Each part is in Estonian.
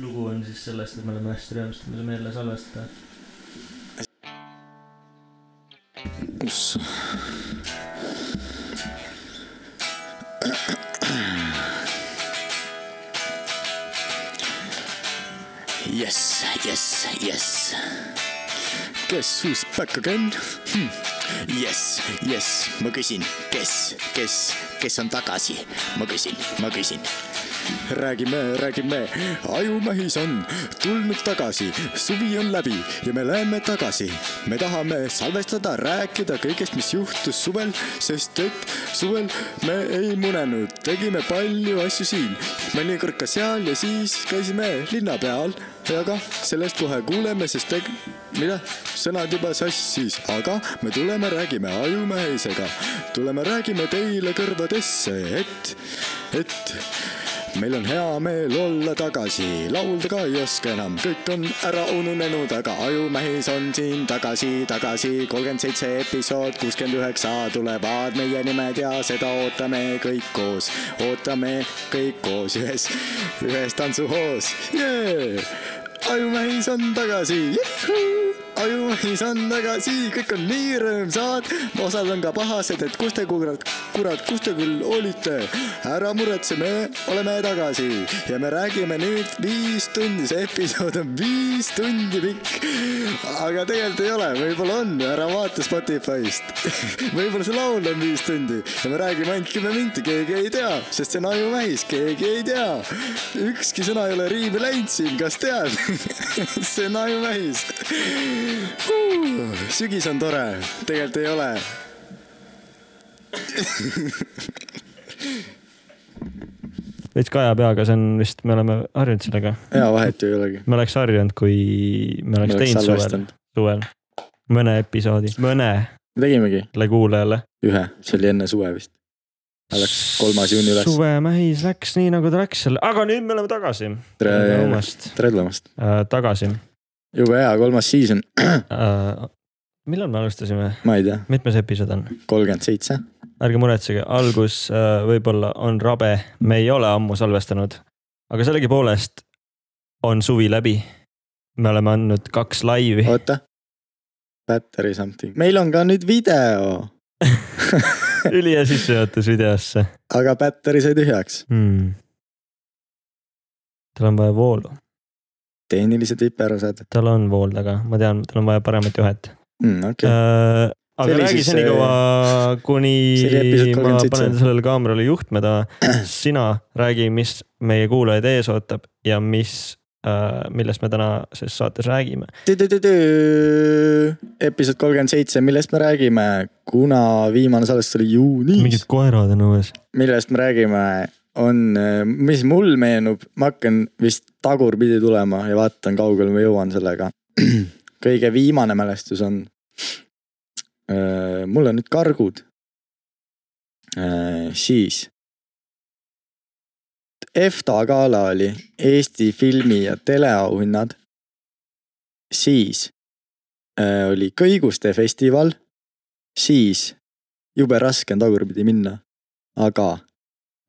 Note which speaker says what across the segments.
Speaker 1: lugu on siis sellest , et me oleme hästi rõõmsad , et me saame jälle salvestada .
Speaker 2: kus . jess , jess , jess . kes who's back again hm. ? jess , jess , ma küsin , kes , kes , kes on tagasi ? ma küsin , ma küsin . räägime , räägime , ajumähis on tulnud tagasi , suvi on läbi ja me läheme tagasi . me tahame salvestada , rääkida kõigest , mis juhtus suvel , sest et suvel me ei munenud , tegime palju asju siin , mõnikord ka seal ja siis käisime linna peal . aga sellest kohe kuuleme , sest teg- , mida , sõnad juba sassis , aga me tuleme räägime ajumähisega , tuleme räägime teile kõrvadesse , et , et meil on hea meel olla tagasi , laulda ka ei oska enam , kõik on ära ununenud , aga Ajumähis on siin tagasi , tagasi . kolmkümmend seitse episood , kuuskümmend üheksa tulevad meie nimed ja seda ootame kõik koos , ootame kõik koos ühes , ühes tantsuhoos yeah! . ajumähis on tagasi , ajumähis on tagasi , kõik on nii rõõmsad , osad on ka pahased , et kus te kurat , kurat , kus te küll olite . ära muretse , me oleme tagasi ja me räägime nüüd viis tundi , see episood on viis tundi pikk . aga tegelikult ei ole , võib-olla on , ära vaata Spotify'st . võib-olla see laul on viis tundi ja me räägime ainult kümme minti , keegi ei tea , sest see on ajumähis , keegi ei tea . ükski sõna ei ole riivi läinud siin , kas tead ? see on ajumähis . sügis on tore , tegelikult ei ole
Speaker 3: veits kaja peaga , see on vist , me oleme harjunud sellega .
Speaker 2: hea vahet ju ei olegi .
Speaker 3: me oleks harjunud , kui me oleks teinud suvel ,. suvel mõne episoodi , mõnele
Speaker 2: me tegimegi
Speaker 3: kuulajale .
Speaker 2: ühe , see oli enne suve vist . Läks kolmas juuni üles .
Speaker 3: suvemähis läks nii nagu ta läks seal , aga nüüd me oleme tagasi . tere
Speaker 2: tere ,
Speaker 3: tulemast
Speaker 2: tere tulemast .
Speaker 3: äh, tagasi
Speaker 2: jube hea , kolmas season ,
Speaker 3: äh, . millal me alustasime ,
Speaker 2: ma ei tea ,
Speaker 3: mitmes episood on ?
Speaker 2: kolmkümmend seitse .
Speaker 3: ärge muretsege , algus äh, võib-olla on rabe , me ei ole ammu salvestanud . aga sellegipoolest on suvi läbi . me oleme andnud kaks laivi .
Speaker 2: oota . Battery something , meil on ka nüüd video ,
Speaker 3: ülihea sissejuhatus videosse
Speaker 2: aga battery sai tühjaks .
Speaker 3: hmm. . tal on vaja voolu ,
Speaker 2: tehnilised viperused
Speaker 3: tal on vool taga , ma tean , tal on vaja paremat juhet
Speaker 2: mm, . okei
Speaker 3: Äh. okay. .
Speaker 2: okay. , See
Speaker 3: aga
Speaker 2: oli
Speaker 3: räägi
Speaker 2: siis,
Speaker 3: senikaua ,
Speaker 2: see oli episood
Speaker 3: kuni ma
Speaker 2: 37.
Speaker 3: panen sellele kaamerale juhtme taha . sina räägi , mis meie kuulajaid ees ootab ja mis , millest me tänases saates räägime .
Speaker 2: episood kolmkümmend seitse , millest me räägime , kuna viimane salvestus oli juunis
Speaker 3: mingid . koerad on õues .
Speaker 2: millest me räägime , on , mis mul meenub , ma hakkan vist tagurpidi tulema ja vaatan , kaugele ma jõuan sellega . kõige viimane mälestus on . mul on nüüd kargud . siis . EFTA gala oli Eesti filmi ja teleauhinnad . siis öö, oli Kõiguste festival , siis jube raske on tagurpidi minna , aga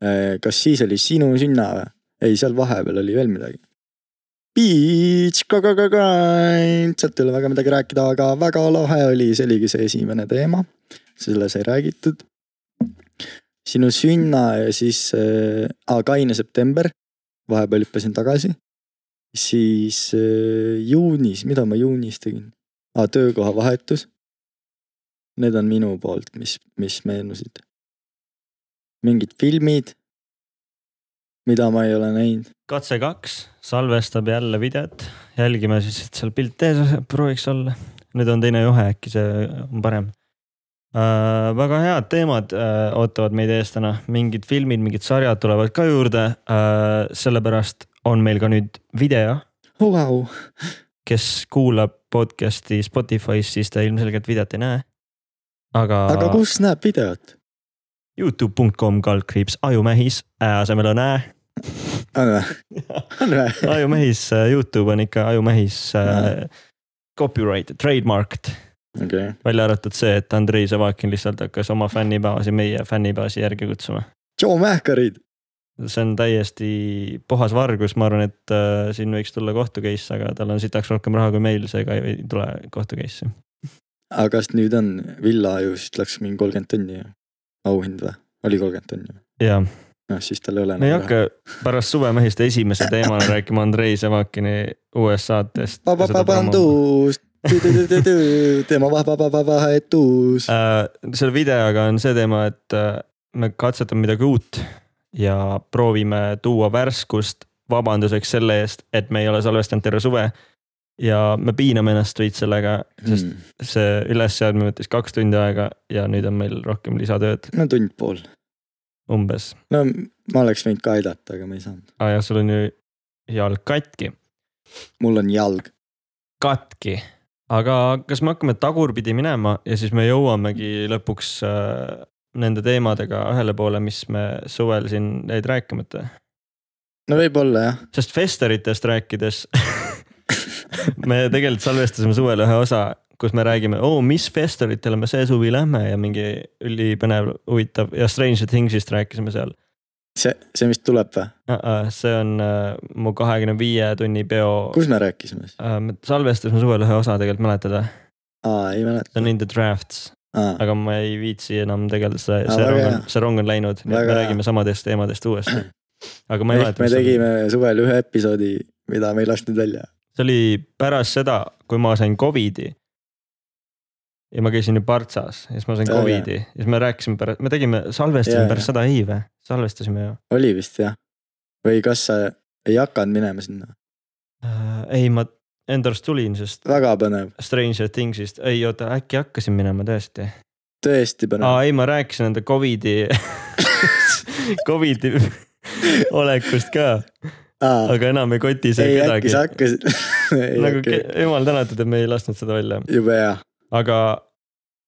Speaker 2: eh, kas siis oli sinu sünna või ? ei , seal vahepeal oli veel midagi . Beach , sealt ei ole väga midagi rääkida , aga väga lahe oli , see oligi see esimene teema . selle sai räägitud . sinu sünna ja siis äh, , kaine september , vahepeal hüppasin tagasi . siis äh, juunis , mida ma juunis tegin ah, ? töökoha vahetus . Need on minu poolt , mis , mis meenusid mingid filmid , mida ma ei ole näinud .
Speaker 3: katse kaks salvestab jälle videot , jälgime siis , et seal pilt ees prooviks olla . nüüd on teine juhe , äkki see on parem . Uh, väga head teemad uh, ootavad meid ees täna , mingid filmid , mingid sarjad tulevad ka juurde uh, . sellepärast on meil ka nüüd video ,
Speaker 2: Oh, Vau ,
Speaker 3: kes kuulab podcast'i Spotify's , siis ta ilmselgelt videot ei näe . aga,
Speaker 2: aga kus näeb videot ?
Speaker 3: Youtube.com kaldkriips ajumähis , ä asemel on ä .
Speaker 2: on vä , on vä ?
Speaker 3: ajumehis , Youtube on ikka ajumehis
Speaker 2: Jaa.
Speaker 3: äh, copyright , trademarked ,
Speaker 2: okei ,
Speaker 3: välja arvatud see , et Andrei Zavakin lihtsalt hakkas oma fännibaasi meie fännibaasi järgi kutsuma .
Speaker 2: Joe Mähkarid ,
Speaker 3: see on täiesti puhas vargus , ma arvan , et äh, siin võiks tulla kohtu case , aga tal on sitaks rohkem raha kui meil , seega ei ei tule kohtu case'i .
Speaker 2: aga kas nüüd on villa ju siis läks mingi kolmkümmend tonni ju? auhind või ? oli kolmkümmend tonni või ?
Speaker 3: jaa ,
Speaker 2: noh , siis tal ei ole
Speaker 3: me ei . hakka pärast suvemehist esimese teemana rääkima Andrei Sevakini USA-test .
Speaker 2: vabandust , tema vahetus .
Speaker 3: Äh, selle videoga on see teema , et äh, me katsetame midagi uut ja proovime tuua värskust vabanduseks selle eest , et me ei ole salvestanud terve suve . ja me piiname ennast veits sellega , sest
Speaker 2: Hmm.
Speaker 3: see ülesseadmine võttis kaks tundi aega ja nüüd on meil rohkem lisatööd
Speaker 2: no tund pool ,
Speaker 3: umbes .
Speaker 2: no ma oleks võinud ka aidata , aga ma ei saanud ,
Speaker 3: aa jah , sul on ju jalg katki .
Speaker 2: mul on jalg .
Speaker 3: katki . aga kas me hakkame tagurpidi minema ja siis me jõuamegi lõpuks äh, nende teemadega ühele poole , mis me suvel siin jäid rääkimata ?
Speaker 2: no võib-olla jah ,
Speaker 3: sest festeritest rääkides me tegelikult salvestasime suvel ühe osa , kus me räägime , oo , mis festeritele me see suvi lähme ja mingi ülipõnev , huvitav ja Stranger Thingsist rääkisime seal .
Speaker 2: see , see vist tuleb või ,
Speaker 3: see on äh, mu kahekümne viie tunni peo .
Speaker 2: kus me rääkisime siis ?
Speaker 3: me salvestasime suvel ühe osa tegelikult , mäletad või ?
Speaker 2: aa , ei mäleta
Speaker 3: see . on In the Drafts , aga ma ei viitsi enam tegelikult see ,
Speaker 2: Aa,
Speaker 3: see
Speaker 2: väga
Speaker 3: rong on
Speaker 2: hea. ,
Speaker 3: see rong on läinud , nii et
Speaker 2: Väga
Speaker 3: me
Speaker 2: hea.
Speaker 3: räägime samadest teemadest uuesti . aga ma ei
Speaker 2: ehk
Speaker 3: mäleta .
Speaker 2: me tegime suvel ühe episoodi , mida me ei lasknud välja .
Speaker 3: see oli pärast seda , kui ma sain Covidi . ja ma käisin ju Partsas ja siis ma sain
Speaker 2: Aa,
Speaker 3: Covidi ja siis me rääkisime pärast , me tegime , salvestasime
Speaker 2: Jaa,
Speaker 3: ja,
Speaker 2: jaa.
Speaker 3: pärast seda , ei vä ? salvestasime ju
Speaker 2: oli vist jah ? või kas sa ei hakanud minema sinna ?
Speaker 3: äh, . ei , ma enda arust tulin , sest
Speaker 2: väga põnev ,
Speaker 3: Stranger Thingsist , ei oota , äkki hakkasin minema tõesti .
Speaker 2: tõesti põnev .
Speaker 3: aa ei , ma rääkisin enda Covidi , Covidi olekust ka ,
Speaker 2: aa ,
Speaker 3: aga enam ei koti see
Speaker 2: ei äkki
Speaker 3: kedagi
Speaker 2: sa . hakkasid ?
Speaker 3: nagu ke- jumal tänatud , et me ei lasknud seda välja .
Speaker 2: jube hea ,
Speaker 3: aga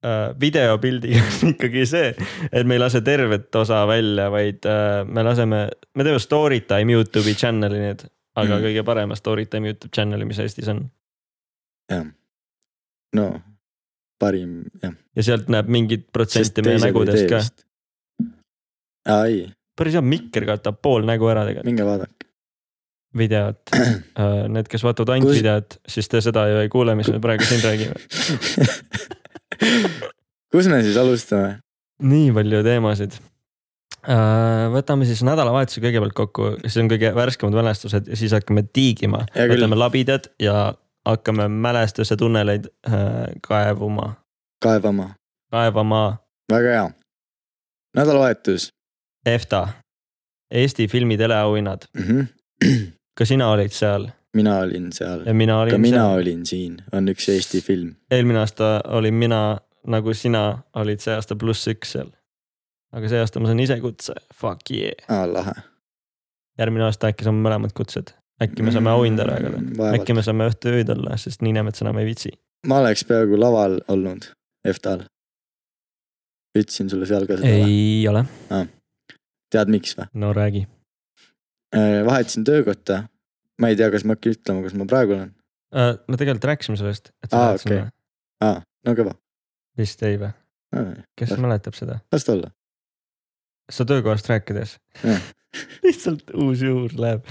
Speaker 3: äh, videopildiga on ikkagi see , et me ei lase tervet osa välja , vaid äh, me laseme , me teeme story time Youtube'i channel'i nüüd , aga
Speaker 2: Mm.
Speaker 3: mm. kõige parema story time Youtube channel'i , mis Eestis on .
Speaker 2: no parim jah .
Speaker 3: ja sealt näeb mingit protsenti meie nägudest ka .
Speaker 2: aa ei ,
Speaker 3: päris hea , mikker katab pool nägu ära tegelikult ,
Speaker 2: minge vaadake ,
Speaker 3: videot . Need , kes vaatavad ainult
Speaker 2: Kus-
Speaker 3: Kus... videot , siis te seda ju ei kuule , mis me praegu siin räägime .
Speaker 2: kus me siis alustame ?
Speaker 3: nii palju teemasid . võtame siis nädalavahetuse kõigepealt kokku , siis on kõige värskemad mälestused ja siis hakkame tiigima ,
Speaker 2: Hea küll.
Speaker 3: võtame labidad ja hakkame mälestuse tunneleid äh, kaevuma ,
Speaker 2: kaevama ,
Speaker 3: kaevama
Speaker 2: väga hea . nädalavahetus
Speaker 3: EFTA , Eesti filmi teleauhinnad .
Speaker 2: mm . -hmm.
Speaker 3: ka sina olid seal
Speaker 2: mina olin seal ,
Speaker 3: ja mina
Speaker 2: ka
Speaker 3: olin
Speaker 2: mina
Speaker 3: seal ,
Speaker 2: olin siin , on üks Eesti film .
Speaker 3: eelmine aasta olin mina nagu sina olid see aasta pluss üks seal . aga see aasta ma saan ise kutse , fuck yeah ,
Speaker 2: aa , lahe .
Speaker 3: järgmine aasta äkki saame mõlemad kutsed , äkki me
Speaker 2: Mm. Mhm.
Speaker 3: saame auhinda ära jagada . äkki me saame õhtu ööd olla , sest Niinemets enam ei viitsi .
Speaker 2: ma oleks peaaegu laval olnud EFTA-l . ütlesin sulle seal ka seda või ?
Speaker 3: ei ole .
Speaker 2: tead miks või ?
Speaker 3: no räägi .
Speaker 2: vahetasin töökohta . ma ei tea , kas ma hakkan ütlema , kus ma praegu olen .
Speaker 3: Äh, me tegelikult rääkisime sellest , et
Speaker 2: Aa,
Speaker 3: sa oled
Speaker 2: okei.
Speaker 3: sinna ,
Speaker 2: aa , no kõva .
Speaker 3: vist ei või ? kes
Speaker 2: Jah.
Speaker 3: mäletab seda ?
Speaker 2: las ta olla .
Speaker 3: sa töökohast rääkides
Speaker 2: Jah. .
Speaker 3: lihtsalt uus juur läheb .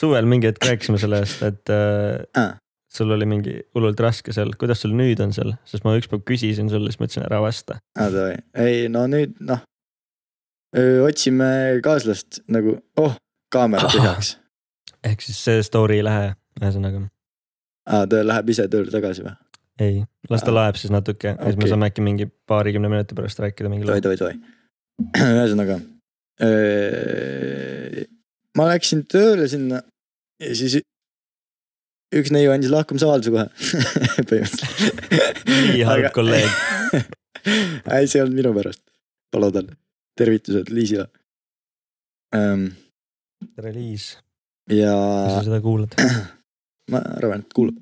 Speaker 3: suvel mingi hetk rääkisime sellest , et äh,
Speaker 2: Aa.
Speaker 3: sul oli mingi hullult raske seal , kuidas sul nüüd on seal , sest ma ükspäev küsisin sulle , siis ma ütlesin ära vasta .
Speaker 2: aa , davai . ei , no nüüd noh . otsime kaaslast nagu , oh , kaamera tühjaks .
Speaker 3: ehk siis see story ei lähe , ühesõnaga .
Speaker 2: aa , ta läheb ise tööle tagasi või ?
Speaker 3: ei , las ta
Speaker 2: Aa.
Speaker 3: laeb siis natuke ja siis me
Speaker 2: Okei.
Speaker 3: saame äkki mingi paarikümne minuti pärast rääkida mingi
Speaker 2: davai ,
Speaker 3: loo .
Speaker 2: davai , davai . ühesõnaga . ma läksin tööle sinna ja siis ü- üks neiu andis lahkumisavalduse kohe põhimõtteliselt .
Speaker 3: nii halb kolleeg .
Speaker 2: ei , see ei olnud minu pärast , ma loodan . tervitused Liisile .
Speaker 3: tere , Liis ,
Speaker 2: ja
Speaker 3: kas sa seda kuulad ?
Speaker 2: ma arvan , et kuulab .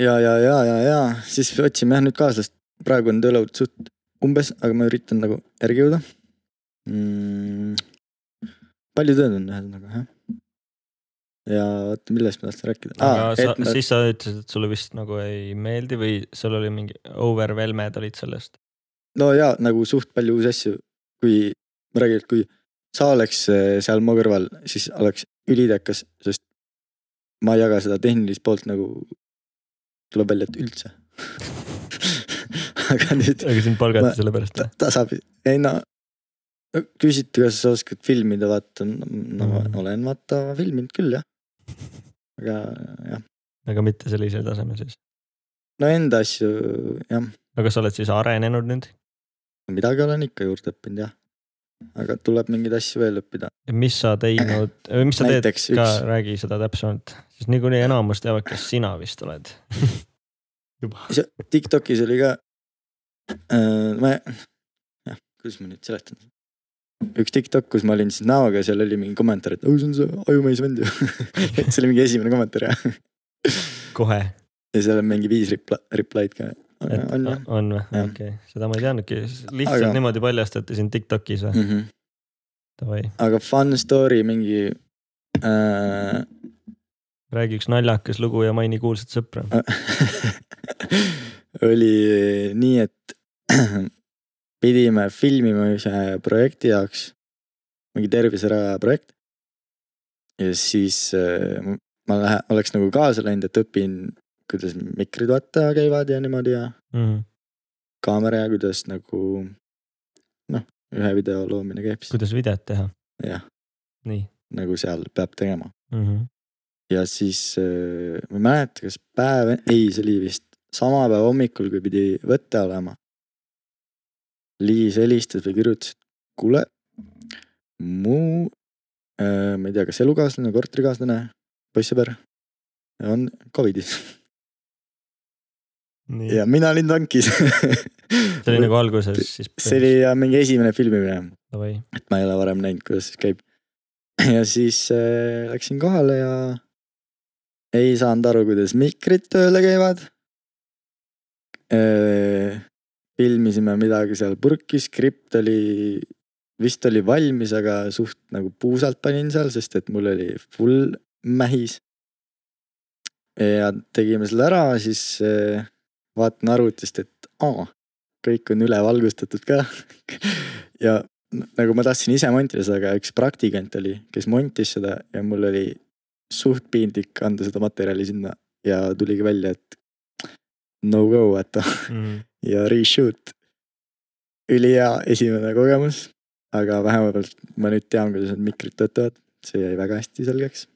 Speaker 2: ja , ja , ja , ja , ja siis otsime jah nüüd kaaslast , praegu on töölaud suht umbes , aga ma üritan nagu järgi jõuda mm. . palju tööd on ühesõnaga jah . ja oota , millest ma tahtsin rääkida
Speaker 3: aga
Speaker 2: ah, ?
Speaker 3: sa
Speaker 2: et , ma siis...
Speaker 3: siis sa ütlesid , et sulle vist nagu ei meeldi või sul oli mingi overwhelmed olid sellest .
Speaker 2: no ja nagu suht palju uusi asju , kui ma räägin , et kui sa oleks äh, seal mu kõrval , siis oleks ülitekas , sest ma ei jaga seda tehnilist poolt nagu , tuleb välja , et üldse . aga nüüd
Speaker 3: aga sind
Speaker 2: Ma-
Speaker 3: palgati selle pärast
Speaker 2: ta, ? ta saab , ei no , küsiti , kas sa oskad filmida , vaata , no ma
Speaker 3: Mhm.
Speaker 2: olen vaata filminud küll jah . aga jah ,
Speaker 3: aga mitte sellisel tasemel siis .
Speaker 2: no enda asju jah ,
Speaker 3: aga kas sa oled siis arenenud nüüd ?
Speaker 2: midagi olen ikka juurde õppinud jah . aga tuleb mingeid asju veel õppida ,
Speaker 3: mis sa teinud , mis sa teed
Speaker 2: näiteks
Speaker 3: ka
Speaker 2: üks ,,
Speaker 3: räägi seda täpsemalt , sest niikuinii enamus teavad , kes sina vist oled . juba .
Speaker 2: Tiktokis oli ka äh, , ma , jah , kuidas ma nüüd seletan . üks Tiktok , kus ma olin siis näoga , seal oli mingi kommentaar , et oh, see on see ajumees vend ju . see oli mingi esimene kommentaar jah .
Speaker 3: kohe ,
Speaker 2: ja seal on mingi viis repla- , reply'd ka .
Speaker 3: et ah,
Speaker 2: on jah
Speaker 3: on või ,
Speaker 2: Jah.
Speaker 3: okei , seda ma ei teadnudki , lihtsalt
Speaker 2: Aga-
Speaker 3: aga... niimoodi paljastati sind Tiktokis või ,
Speaker 2: mm . -hmm.
Speaker 3: davai ,
Speaker 2: aga fun story mingi äh, .
Speaker 3: räägi üks naljakas lugu ja maini kuulsat sõpra .
Speaker 2: oli eh, nii , et pidime filmima ühe projekti jaoks , mingi terviseraja projekt . ja siis äh, ma lähe- , oleks nagu kaasa läinud , et õpin , kuidas mikrid vaata käivad ja niimoodi ja
Speaker 3: Mhm.
Speaker 2: kaamera ja kuidas nagu noh , ühe video loomine käib siis ,
Speaker 3: kuidas videot teha ,
Speaker 2: jah ,
Speaker 3: nii
Speaker 2: nagu seal peab tegema .
Speaker 3: mm . -hmm.
Speaker 2: ja siis äh, ma ei mäleta , kas päev , ei , see oli vist sama päeva hommikul , kui pidi võte olema . Liis helistas või kirjutas , et kuule , mu äh, , ma ei tea , kas elukaaslane , korterikaaslane , poissõber on Covidis
Speaker 3: nii ,
Speaker 2: ja mina olin tankis .
Speaker 3: see oli nagu alguses siis .
Speaker 2: see oli . jah, mingi esimene filmimine
Speaker 3: davai ,
Speaker 2: et ma ei ole varem näinud , kuidas see käib . ja siis äh, läksin kohale ja ei saanud aru , kuidas mikrid tööle käivad äh, . filmisime midagi seal purki , skript oli , vist oli valmis , aga suht nagu puusalt panin seal , sest et mul oli full mähis . ja tegime selle ära , siis äh, vaatan arvutist , et aa , kõik on ülevalgustatud ka ja nagu ma tahtsin ise montida seda , aga üks praktikant oli , kes montis seda ja mul oli suht piinlik anda seda materjali sinna ja tuligi välja , et no go vaata
Speaker 3: Mhm.
Speaker 2: ja reshoot . ülihea esimene kogemus , aga vähemalt ma nüüd tean , kuidas need mikrid töötavad , see jäi väga hästi selgeks .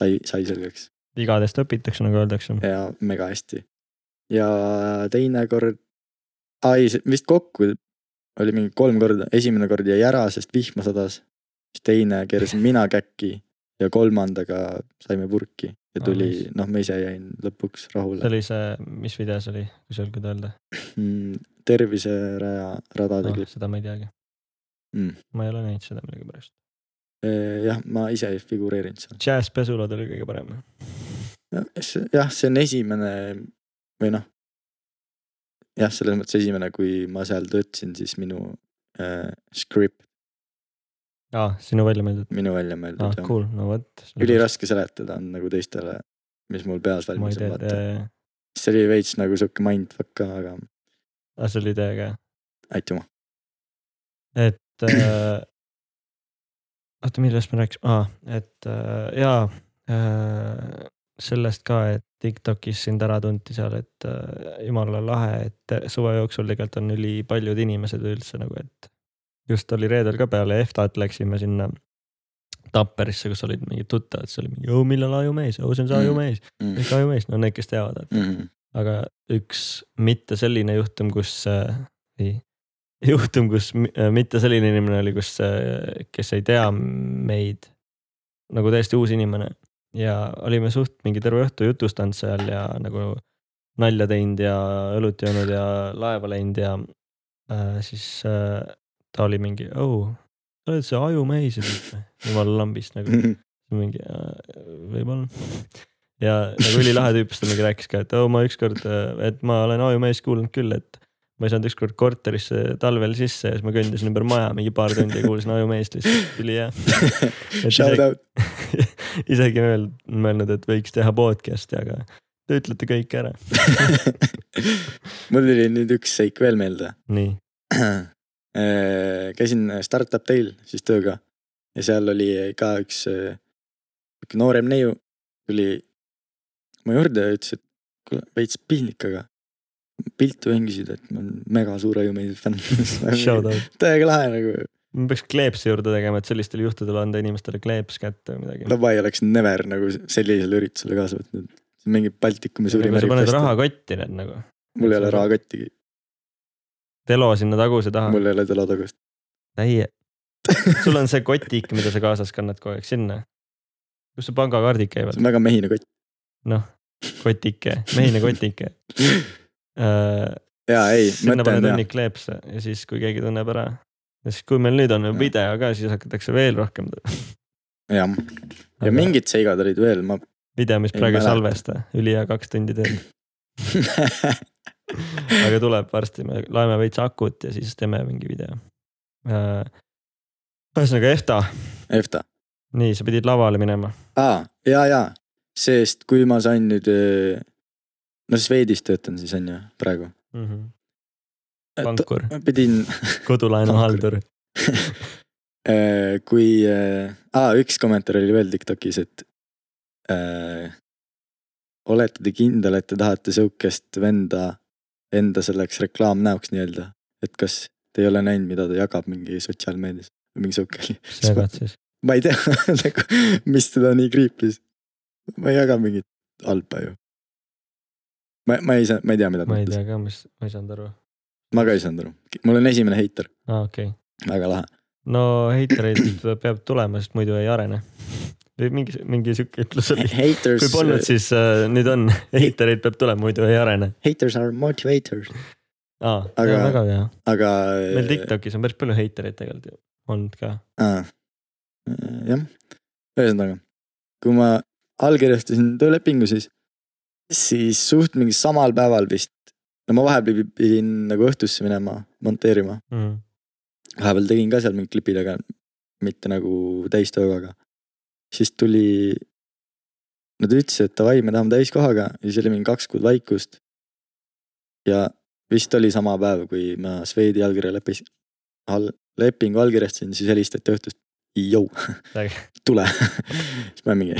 Speaker 2: sai , sai selgeks
Speaker 3: vigadest õpitakse , nagu öeldakse .
Speaker 2: ja mega hästi . ja teinekord , ai , vist kokku oli mingi kolm korda , esimene kord jäi ära , sest vihma sadas . siis teine keerasin mina käkki ja kolmandaga saime purki ja
Speaker 3: Ah,
Speaker 2: tuli
Speaker 3: nice. ,
Speaker 2: noh , ma ise jäin lõpuks
Speaker 3: see
Speaker 2: rahule .
Speaker 3: oli see , mis video see oli , kui sa julged öelda
Speaker 2: Mm, terviseraja radade
Speaker 3: no,
Speaker 2: klipp ,?
Speaker 3: seda ma ei teagi
Speaker 2: Mm. .
Speaker 3: ma ei ole näinud seda millegipärast .
Speaker 2: E, jah , ma ise ei figureerinud seal .
Speaker 3: džässpesulad oli kõige parem .
Speaker 2: jah , see on esimene või noh . jah , selles mõttes esimene , kui ma seal töötasin , siis minu äh, script
Speaker 3: aa , sinu välja mõeldud .
Speaker 2: minu välja mõeldud
Speaker 3: aa
Speaker 2: ah, , cool.
Speaker 3: cool , no vot .
Speaker 2: jah . üliraske seletada on nagu teistele , mis mul peas
Speaker 3: ma ei
Speaker 2: valmis on ,
Speaker 3: tea
Speaker 2: vaata ., see oli veits nagu sihuke mindfuck ka , aga
Speaker 3: aa see oli täiega hea .
Speaker 2: aitüma .
Speaker 3: et äh, , oota , millest me rääkisime , aa , et äh, jaa äh, , sellest ka , et Tiktokis sind ära tunti seal , et äh, jumala lahe , et suve jooksul tegelikult on üli paljud inimesed üldse nagu , et just oli reedel ka peale EFTA-t läksime sinna Tapperisse , kus olid mingid tuttavad , siis oli mingi , oo millal ajumees , oo see on see
Speaker 2: Mm.
Speaker 3: ajumees ,
Speaker 2: Mm
Speaker 3: ikka ajumees , no need , kes teavad , et
Speaker 2: -hmm.
Speaker 3: aga üks mitte selline juhtum , kus äh, , ei , juhtum , kus mi- äh, mitte selline inimene oli , kus äh, , kes ei tea meid nagu täiesti uus inimene ja olime suht mingi terve õhtu jutustanud seal ja nagu nalja teinud ja õlut joonud ja laeva läinud ja äh, siis äh, ta oli mingi , oh , sa oled see ajumees ja kõik või , jumala lambist nagu mingi äh, võib-olla . ja nagu ülilahe tüüp , siis ta mingi rääkis ka , et oo ma ükskord , et ma olen ajumees kuulnud küll , et ma ei saanud ükskord korterisse talvel sisse ja siis ma kõndisin ümber maja mingi paar tundi ja kuulsin ajumeest lihtsalt , ülihea .
Speaker 2: Shout out ,
Speaker 3: isegi mõel- mõelnud , et võiks teha podcast'i , aga te ütlete kõik ära .
Speaker 2: mul tuli nüüd üks seik veel meelde .
Speaker 3: nii ,
Speaker 2: Äh, käisin Startup Day'l siis tööga ja seal oli ka üks äh, sihuke noorem neiu tuli mu juurde ja ütles , et kuule veits piinlik , aga pilti võin küsida , et ma olen mega suure Iumeid fänn .
Speaker 3: Shout out .
Speaker 2: täiega lahe nagu ,
Speaker 3: me peaks kleepsi juurde tegema , et sellistel juhtudel anda inimestele kleeps kätte või midagi .
Speaker 2: Labai oleks never nagu sellisele üritusele kaasa võtnud . mingi Baltikumi suurim
Speaker 3: sa paned . rahakotti need nagu ,
Speaker 2: mul ei ole rahakottigi ,
Speaker 3: telo sinna taguse taha ,
Speaker 2: mul ei ole telo tagasi .
Speaker 3: täie . sul on see kotik , mida sa kaasas kannad kogu aeg sinna . kus su pangakaardid käivad
Speaker 2: see ? on väga mehine kott .
Speaker 3: noh , kotike , mehine kotike . sinna
Speaker 2: jaa , ei , mõte
Speaker 3: paned
Speaker 2: on hea .
Speaker 3: õnnik kleepse ja siis , kui keegi tunneb ära ja siis , kui meil nüüd on
Speaker 2: Jah.
Speaker 3: video ka , siis hakatakse veel rohkem .
Speaker 2: jah , ja mingid seigad olid veel , ma
Speaker 3: video , mis
Speaker 2: ei
Speaker 3: praegu ei
Speaker 2: mäleta.
Speaker 3: salvesta , ülihea kaks tundi teeb , aga tuleb varsti , me laeme veits akut ja siis teeme mingi video . ühesõnaga EFTA ,
Speaker 2: EFTA .
Speaker 3: nii sa pidid lavale minema ,
Speaker 2: aa , ja , ja , sest kui ma sain nüüd , no Swedis töötan siis on ju praegu .
Speaker 3: Mhm. pankur ,
Speaker 2: pidin ,
Speaker 3: kodulaenuhaldur ,
Speaker 2: Äh, kui , aa üks kommentaar oli veel Tiktokis , et äh, . olete te kindel , et te tahate sihukest venda enda selleks reklaamnäoks nii-öelda , et kas te ei ole näinud , mida ta jagab mingi sotsiaalmeedias või mingi sihuke oli .
Speaker 3: segad siis .
Speaker 2: ma ei tea nagu , mis teda nii kriipis . ma ei jaga mingit halba ju . ma , ma ei saa , ma ei tea , mida ta
Speaker 3: ma ei
Speaker 2: ütles ,
Speaker 3: tea ka , mis , ma ei saanud aru ,
Speaker 2: ma ka ei saanud aru , mul on esimene heiter ,
Speaker 3: aa Ah, okei okay.
Speaker 2: väga lahe .
Speaker 3: no heitereid peab tulema , sest muidu ei arene . või mingi , mingi sihuke ütlus oli .
Speaker 2: Haters
Speaker 3: kui , polnud , siis äh, nüüd on , heitereid peab tulema , muidu ei arene .
Speaker 2: haters are motivators ,
Speaker 3: aa ,
Speaker 2: Aga- äh,
Speaker 3: väga hea .
Speaker 2: aga .
Speaker 3: meil . TikTokis on päris palju heitereid tegelikult ju olnud ka .
Speaker 2: jah , ühesõnaga , kui ma allkirjastasin töölepingu , siis , siis suht mingi samal päeval vist , no ma vahepeal pidin nagu õhtusse minema monteerima ,
Speaker 3: mm. .
Speaker 2: vahepeal tegin ka seal mingid klipid , aga mitte nagu täistööga , aga siis tuli . Nad ütlesid , et davai , me tahame täiskohaga ja siis oli mingi kaks kuud vaikust . ja vist oli sama päev , kui ma Swedi allkirja leppis- , all, lepingu allkirjastasin , siis helistati õhtust . Jou ,
Speaker 3: Äge.
Speaker 2: tule . siis ma mingi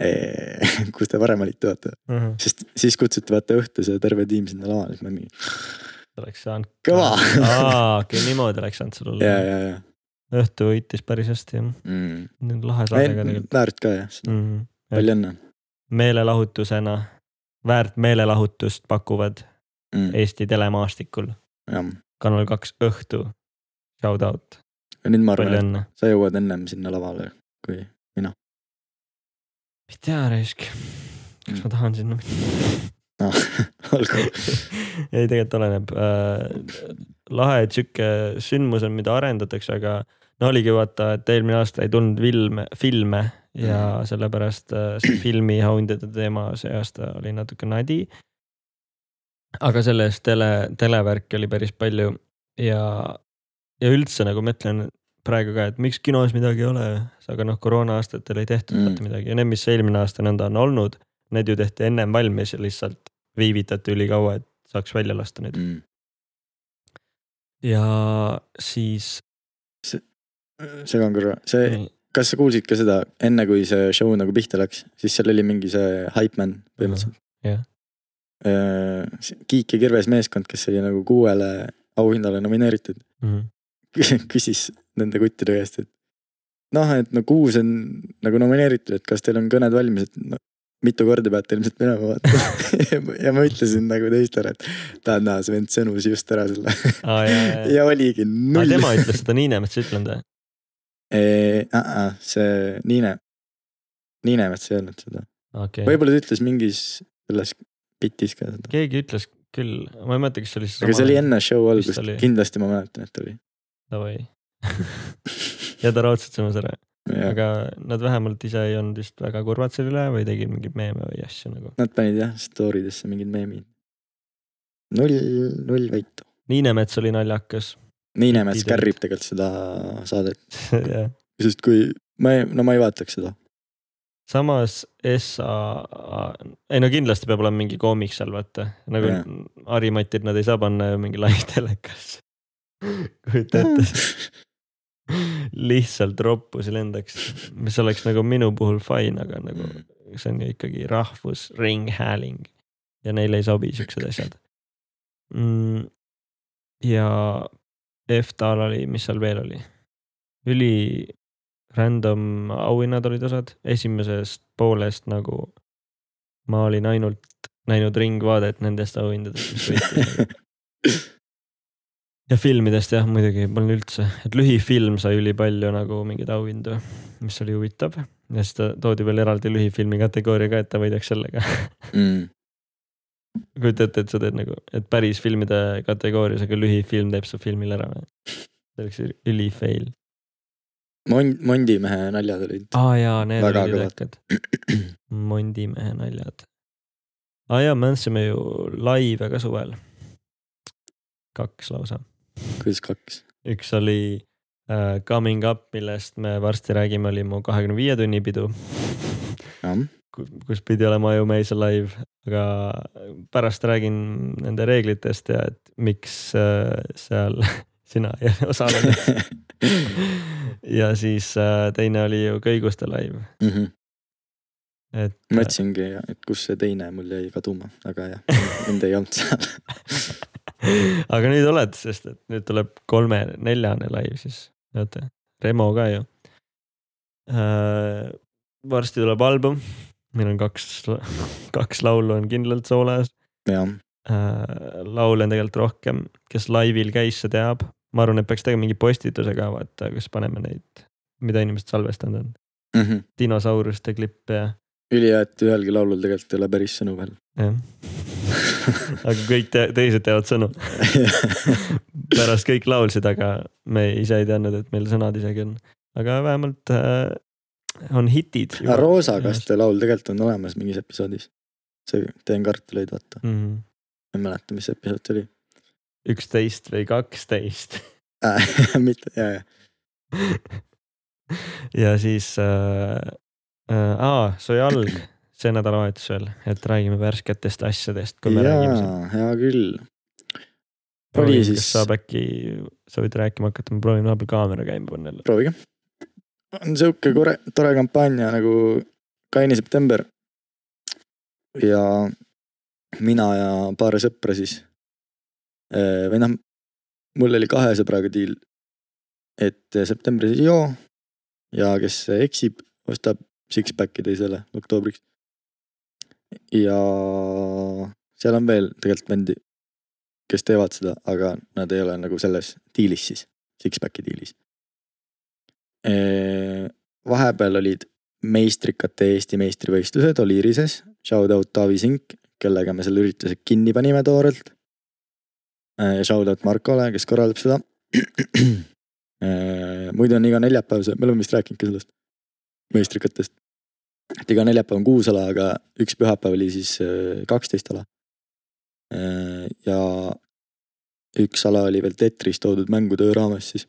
Speaker 2: "Eh, kus te varem olite , vaata ,
Speaker 3: Mm -hmm.
Speaker 2: sest siis kutsuti vaata õhtul see terve tiim sinna lavale , siis ma mingi
Speaker 3: oleks saanud .
Speaker 2: kõva .
Speaker 3: aa , okei , niimoodi oleks saanud sul olla
Speaker 2: ja ,. ja , ja
Speaker 3: õhtu võitis päris hästi jah ,
Speaker 2: mm. .
Speaker 3: lahe saade ka tegelikult
Speaker 2: väärt ka jah ,
Speaker 3: mm. .
Speaker 2: palju õnne
Speaker 3: meelelahutusena , väärt meelelahutust pakuvad
Speaker 2: mm. .
Speaker 3: Eesti telemaastikul ,
Speaker 2: jah ,
Speaker 3: Kanal kaks Õhtu . Shout out ,
Speaker 2: nüüd ma
Speaker 3: palju
Speaker 2: arvan ,
Speaker 3: õnne .
Speaker 2: et sa jõuad ennem sinna lavale , kui
Speaker 3: ei tea , Reisk , kas ma tahan sinna minna ?
Speaker 2: noh , olgu .
Speaker 3: ei , tegelikult oleneb äh, . lahe , et sihuke sündmus on , mida arendatakse , aga no oligi vaata , et eelmine aasta ei tulnud filme , filme ja sellepärast äh, see filmihoundide teema see aasta oli natuke nadi . aga selles tele , televärki oli päris palju ja , ja üldse nagu ma ütlen praegu ka , et miks kinos midagi ei ole , aga noh , koroona aastatel ei tehtud
Speaker 2: Mm.
Speaker 3: mm. vaata midagi ja need , mis eelmine aasta nõnda on olnud , need ju tehti ennem valmis ja lihtsalt viivitati ülikaua , et saaks välja lasta neid .
Speaker 2: Mm.
Speaker 3: ja siis
Speaker 2: segan korra , see ,
Speaker 3: Nii.
Speaker 2: kas sa kuulsid ka seda , enne kui see show nagu pihta läks , siis seal oli mingi see Hype Man põhimõtteliselt .
Speaker 3: Jah. .
Speaker 2: Kiik ja Kirves meeskond , kes oli nagu kuuele auhinnale nomineeritud ,
Speaker 3: Mhm.
Speaker 2: küsis nende kuttide käest , et noh , et no kuus on nagu nomineeritud , et kas teil on kõned valmis , et no, mitu korda peate ilmselt minema vaatama . ja ma ütlesin nagu teistele , et täna Sven sõnus just ära selle
Speaker 3: Aa, ja, ja, ja.
Speaker 2: ja oligi
Speaker 3: Aga
Speaker 2: null .
Speaker 3: Ah, tema ütles seda Niinemets ei ütlenud või ?
Speaker 2: see Niine , Niinemets ei öelnud seda ,
Speaker 3: okei okay. ,
Speaker 2: võib-olla ta ütles mingis selles bitis ka seda ,
Speaker 3: keegi ütles küll , ma ei mäleta , kas see oli
Speaker 2: aga see oli enne show
Speaker 3: Vist
Speaker 2: algust
Speaker 3: oli. ,
Speaker 2: kindlasti ma mäletan , et oli .
Speaker 3: davai ja ta raudselt sõnas ära ,
Speaker 2: jah ,
Speaker 3: aga nad vähemalt ise ei olnud vist väga kurvad selle üle või tegid mingeid meeme või asju nagu .
Speaker 2: nad panid jah story desse mingid meemid . null , null väitu .
Speaker 3: Niinemets oli naljakas
Speaker 2: Niinemets
Speaker 3: Bitid olid.
Speaker 2: kärrib tegelikult seda saadet ,
Speaker 3: ja
Speaker 2: sest kui ma ei , no ma ei vaataks seda .
Speaker 3: samas SA , ei no kindlasti peab olema mingi koomik seal vaata , nagu
Speaker 2: Jah.
Speaker 3: Ari-Matit nad ei saa panna ju mingi live telekas . kujuta ette . lihtsalt roppusi lendaks , mis oleks nagu minu puhul fine , aga nagu see on ju ikkagi rahvusringhääling ja neile ei sobi siuksed asjad mm. . ja EFTA-l oli , mis seal veel oli ? üli random auhinnad olid osad , esimesest poolest nagu ma olin ainult näinud ringvaadet nendest auhindadest , mis võitis . ja filmidest jah , muidugi polnud üldse , et lühifilm sai ülipalju nagu mingeid auhindu , mis oli huvitav ja siis ta toodi veel eraldi lühifilmi kategooria ka , et ta võidaks sellega .
Speaker 2: mm. .
Speaker 3: kujuta ette , et sa teed nagu , et päris filmide kategoorias , aga lühifilm teeb su filmil ära . see oleks üli fail .
Speaker 2: Mon- , Mondimehe naljad olid
Speaker 3: aa jaa , need
Speaker 2: Väga
Speaker 3: olid
Speaker 2: kõvad.
Speaker 3: idekad . Mondimehe naljad . aa jaa , me andsime ju laive ka suvel . kaks lausa .
Speaker 2: kuidas kaks .
Speaker 3: üks oli äh, Coming Up , millest me varsti räägime , oli mu kahekümne viie tunni pidu ,
Speaker 2: jah ,
Speaker 3: kus pidi olema Aju Meise live , aga pärast räägin nende reeglitest ja et miks äh, seal sina ei osalenud . ja siis äh, teine oli ju Kõiguste live , et
Speaker 2: Mhm. mõtlesingi , et kus see teine mul jäi kaduma , aga jah , mind ei olnud seal .
Speaker 3: aga nüüd oled , sest et nüüd tuleb kolme-neljane live siis , vaata , Remo ka ju äh, . varsti tuleb album , meil on kaks , kaks laulu on kindlalt soolas
Speaker 2: jah ,
Speaker 3: äh, . laule on tegelikult rohkem , kes laivil käis , see teab , ma arvan , et peaks tegema mingi postituse ka vaata , kus paneme neid , mida inimesed salvestanud on , dinosauruste klippe ja ,
Speaker 2: ülihea , et Mhm. ühelgi laulul tegelikult ei ole päris sõnu veel .
Speaker 3: jah . aga kõik te teised teavad sõnu . pärast kõik laulsid , aga me ise ei teadnud , et meil sõnad isegi on , aga vähemalt äh, on hitid .
Speaker 2: aga Roosakaste laul tegelikult on olemas mingis episoodis . see Teen kartuleid , vaata ,
Speaker 3: mm . -hmm.
Speaker 2: ma ei mäleta , mis episood see oli .
Speaker 3: üksteist või kaksteist
Speaker 2: mitte , ja , ja ,
Speaker 3: ja siis äh, , äh, su jalg , see nädalavahetus veel , et räägime värsketest asjadest , kui me ja. räägime siin .
Speaker 2: jaa , hea küll . oli
Speaker 3: proovime , kas
Speaker 2: siis ,
Speaker 3: saab äkki , sa võid rääkima hakata , ma proovin vahepeal kaamera käima panna jälle .
Speaker 2: proovige . on sihuke kore- tore kampaania nagu kaine september . ja mina ja paar sõpra siis eh, või noh , mul oli kahe sõbraga diil , et septembris ei joo ja kes eksib , ostab six-pack'i teisele oktoobriks . ja seal on veel tegelikult vendi , kes teevad seda , aga nad ei ole nagu selles diilis siis , six-pack'i diilis . Äh, vahepeal olid meistrikate Eesti meistrivõistlused Oliirises , shout out Taavi Sink , kellega me selle ürituse kinni panime toorelt . Shout out Markole , kes korraldab seda . muidu on iga neljapäev see , me oleme vist rääkinud ka sellest meistrikatest . et iga neljapäev on kuus ala , aga üks pühapäev oli siis äh, kaksteist ala . ja üks ala oli veel Tetris toodud mängutöö raames siis ,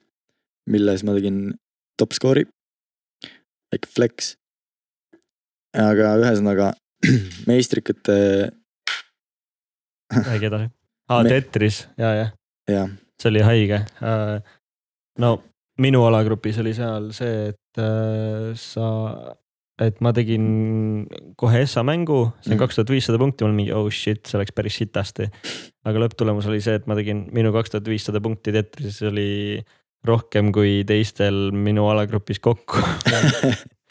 Speaker 2: milles ma tegin top skoori . väike flex . aga ühesõnaga meistrikate
Speaker 3: räägi edasi . aa ,
Speaker 2: Me-
Speaker 3: Tetris , ja , jah .
Speaker 2: ja
Speaker 3: see oli haige . no minu alagrupis oli seal see , et äh, sa , et ma tegin kohe SA mängu , see on
Speaker 2: Mhm.
Speaker 3: kaks tuhat viissada punkti , mul mingi oh shit , see läks päris sitasti . aga lõpptulemus oli see , et ma tegin minu kaks tuhat viissada punkti Tetrises oli rohkem kui teistel minu alagrupis kokku .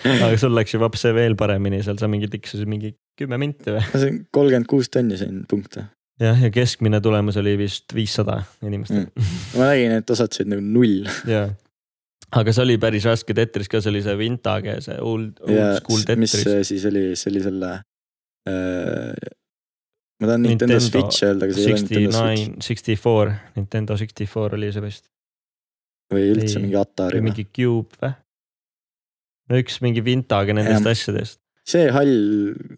Speaker 3: aga sul läks ju vaps see veel paremini , seal sa mingi tiksusid mingi kümme minti või ?
Speaker 2: ma sain kolmkümmend kuus tonni sain punkte .
Speaker 3: jah , ja keskmine tulemus oli vist viissada inimestel mm.
Speaker 2: ma nägin , et osad said nagu null .
Speaker 3: jaa . aga see oli päris raske Tetris ka , see oli see vintage , see old ,
Speaker 2: ja
Speaker 3: old school
Speaker 2: mis
Speaker 3: Tetris .
Speaker 2: see siis oli , see oli selle äh, . ma tahan Nintendo,
Speaker 3: Nintendo
Speaker 2: Nintendo Switch öelda , aga see ei ole
Speaker 3: Sixty
Speaker 2: Nintendo Switch
Speaker 3: nine , sixty four , Nintendo sixty four oli see vist
Speaker 2: või üldse
Speaker 3: ei,
Speaker 2: mingi Atari
Speaker 3: või
Speaker 2: või mingi... .
Speaker 3: mingi Cube või ? no üks mingi vintage nendest
Speaker 2: Jah.
Speaker 3: asjadest .
Speaker 2: see hall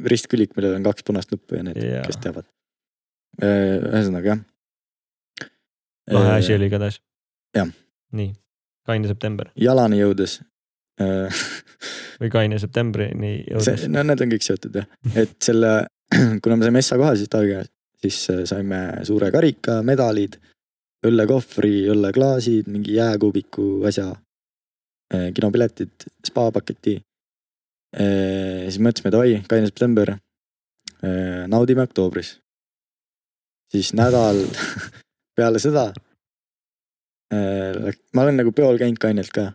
Speaker 2: ristkülik , millel on kaks punast nuppu ja need yeah. ,
Speaker 3: Jaa.
Speaker 2: kes teavad . ühesõnaga jah . Äh,
Speaker 3: lahe Noh, asi oli igatahes .
Speaker 2: jah.
Speaker 3: nii , kaine september
Speaker 2: jalani jõudes äh,
Speaker 3: või kaine septembrini jõudes
Speaker 2: see , no need on kõik seotud jah , et selle , kuna me saime Essa koha siis Taavi käest , siis äh, saime suure karika , medalid , õllekohvri , õlleklaasid , mingi jääkuubiku asja , kinopiletid , spaapaketi . siis mõtlesime davai , kaine september , naudime oktoobris . siis nädal peale seda . ma olen nagu peol käinud kainelt ka .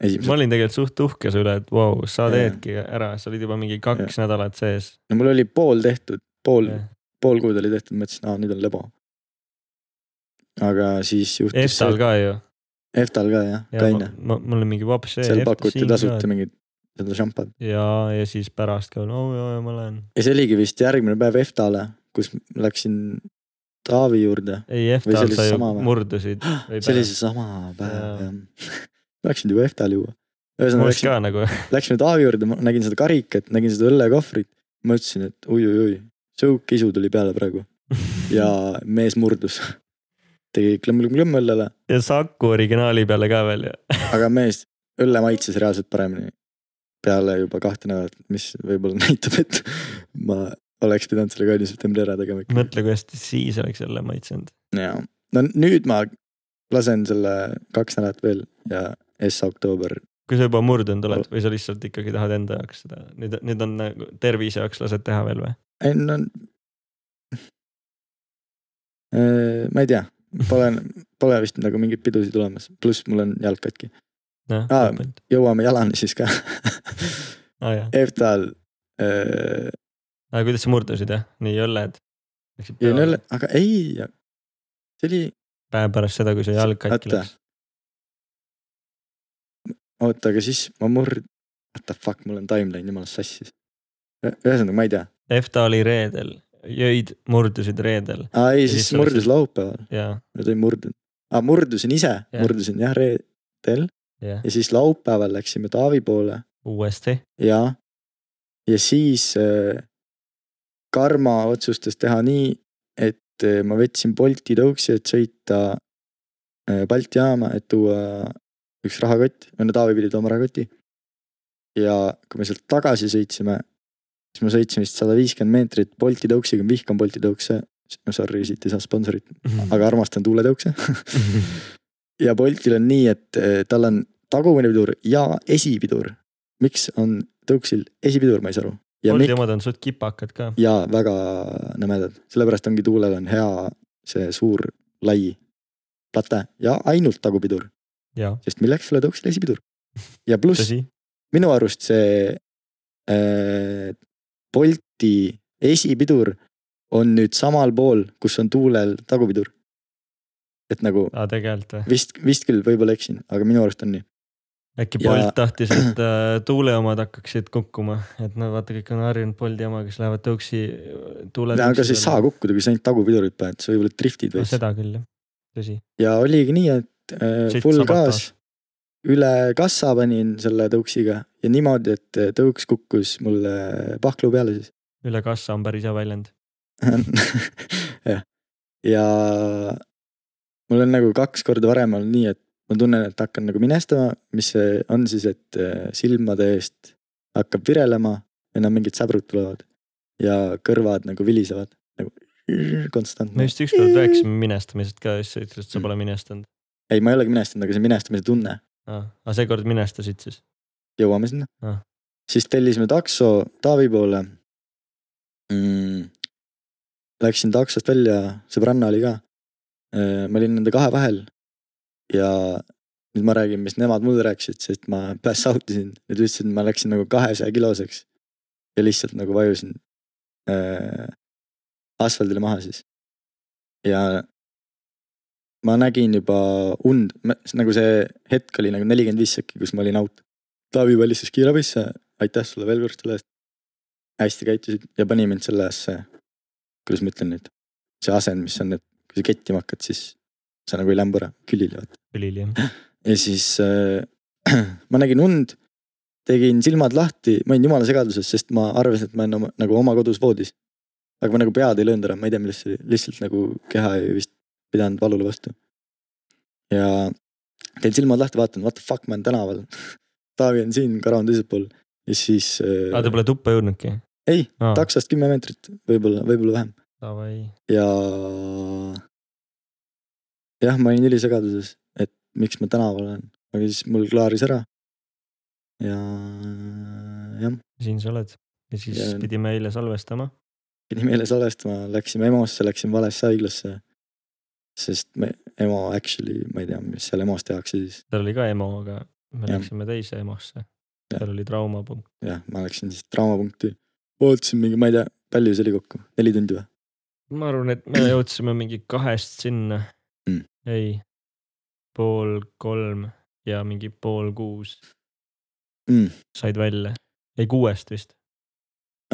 Speaker 3: ma
Speaker 2: esimesel ,
Speaker 3: olin tegelikult suht uhke selle üle , et vau wow, , sa
Speaker 2: Jaa.
Speaker 3: teedki ära , sa olid juba mingi kaks nädalat sees .
Speaker 2: no mul oli pool tehtud , pool , pool kuud oli tehtud , mõtlesin , aa nüüd on lebo . aga siis juhtus
Speaker 3: EFTA-l ka ju .
Speaker 2: see , EFTA-l ka jah , kaine ,
Speaker 3: mul on mingi E vops .
Speaker 2: seal pakuti tasuta mingit seda šampat
Speaker 3: ja , ja siis pärast ka , no ja , ja ma lähen .
Speaker 2: ja see oligi vist järgmine päev EFTA-le , kus läksin Taavi juurde .
Speaker 3: ei ,
Speaker 2: Või see
Speaker 3: EFTA-l
Speaker 2: oli
Speaker 3: E sa ju
Speaker 2: sama või?
Speaker 3: murdusid .
Speaker 2: see oli seesama päev
Speaker 3: Jaa.
Speaker 2: jah . Läksin juba EFTA-le juua .
Speaker 3: ma oleks
Speaker 2: ühesõnaga läksin ,
Speaker 3: ka nagu ,
Speaker 2: läksime Taavi juurde , ma nägin seda karikat , nägin seda õllekohvrit , mõtlesin , et oi-oi-oi , sõuk isu tuli peale praegu ja mees murdus . tegi klõmm-klõmm-klõmm õllele ,
Speaker 3: ja Saku originaali peale ka veel ju .
Speaker 2: aga mees , õlle maitses reaalselt paremini . peale juba kahte nädalat , mis võib-olla näitab , et ma oleks pidanud selle kaine septembri ära tegema ikka .
Speaker 3: mõtle , kui hästi siis oleks jälle maitsenud .
Speaker 2: ja no nüüd ma lasen selle kaks nädalat veel ja S oktoober ,
Speaker 3: kui sa juba murdunud oled või sa lihtsalt ikkagi tahad enda jaoks seda , nüüd , nüüd on nagu tervise jaoks lased teha veel või ?
Speaker 2: ei no . Äh, ma ei tea , pole , pole vist nagu mingeid pidusid olemas , pluss mul on jalg katki ,
Speaker 3: noh ,
Speaker 2: Aa.
Speaker 3: lõpetanud .
Speaker 2: jõuame jalani siis ka .
Speaker 3: aa jaa ,
Speaker 2: EFTA-l äh, ,
Speaker 3: aga kuidas sa murdusid jah , nii õlled ?
Speaker 2: jäin õlle , aga ei , see oli ,
Speaker 3: päev pärast seda , kui su jalg katki
Speaker 2: Oota.
Speaker 3: läks .
Speaker 2: oota , aga siis ma murd- , what the fuck , mul on time läinud jumala sassi . ühesõnaga , ma ei tea ,
Speaker 3: EFTA oli reedel , jõid murdusid reedel
Speaker 2: aa ei ,
Speaker 3: Ja
Speaker 2: siis
Speaker 3: siis oleks-
Speaker 2: murdus laupäeval ,
Speaker 3: ja ,
Speaker 2: nüüd ei murdunud , aa murdusin ise ,
Speaker 3: Jah.
Speaker 2: murdusin jah reedel
Speaker 3: ja
Speaker 2: ja siis laupäeval läksime Taavi poole
Speaker 3: uuesti
Speaker 2: ja , ja siis äh, Karma otsustas teha nii , et äh, ma võtsin Bolti tõuksi , et sõita äh, Balti jaama , et tuua üks rahakott , või no Taavi pidi tooma rahakoti . ja kui me sealt tagasi sõitsime , siis ma sõitsin vist sada viiskümmend meetrit Bolti tõuksiga , ma vihkan Bolti tõukse . no sorry , siit ei saa sponsorit , aga armastan tuuletõukse . ja Boltil on nii , et eh, tal on tagumine pidur ja esipidur . miks on tõuksil esipidur , ma ei saa aru . ja
Speaker 3: Bolti
Speaker 2: mik-
Speaker 3: omad on suht kipakad ka .
Speaker 2: ja väga nõmedad , sellepärast ongi tuulel on hea see suur lai plate ja ainult tagupidur ,
Speaker 3: jaa ,
Speaker 2: sest milleks sulle tõuksil esipidur . ja pluss
Speaker 3: tõsi .
Speaker 2: minu arust see äh, Bolti esipidur on nüüd samal pool , kus on tuulel tagupidur . et nagu
Speaker 3: aa , tegelikult või ?
Speaker 2: vist , vist küll , võib-olla eksin , aga minu arust on nii .
Speaker 3: äkki
Speaker 2: Ja-
Speaker 3: Bolt ja... tahtis , et äh, tuule omad hakkaksid kukkuma , et no vaata , kõik on harjunud Bolti omaga , kes lähevad tõuksi , äh, tuule .
Speaker 2: aga sa ei saa kukkuda , kui sa ainult tagupidurit paned , sa võib-olla driftid
Speaker 3: no, .
Speaker 2: veits .
Speaker 3: seda küll jah , tõsi .
Speaker 2: ja oligi nii , et äh,
Speaker 3: Sitt
Speaker 2: full
Speaker 3: sabotaaž.
Speaker 2: gaas . üle kassa panin selle tõuksiga ja niimoodi , et äh, tõuks kukkus mulle pahklu peale siis
Speaker 3: üle kassa on päris hea väljend .
Speaker 2: jah , ja mul on nagu kaks korda varem olnud nii , et ma tunnen , et hakkan nagu minestama , mis see on siis , et äh, silmade eest hakkab virelema ja no mingid säbrud tulevad ja kõrvad nagu vilisevad nagu
Speaker 3: me
Speaker 2: konstantne .
Speaker 3: vist ükskord rääkisime minestamisest ka ja siis sa ütlesid , et sa pole minestanud
Speaker 2: ei , ma ei olegi minestanud , aga see minestamise tunne ,
Speaker 3: ah, . aga seekord minestasid siis ?
Speaker 2: jõuame sinna
Speaker 3: Ah.
Speaker 2: ah. . siis tellisime takso Taavi poole mm. . Läksin taksost välja , sõbranna oli ka . ma olin nende kahe vahel ja nüüd ma räägin , mis nemad mulle rääkisid , sest ma pass out isin , nad ütlesid , et ma läksin nagu kahesaja kiloseks ja lihtsalt nagu vajusin äh, asfaldile maha siis . ja ma nägin juba und , nagu see hetk oli nagu nelikümmend viis sekki , kus ma olin out . Taavi välistas kiirabisse , aitäh sulle veel kord selle eest . hästi käitusid ja pani mind sellesse , kuidas ma ütlen nüüd , see asend , mis on , et kui sa kettima hakkad , siis sa nagu ei lämbu ära külili vaata .
Speaker 3: õlil jah ?
Speaker 2: ja siis äh, ma nägin und , tegin silmad lahti , ma olin jumala segaduses , sest ma arvasin , et ma olen oma, nagu oma kodus voodis . aga ma nagu pead ei löönud ära , ma ei tea , millest see oli , lihtsalt nagu keha ei vist pidanud valule vastu . ja teen silmad lahti , vaatan , what the fuck , ma olen tänaval . Taavi on siin , Kara on teisel pool ja siis äh,
Speaker 3: aa , te pole tuppa jõudnudki ?
Speaker 2: ei ,
Speaker 3: aa ,
Speaker 2: taksost kümme meetrit , võib-olla , võib-olla vähem
Speaker 3: davai .
Speaker 2: ja jah , ma olin ülisegaduses , et miks ma tänaval olen , aga siis mul klaaris ära . ja jah ,
Speaker 3: siin sa oled ja siis
Speaker 2: Ja-
Speaker 3: ja... pidime eile salvestama .
Speaker 2: pidin meile salvestama , läksime EMO-sse , läksin valesse haiglasse . sest me , EMO actually , ma ei tea , mis seal EMO-s tehakse siis ,
Speaker 3: tal oli ka EMO , aga me ja.
Speaker 2: Jah.
Speaker 3: läksime teise EMO-sse .
Speaker 2: Jah.
Speaker 3: tal oli traumapunkt ,
Speaker 2: jah , ma läksin siis traumapunkti . ootasin mingi , ma ei tea , palju see oli kokku , neli tundi või ?
Speaker 3: ma arvan , et me jõudsime mingi kahest sinna
Speaker 2: Mm.
Speaker 3: ei , pool kolm ja mingi pool kuus
Speaker 2: Mm.
Speaker 3: said välja , ei kuuest vist ,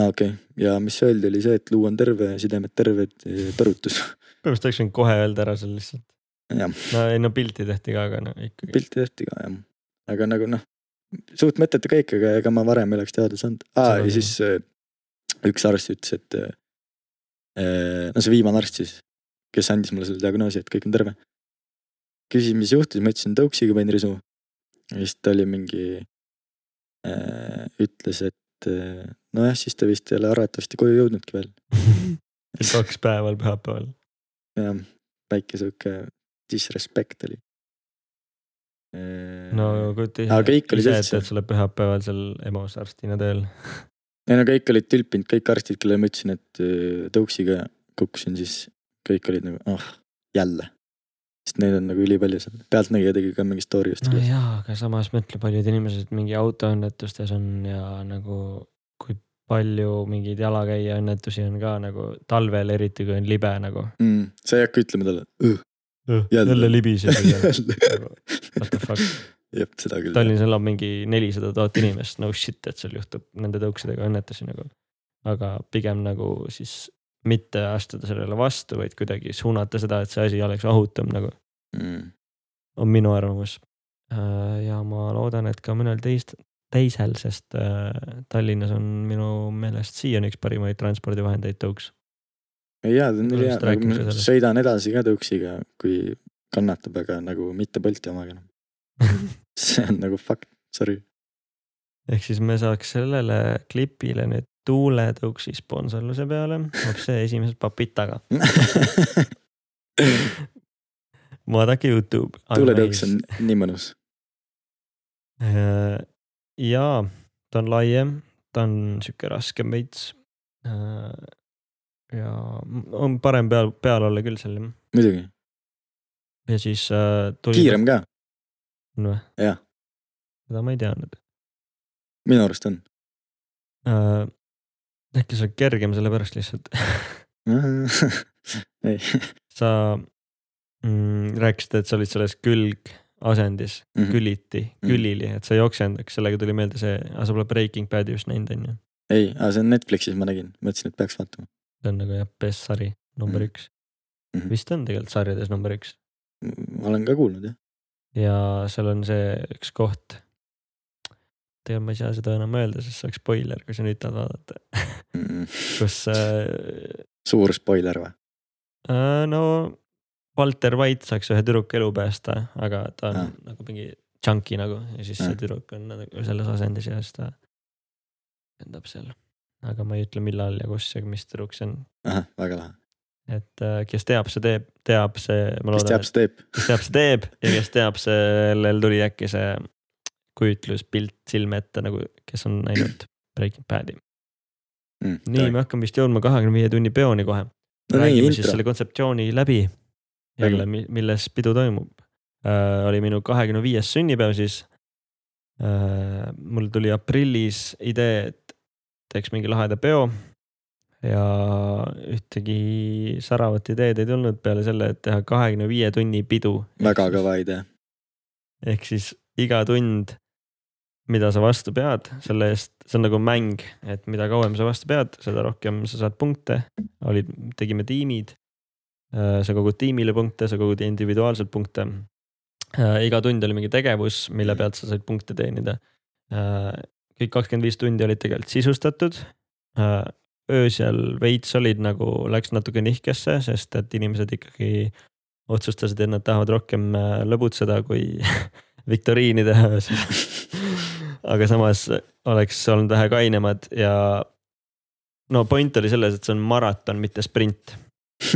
Speaker 2: aa Ah, okei okay. , ja mis öeldi , oli see , et luu on terve , sidemed terved , põrutus .
Speaker 3: põhimõtteliselt tahaksin kohe öelda ära seal lihtsalt .
Speaker 2: jah ,
Speaker 3: no ei no pilti tehti ka , aga no ikkagi .
Speaker 2: pilti tehti ka jah , aga nagu noh , suht mõttetu kõik , aga ega ma varem ei oleks teada saanud . aa
Speaker 3: Seda
Speaker 2: ja
Speaker 3: küll.
Speaker 2: siis äh, üks arst ütles , et äh, no see viimane arst siis , kes andis mulle selle diagnoosi , et kõik on terve . küsis , mis juhtus , ma ütlesin tõuksiga panin risu . ja siis ta oli mingi äh, , ütles , et äh, nojah , siis ta vist ei ole arvatavasti koju jõudnudki veel .
Speaker 3: kaks päeval pühapäeval .
Speaker 2: jah , väike sihuke disrespect oli . Äh,
Speaker 3: no kujuta ise .
Speaker 2: Aga kõik olid
Speaker 3: ise , et
Speaker 2: üldse-
Speaker 3: oled selle pühapäeval seal EMO-s arstina tööl .
Speaker 2: ei no kõik olid tülpinud , kõik arstid , kellele ma ütlesin , et öö, tõuksiga kukkusin , siis kõik olid nagu ah , jälle . sest neid on nagu ülipalju seal , Pealtnägija tegi ka mingi story just
Speaker 3: no
Speaker 2: no, .
Speaker 3: jaa , aga samas mõtle , paljud inimesed mingi autoõnnetustes on ja nagu kui palju mingeid jalakäija õnnetusi on ka nagu talvel , eriti kui on libe nagu .
Speaker 2: Mm, sa ei hakka ütlema talle . Jälle.
Speaker 3: jälle libises . What the fuck?
Speaker 2: jah , seda küll .
Speaker 3: Tallinnas elab mingi nelisada tuhat inimest , no shit , et seal juhtub nende tõuksidega õnnetusi nagu . aga pigem nagu siis mitte astuda sellele vastu , vaid kuidagi suunata seda , et see asi oleks ohutum nagu
Speaker 2: mm. .
Speaker 3: on minu arvamus . ja ma loodan , et ka mõnel teist , teisel , sest äh, Tallinnas on minu meelest siiani üks parimaid transpordivahendeid tõuks .
Speaker 2: ei jaa , ta on
Speaker 3: Just
Speaker 2: ülihea ,
Speaker 3: rääkisime
Speaker 2: ma
Speaker 3: sellest.
Speaker 2: sõidan edasi ka tõuksiga , kui kannatab , aga nagu mitte Bolti omaga enam . see on nagu fuck , sorry .
Speaker 3: ehk siis me saaks sellele klipile nüüd tuuletõuksi sponsorluse peale , lapse esimesed papid taga . vaadake Youtube .
Speaker 2: tuuletõuks on nii mõnus .
Speaker 3: jaa , Äh, ta on laiem , ta on sihuke raskem veits . ja on parem peal , peal olla küll seal jah .
Speaker 2: muidugi ,
Speaker 3: ja siis äh, tuli .
Speaker 2: kiirem ka ,
Speaker 3: on või ?
Speaker 2: Jah. .
Speaker 3: seda ma ei teadnud
Speaker 2: minu arust on .
Speaker 3: äh, . äkki see on kergem sellepärast lihtsalt
Speaker 2: Mhm. ei ,
Speaker 3: sa mm, rääkisid , et sa olid selles külgasendis mm ,
Speaker 2: Mhm.
Speaker 3: -hmm. küliti , külili , et sa ei oksendaks , sellega tuli meelde see , aga sa pole Breaking Badi just näinud on ju .
Speaker 2: ei , aga see on Netflixis , ma nägin , mõtlesin , et peaks vaatama .
Speaker 3: see on nagu jah , best sari number mm
Speaker 2: Mhm.
Speaker 3: -hmm. üks
Speaker 2: Mhm. .
Speaker 3: vist on tegelikult sarjades number üks
Speaker 2: ma olen ka kuulnud jah ,
Speaker 3: ja seal on see üks koht . tegelikult ma ei saa seda enam öelda , sest see oleks spoiler , kui sa nüüd tahad vaadata , kus äh,
Speaker 2: Mhm. suur spoiler või ?
Speaker 3: Äh, no Walter White saaks ühe tüdruku elu päästa , aga ta on
Speaker 2: Ah.
Speaker 3: nagu mingi chunky nagu ja siis see
Speaker 2: Ah.
Speaker 3: tüdruk on nagu selles asendis ja siis ta endab seal . aga ma ei ütle , millal ja kus ja mis tüdruk see on ,
Speaker 2: ahah , väga lahe ,
Speaker 3: et äh, kes teab , see teeb , teab see , ma
Speaker 2: kes
Speaker 3: loodan ,
Speaker 2: teab ,
Speaker 3: et
Speaker 2: see teeb .
Speaker 3: kes teab , see teeb ja kes teab , sellel tuli äkki see kujutluspilt silme ette nagu , kes on näinud Breaking Badi . nii , me hakkame vist jõudma kahekümne viie tunni peoni kohe .
Speaker 2: Mhm. no nii ,
Speaker 3: räägime siis
Speaker 2: intro
Speaker 3: selle , kontseptsiooni läbi . jälle , milles pidu toimub äh, . oli minu kahekümne viies sünnipäev siis äh, . mul tuli aprillis idee , et teeks mingi laheda peo . ja ühtegi säravat ideed ei tulnud peale selle , et teha kahekümne viie tunni pidu .
Speaker 2: väga kõva idee ,
Speaker 3: ehk siis iga tund , mida sa vastu pead , selle eest , see on nagu mäng , et mida kauem sa vastu pead , seda rohkem sa saad punkte . olid , tegime tiimid . sa kogud tiimile punkte , sa kogud individuaalselt punkte . iga tund oli mingi tegevus , mille pealt sa said punkte teenida . kõik kakskümmend viis tundi olid tegelikult sisustatud . öösel veits olid nagu , läks natuke nihkesse , sest et inimesed ikkagi otsustasid , et nad tahavad rohkem äh, lõbutseda kui viktoriini teha öösel . aga samas oleks olnud vähe kainemad ja no point oli selles , et see on maraton , mitte sprint .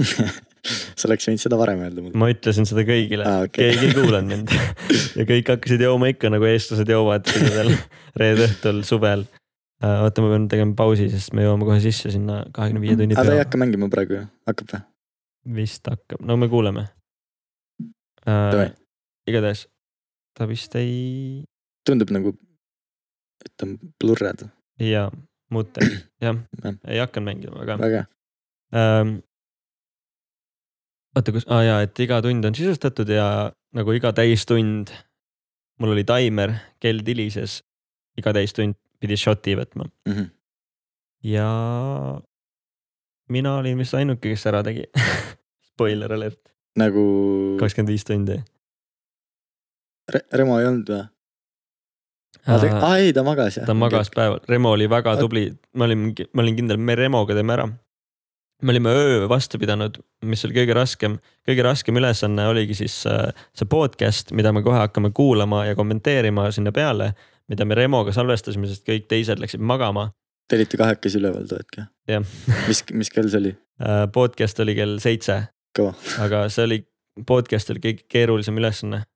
Speaker 2: sa oleks võinud seda varem öelda mulle .
Speaker 3: ma ütlesin seda kõigile
Speaker 2: Aa,
Speaker 3: ah, ,
Speaker 2: okei.
Speaker 3: okay. keegi ei kuulanud mind ja kõik hakkasid jooma ikka nagu eestlased joovad sellel reede õhtul suvel . oota , ma pean tegema pausi , sest me jõuame kohe sisse sinna kahekümne viie tunni
Speaker 2: Mm, aga ta ei
Speaker 3: peale .
Speaker 2: hakka mängima praegu ju , hakkab või ?
Speaker 3: vist hakkab , no me kuuleme
Speaker 2: Davai.
Speaker 3: äh, . igatahes ta vist ei ,
Speaker 2: tundub nagu , et on blurrad ,
Speaker 3: jaa , mute , jah
Speaker 2: Jah. ,
Speaker 3: ei hakanud mängima väga
Speaker 2: väga hea .
Speaker 3: ähm, . oota , kus ah, , jaa , et iga tund on sisustatud ja nagu iga täistund , mul oli taimer , kell tilises , iga täistund pidi shot'i võtma
Speaker 2: Mm -hmm.
Speaker 3: ja mina olin vist ainuke , kes ära tegi . Spoiler alert ,
Speaker 2: nagu
Speaker 3: kakskümmend viis tundi .
Speaker 2: Re Remo ei olnud või ? aa ei , ta magas jah .
Speaker 3: ta magas . päeval , Remo oli väga tubli , ma olin , ma olin kindel , me Remoga teeme ära . me olime öö vastu pidanud , mis oli kõige raskem , kõige raskem ülesanne oligi siis äh, see podcast , mida me kohe hakkame kuulama ja kommenteerima sinna peale , mida me Remoga salvestasime , sest kõik teised läksid magama .
Speaker 2: Te olite kahekesi üleval too hetk jah ?
Speaker 3: jah ,
Speaker 2: mis , mis kell see oli ?
Speaker 3: Äh, podcast oli kell seitse
Speaker 2: Kõva. ,
Speaker 3: aga see oli , podcast oli kõige keerulisem ülesanne .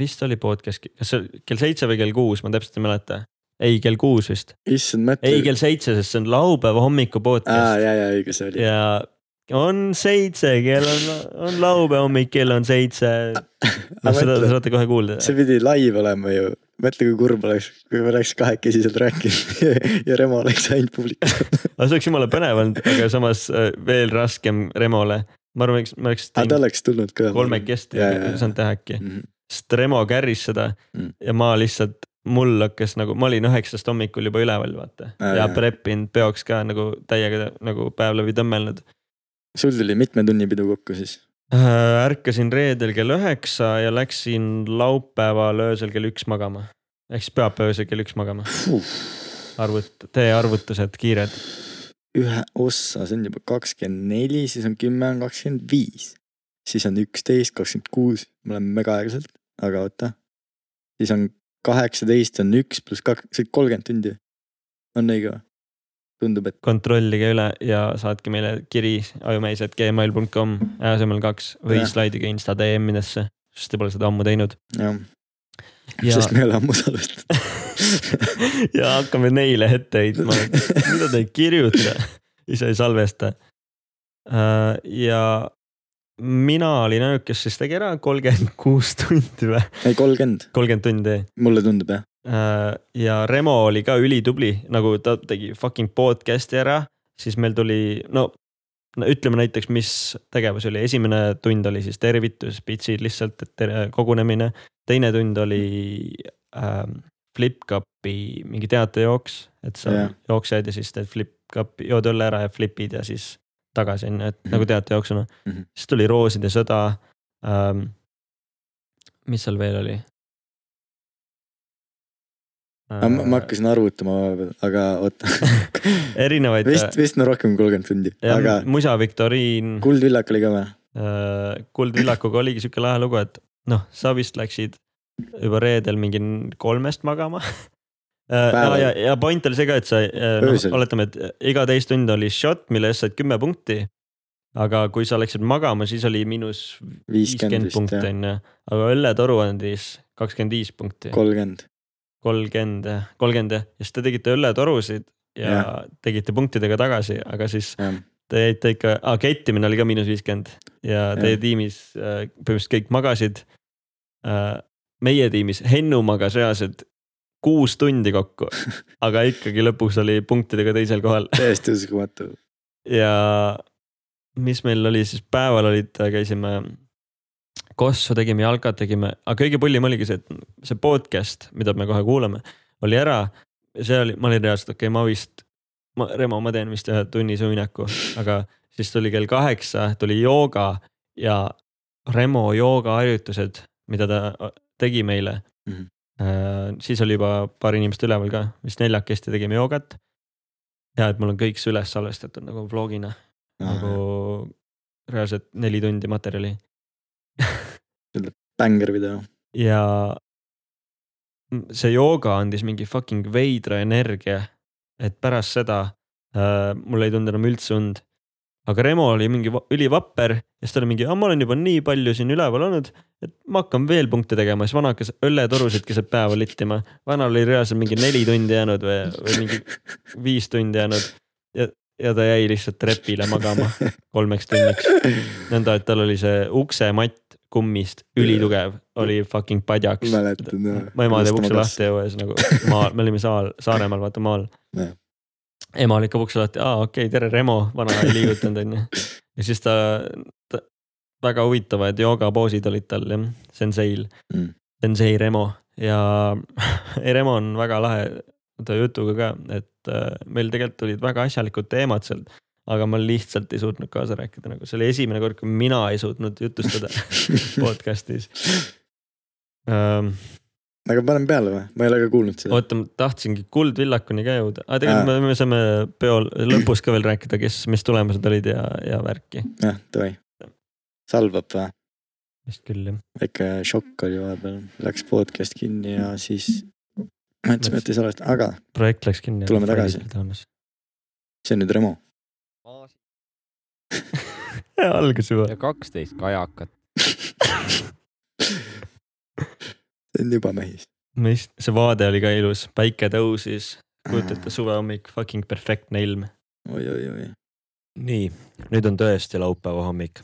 Speaker 3: vist oli podcast , kas see oli kell seitse või kell kuus , ma täpselt ei mäleta . ei , kell kuus vist .
Speaker 2: issand , ma
Speaker 3: ei
Speaker 2: ütlen .
Speaker 3: kell seitse , sest see on laupäeva hommiku
Speaker 2: aa
Speaker 3: podcast
Speaker 2: ja , ja õige see oli .
Speaker 3: ja on seitse , kell on , on laupäeva hommik , kell on seitse .
Speaker 2: Aga
Speaker 3: noh , seda
Speaker 2: mõtle-
Speaker 3: te saate kohe kuulda .
Speaker 2: see pidi live olema ju , mõtle kui kurb oleks , kui me oleks kahekesi seal rääkinud ja Remo oleks ainult publikus .
Speaker 3: aga see oleks jumala põnev olnud , aga samas äh, veel raskem Remole . ma arvan , eks ma oleks
Speaker 2: aga ta
Speaker 3: teinud
Speaker 2: oleks tulnud ka .
Speaker 3: kolmekesti
Speaker 2: Jaa, jaa, Mhm. jaa.
Speaker 3: saanud teha äkki ,
Speaker 2: kolmekesi .
Speaker 3: sest Remo carry's seda
Speaker 2: Mm.
Speaker 3: ja ma lihtsalt , mul hakkas nagu , ma olin üheksast hommikul juba üleval , vaata .
Speaker 2: Jaa,
Speaker 3: ja
Speaker 2: jaa.
Speaker 3: prep inud peoks ka nagu täiega nagu päev läbi tõmmelnud .
Speaker 2: sul tuli mitme tunni pidu kokku siis ?
Speaker 3: Äh, ärkasin reedel kell üheksa ja läksin laupäeval öösel kell üks magama . ehk siis pühapäeva öösel kell üks magama , arvut- , tee arvutused kiired .
Speaker 2: ühe ossa , see on juba kakskümmend neli , siis on kümme , on kakskümmend viis . siis on üksteist , kakskümmend kuus , me oleme mega aeglaselt , aga oota . siis on kaheksateist on üks pluss kak- , see on kolmkümmend tundi . on õige või ? tundub , et
Speaker 3: kontrollige üle ja saatke meile kiri ajumees.gmail.com asemel kaks või
Speaker 2: Jah.
Speaker 3: slaidige insta DM-idesse , sest te pole seda ammu teinud .
Speaker 2: jah ,
Speaker 3: ja
Speaker 2: sest me ei ole ammu salvestanud .
Speaker 3: ja hakkame neile ette heitma , et mida te ei kirjuta , ise ei salvesta . ja mina olin ainuke , kes siis tegi ära kolmkümmend kuus tundi või ,
Speaker 2: ei , kolmkümmend ,
Speaker 3: kolmkümmend tundi .
Speaker 2: mulle tundub jah .
Speaker 3: Äh, ja Remo oli ka ülitubli , nagu ta tegi fucking podcast'i ära , siis meil tuli , no no ütleme näiteks , mis tegevus oli , esimene tund oli siis tervitus , pitsid lihtsalt , et tere, kogunemine . teine tund oli ähm, flip-cup'i mingi teatejooks , et sa
Speaker 2: Jah.
Speaker 3: yeah. jooksed ja siis teed flip-cup'i , jood õlle ära ja flip'id ja siis tagasi on ju , et
Speaker 2: Mhm.
Speaker 3: nagu teatejooksuna mm .
Speaker 2: Mhm.
Speaker 3: -hmm. siis tuli Rooside sõda ähm, . mis seal veel oli äh,
Speaker 2: ma ma hakkasin arvutama vahepeal , aga oota .
Speaker 3: erinevaid ,
Speaker 2: vist , vist on rohkem kui kolmkümmend tundi , aga
Speaker 3: Musa viktoriin
Speaker 2: Kuldvillak oli ka või ?
Speaker 3: Äh, Kuldvillakuga oligi siuke lahe lugu , et noh , sa vist läksid juba reedel mingi kolmest magama . ja
Speaker 2: Päeval. ,
Speaker 3: ja, ja point oli see ka , et sa äh, noh,
Speaker 2: Öösel.
Speaker 3: oletame , et iga teist tund oli shot , mille eest said kümme punkti . aga kui sa läksid magama , siis oli miinus
Speaker 2: viiskümmend
Speaker 3: viiskümmend
Speaker 2: vist
Speaker 3: punkti
Speaker 2: jah ,
Speaker 3: on ju , aga õlletoru andis kakskümmend viis punkti ,
Speaker 2: kolmkümmend .
Speaker 3: kolmkümmend , kolmkümmend jah , ja siis te tegite õlletorusid ja, ja
Speaker 2: Jah.
Speaker 3: tegite punktidega tagasi , aga siis
Speaker 2: jah ,
Speaker 3: te jäite ikka ah, , kettimine oli ka miinus viiskümmend ja teie
Speaker 2: Jah.
Speaker 3: tiimis äh, põhimõtteliselt kõik magasid äh, . meie tiimis Hennu magas reaalselt kuus tundi kokku , aga ikkagi lõpuks oli punktidega teisel kohal
Speaker 2: täiesti uskumatu .
Speaker 3: ja mis meil oli siis päeval olid , käisime . kossu tegime , jalkat tegime , aga kõige pullim oligi see , et see podcast , mida me kohe kuulame , oli ära . see oli , ma olin reaalselt okei okay, , ma vist , ma , Remo , ma teen vist ühe tunni suinaku , aga siis tuli kell kaheksa , tuli jooga ja Remo joogaharjutused , mida ta äh, tegi meile
Speaker 2: Mhm.
Speaker 3: Äh, siis oli juba paar inimest üleval ka , vist neljakesti tegime joogat . ja et mul on kõik see üles salvestatud nagu vlogina , nagu reaalselt neli tundi materjali
Speaker 2: bängar video .
Speaker 3: ja m- see jooga andis mingi fucking veidra energia , et pärast seda äh, mul ei tulnud enam üldse und . aga Remo oli mingi va- ülivapper ja siis ta oli mingi , ma olen juba nii palju siin üleval olnud , et ma hakkan veel punkte tegema , siis vana hakkas õlletorusid keset päeva littima . vanal oli reaalselt mingi neli tundi jäänud või , või mingi viis tundi jäänud ja , ja ta jäi lihtsalt trepile magama kolmeks tunniks . nõnda , et tal oli see uksematt kummist ülitugev , oli fucking padjaks .
Speaker 4: mäletan jah .
Speaker 3: mu ema teeb ukse lahti õues nagu maal , me olime saal , Saaremaal vaata maal
Speaker 4: Jah. .
Speaker 3: ema lükkab ukse lahti , aa okei okay, , tere Remo , vana ei liigutanud onju . ja siis ta, ta , väga huvitavad joogapoosid olid tal jah , senseil
Speaker 4: Mm.
Speaker 3: sensei Remo ja ei, Remo on väga lahe ta jutuga ka , et äh, meil tegelikult olid väga asjalikud teemad seal aga ma lihtsalt ei suutnud kaasa rääkida , nagu see oli esimene kord , kui mina ei suutnud jutustada podcast'is um, .
Speaker 4: aga paneme peale või ? ma ei ole ka kuulnud seda .
Speaker 3: oota , ma tahtsingi Kuldvillakuni ka jõuda , aga tegelikult me, me saame peol lõpus ka veel rääkida , kes , mis tulemused olid ja , ja värki .
Speaker 4: jah , davai . salvab või ?
Speaker 3: vist küll jah .
Speaker 4: väike šokk oli vahepeal , läks podcast kinni ja siis mõtlesime , et ei salvesta , aga
Speaker 3: projekt läks kinni .
Speaker 4: Tuleme tagasi. . see on nüüd Remo .
Speaker 3: algas juba .
Speaker 5: ja kaksteist kajakat .
Speaker 4: see on juba mehis .
Speaker 3: mis , see vaade oli ka ilus , päike tõusis , kujuta ette suvehommik , fucking perfektne ilm .
Speaker 4: oi-oi-oi ,
Speaker 6: nii , nüüd on tõesti laupäeva hommik ,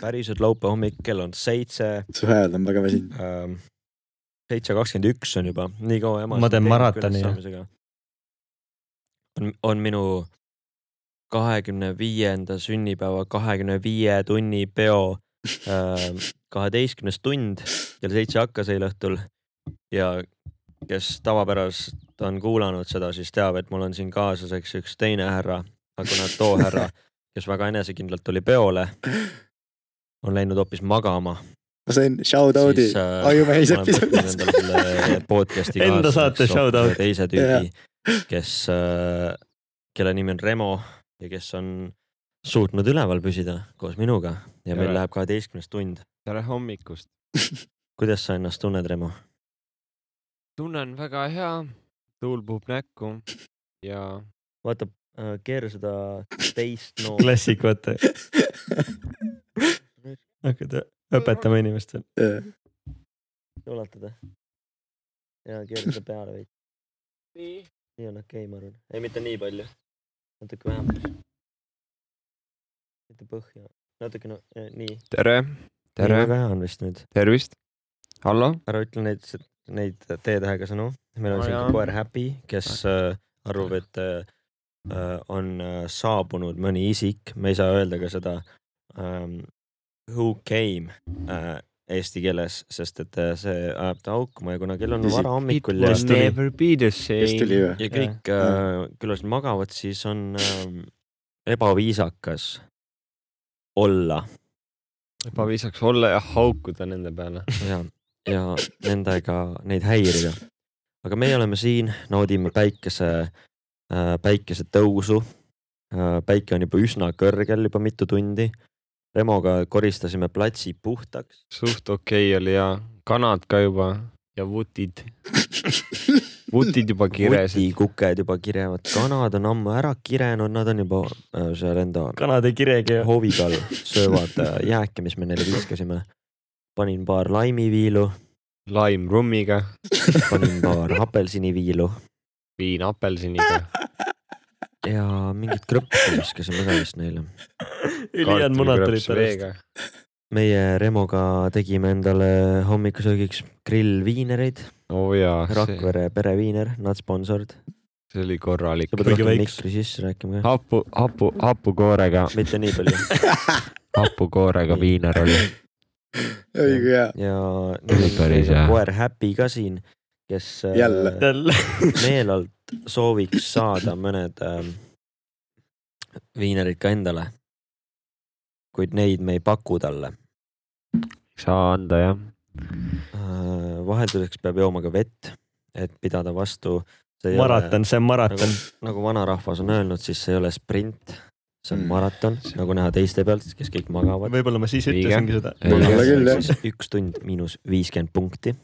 Speaker 6: päriselt laupäeva hommik , kell on seitse
Speaker 4: su hääl on väga väsinud .
Speaker 6: ähm, , seitse kakskümmend üks on juba , nii kaua ema .
Speaker 3: Ma teen maratoni. .
Speaker 6: on , on minu kahekümne viienda sünnipäeva kahekümne viie tunni peo ehm, kaheteistkümnes tund kell seitse hakkas eile õhtul ja kes tavapärast on kuulanud seda , siis teab , et mul on siin kaaslaseks üks teine härra , aga noh , too härra , kes väga enesekindlalt tuli peole , on läinud hoopis magama
Speaker 4: ma sain shout out'i
Speaker 6: siis, äh,
Speaker 4: ajumehis
Speaker 6: ma olen pakkunud
Speaker 4: episoodis .
Speaker 6: endale selle podcast'i
Speaker 3: Enda
Speaker 6: kaasa,
Speaker 3: saate
Speaker 6: üks hoopis
Speaker 3: shout-out.
Speaker 6: teise tüübi , kes , kelle nimi on Remo ja kes on suutnud üleval püsida koos minuga ja meil
Speaker 5: Tere.
Speaker 6: läheb kaheteistkümnes tund .
Speaker 5: tere hommikust .
Speaker 6: kuidas sa ennast tunned , Remo ?
Speaker 5: tunne on väga hea , tuul puhub näkku ja
Speaker 6: vaata , keera äh, seda teist nooti .
Speaker 3: klassik , vaata , hakkad õpetama inimestele .
Speaker 6: ulatada . ja keera seda peale veidi . nii on okei okay, , ma arvan . ei , mitte nii palju . natuke vähem . mitte põhja , natukene no, nii .
Speaker 5: tere , tere ,
Speaker 6: väga hea on vist nüüd .
Speaker 5: tervist . hallo ,
Speaker 6: ära ütle neid , neid T-tähega sõnu . meil on
Speaker 5: Aa,
Speaker 6: siin
Speaker 5: jaa.
Speaker 6: ka koer Happy , kes äh, arvab , et äh, on äh, saabunud mõni isik , me ei saa öelda ka seda ähm, who came äh, eesti keeles , sest et äh, see ajab ta haukuma ja kuna kell on
Speaker 4: Isik
Speaker 6: varahommikul ja
Speaker 5: will never be the
Speaker 4: kes
Speaker 5: same .
Speaker 4: tuli või ?
Speaker 6: ja kõik äh, külalised magavad , siis on äh, ebaviisakas olla
Speaker 5: ebaviisaks olla ja haukuda nende peale .
Speaker 6: ja , ja nendega neid häirida . aga meie oleme siin , naudime päikese , äh, päikesetõusu . Äh, päike on juba üsna kõrgel juba mitu tundi . Remoga koristasime platsi puhtaks .
Speaker 5: suht okei oli ja kanad ka juba ja vutid , vutid juba kiresid .
Speaker 6: vutikuked juba kirevad , kanad on ammu ära kirenud , nad on juba äh, seal enda
Speaker 3: kanad ei kiregi .
Speaker 6: hooviga all söövad äh, jääke , mis me neile viskasime . panin paar laimiviilu ,
Speaker 5: laim rummiga ,
Speaker 6: panin paar apelsiniviilu
Speaker 5: viin apelsiniga ,
Speaker 6: ja mingit krõpsu viskasime ka vist neile .
Speaker 3: ülejäänud munad tulid
Speaker 5: kartulikrõps
Speaker 3: pärast .
Speaker 5: veega .
Speaker 6: meie Remoga tegime endale hommikusöögiks grillviinereid ,
Speaker 5: oo Oh jaa , Ah, see
Speaker 6: Rakvere pereviiner , nad sponsorid .
Speaker 5: see oli korralik
Speaker 6: sa . pead
Speaker 3: Kuigi
Speaker 6: rohkem
Speaker 3: väiks-
Speaker 6: mikri sisse rääkima ka ,
Speaker 5: hapu , hapu , hapukoorega ,
Speaker 6: mitte nii palju
Speaker 5: hapukoorega viiner oli .
Speaker 4: oi kui hea ,
Speaker 6: ja
Speaker 5: oli päris hea.
Speaker 6: koer Happy ka siin , kes äh,
Speaker 4: Jälle.
Speaker 3: jälle .
Speaker 6: meelelt sooviks saada mõned ähm, viinerid ka endale . kuid neid me ei paku talle .
Speaker 5: saa anda jah .
Speaker 6: Äh, vahelduseks peab jooma ka vett , et pidada vastu .
Speaker 3: maraton , see on maraton .
Speaker 6: nagu, . nagu vanarahvas on öelnud , siis see ei ole sprint , see on
Speaker 4: Mm.
Speaker 6: maraton , nagu näha teiste pealt , kes kõik magavad .
Speaker 3: võib-olla ma siis
Speaker 5: Õige.
Speaker 3: ütlesingi seda .
Speaker 4: Võib-olla küll, jah.
Speaker 6: üks tund miinus viiskümmend punkti .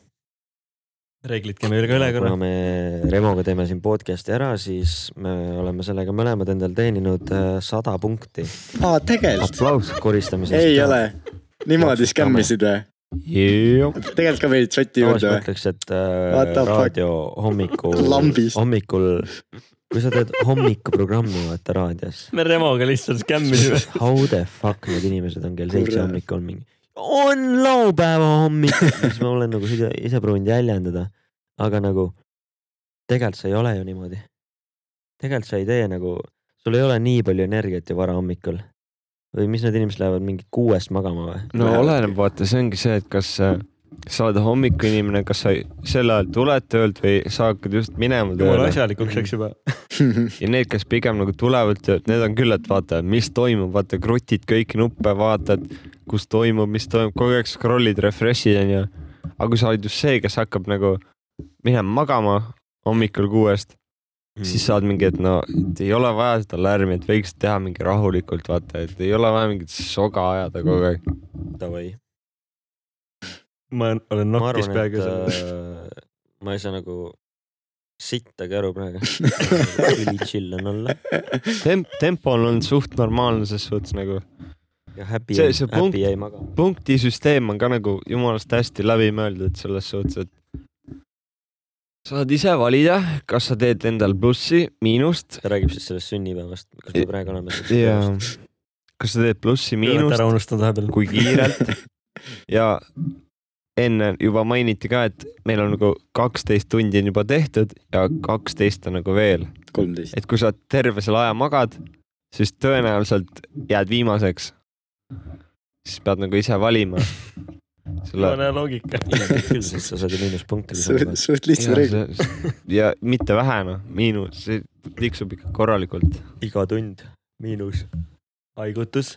Speaker 3: reeglid käime üle ka üle korra
Speaker 6: kuna . me Remoga teeme siin podcast'i ära , siis me oleme sellega mõlemad endal teeninud äh, sada punkti . äh,
Speaker 4: aa , tegelikult
Speaker 6: aplaus koristamisest .
Speaker 4: ei ole . niimoodi skämmisid või ? tegelikult ka veidi
Speaker 6: tavaliselt
Speaker 4: sotti juurde
Speaker 6: ma
Speaker 4: või ?
Speaker 6: ütleks , et
Speaker 4: What the
Speaker 6: äh,
Speaker 4: fuck?
Speaker 6: raadio hommikul ,
Speaker 4: Lambist.
Speaker 6: hommikul , kui sa teed hommikuprogrammi vaata raadios ,
Speaker 3: me Remoga lihtsalt skämmisime .
Speaker 6: how the fuck need inimesed on kell seitse
Speaker 4: Kurat.
Speaker 6: hommikul mingi . on laupäeva hommik , siis ma olen nagu seda ise proovinud jäljendada , aga nagu tegelikult see ei ole ju niimoodi . tegelikult sa ei tee nagu , sul ei ole nii palju energiat ju varahommikul või mis need inimesed lähevad mingi kuuest magama või ?
Speaker 5: no oleneb , vaata , see ongi see , et kas sa sa oled hommikuinimene , kas sa sel ajal tuled töölt või sa hakkad just minema
Speaker 3: jumala
Speaker 5: tööle
Speaker 3: asjalikuks läks juba .
Speaker 5: ja need , kes pigem nagu tulevad töölt , need on küll , et vaata , mis toimub , vaata , krutid kõiki nuppe , vaatad , kus toimub , mis toimub , kogu aeg scroll'id , refresh'id onju . aga kui sa oled just see , kes hakkab nagu minema magama hommikul kuuest , siis saad mingi , et no , et ei ole vaja seda lärmi , et võiks teha mingi rahulikult , vaata , et ei ole vaja mingit soga ajada kogu aeg .
Speaker 6: Davai .
Speaker 3: ma olen
Speaker 6: ma
Speaker 3: nokkis
Speaker 6: arvan , et
Speaker 3: peaga seal .
Speaker 6: äh, ma ei saa nagu sittagi aru praegu . üli chill on olla
Speaker 5: temp , tempo on olnud suht normaalne ses suhtes nagu .
Speaker 6: ja happy
Speaker 5: See- , see punkt-
Speaker 6: happy jäi magama .
Speaker 5: punktisüsteem on ka nagu jumalast hästi läbimõeldud selles suhtes , et sa saad ise valida , kas sa teed endal plussi , miinust
Speaker 6: ta räägib siis sellest sünnipäevast , kus me praegu oleme .
Speaker 5: ja kas sa teed plussi , miinust ,
Speaker 3: ära unustanud vahepeal .
Speaker 5: kui kiirelt ja enne juba mainiti ka , et meil on nagu kaksteist tundi on juba tehtud ja kaksteist on nagu veel ,
Speaker 4: kolmteist .
Speaker 5: et kui sa terve selle aja magad , siis tõenäoliselt jääd viimaseks . siis pead nagu ise valima selle
Speaker 3: jumala loogika .
Speaker 6: sest sa saad ju miinuspunkte .
Speaker 4: suht lihtsa reegli .
Speaker 5: ja, see- ja mitte vähena , miinus , see tiksub ikka korralikult .
Speaker 6: iga tund miinus . haigutus .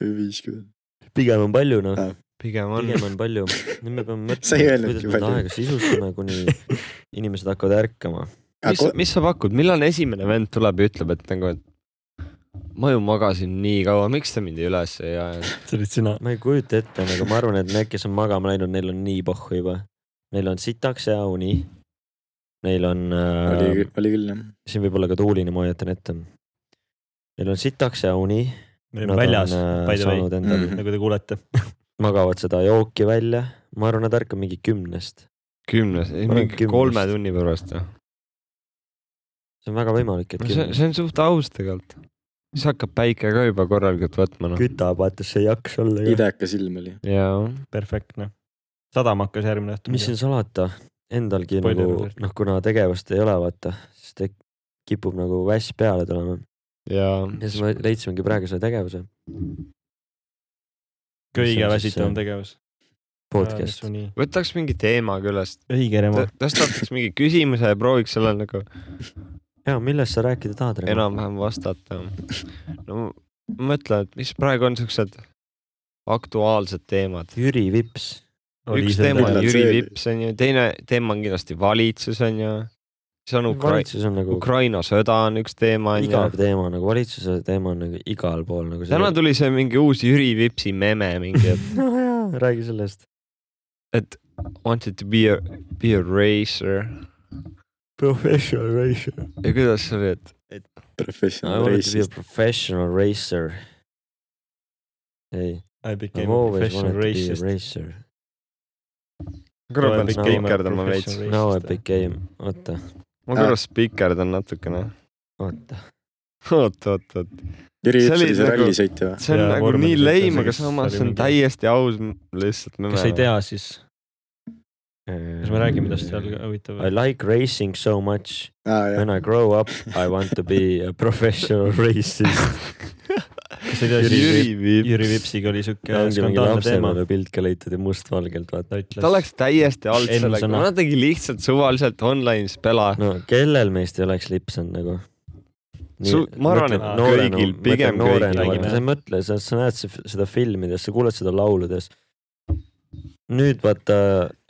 Speaker 4: viiskümmend .
Speaker 6: pigem on palju noh ,
Speaker 5: pigem on .
Speaker 6: pigem on palju . nüüd me peame
Speaker 4: Sa ei
Speaker 6: mõtlema , kuidas
Speaker 4: öelnudki
Speaker 6: me seda
Speaker 4: palju.
Speaker 6: aega sisustame , kuni inimesed hakkavad ärkama .
Speaker 5: mis , mis sa pakud , millal esimene vend tuleb ja ütleb , et nagu , et ma ju magasin nii kaua , miks te mind ei üles ei ajanud ?
Speaker 3: see olid sina .
Speaker 6: ma ei kujuta ette , nagu ma arvan , et need , kes on magama läinud , neil on nii pohhu juba . Neil on sitaks ja uni . Neil on
Speaker 4: oli
Speaker 6: äh, ,,
Speaker 4: oli küll jah .
Speaker 6: siin võib olla ka tuuline , ma hoiatan ette . Neil on sitaks ja uni .
Speaker 3: me olime väljas , by the way ,
Speaker 6: äh, saanud endal ,
Speaker 4: Mhm.
Speaker 3: nagu te kuulete .
Speaker 6: magavad seda jooki välja . ma arvan , nad ärkavad mingi kümnest .
Speaker 5: kümnes ,
Speaker 6: Ma olen
Speaker 5: mingi
Speaker 6: kümnest.
Speaker 5: kolme tunni pärast .
Speaker 6: see on väga võimalik , et
Speaker 5: see ,
Speaker 6: kümnest .
Speaker 5: see on suht aus tegelikult . siis hakkab päike ka juba korralikult võtma noh .
Speaker 6: kütab , vaata , see ei jaksa olla ju .
Speaker 4: idekas ilm oli .
Speaker 5: jaa .
Speaker 3: perfektne . sadama noh. hakkas järgmine õhtu .
Speaker 6: mis siin salata , endalgi
Speaker 3: Spoiler
Speaker 6: nagu
Speaker 3: alert.
Speaker 6: noh , kuna tegevust ei ole , vaata , siis te kipub nagu väss peale tulema .
Speaker 5: jaa .
Speaker 6: ja siis me leidsimegi praegu selle tegevuse .
Speaker 3: kõige
Speaker 6: mis on siis
Speaker 3: väsitavam
Speaker 6: see-
Speaker 3: tegevus . Äh,
Speaker 6: podcast .
Speaker 5: võtaks mingi teema küljest ,
Speaker 3: õige Remo .
Speaker 5: tõstataks mingi küsimuse ja prooviks sellele nagu
Speaker 6: ja millest sa rääkida tahad ?
Speaker 5: enam-vähem vastata . no ma mõtlen , et mis praegu on siuksed aktuaalsed teemad .
Speaker 6: Jüri Vips .
Speaker 5: üks teema on
Speaker 4: Üllad
Speaker 5: Jüri
Speaker 4: seeli.
Speaker 5: Vips onju , teine teema on kindlasti valitsus onju , siis on Ukra- ,
Speaker 6: valitsus on nagu
Speaker 5: Ukraina sõda on üks teema
Speaker 6: igav
Speaker 5: onju .
Speaker 6: teema nagu valitsuse teema on nagu igal pool nagu .
Speaker 5: täna tuli see mingi uus Jüri Vipsi meme mingi , et
Speaker 6: no jaa , räägi sellest .
Speaker 5: wanted to be a , be a racer
Speaker 6: Professional racer .
Speaker 5: ja kuidas see oli , et
Speaker 6: I
Speaker 4: professional
Speaker 6: wanted to be a
Speaker 4: racist .
Speaker 6: professional racer . ei ,
Speaker 3: I
Speaker 6: I
Speaker 3: became a
Speaker 6: always
Speaker 3: professional
Speaker 6: wanted to be
Speaker 3: racist .
Speaker 6: a racer .
Speaker 5: korra
Speaker 3: Tuleb
Speaker 5: pean
Speaker 3: ikka
Speaker 5: spikerdama
Speaker 3: ilma
Speaker 5: veits ,
Speaker 3: professional-
Speaker 6: Now I
Speaker 3: Racist, eh? jah.
Speaker 6: became , oota ,
Speaker 5: ma korra spikerdan natukene .
Speaker 6: oota .
Speaker 5: oot , oot , oot .
Speaker 4: Jüri
Speaker 5: see oli
Speaker 4: Jüpsi , see
Speaker 5: nagu-
Speaker 4: rallisõitja või ?
Speaker 5: see on
Speaker 3: Jaa,
Speaker 5: nagu
Speaker 3: vormelis
Speaker 5: nii
Speaker 3: ütles,
Speaker 5: leim , aga
Speaker 3: mis
Speaker 5: samas
Speaker 3: oli
Speaker 5: see on
Speaker 3: mingi-
Speaker 5: täiesti aus m- lihtsalt .
Speaker 3: kes ei tea , siis , kas me räägime , kuidas seal huvitav
Speaker 6: I like racing so much .
Speaker 4: aa jah
Speaker 6: When . I grow up , I want to be a professional racist .
Speaker 3: kas ei tea , siis
Speaker 5: Jüri Viip ,
Speaker 3: Jüri Vipsiga oli siuke
Speaker 6: ta ongi mingi
Speaker 3: skandaalne teema .
Speaker 6: lapsepõlve pilt ka leitud ja mustvalgelt , vaata .
Speaker 3: ta ütles
Speaker 5: ta . oleks täiesti alt
Speaker 3: Eelmise
Speaker 5: sellega ,
Speaker 3: sõna.
Speaker 5: ma tegi lihtsalt suvaliselt online'is pela .
Speaker 6: no kellel meist ei oleks lipsanud nagu ?
Speaker 5: Su- ma arvan, et kõigil, pigem kõigil
Speaker 3: on.
Speaker 6: sa ei mõtle , sa , sa näed se- seda filmides , sa kuuled seda lauludes . nüüd vaata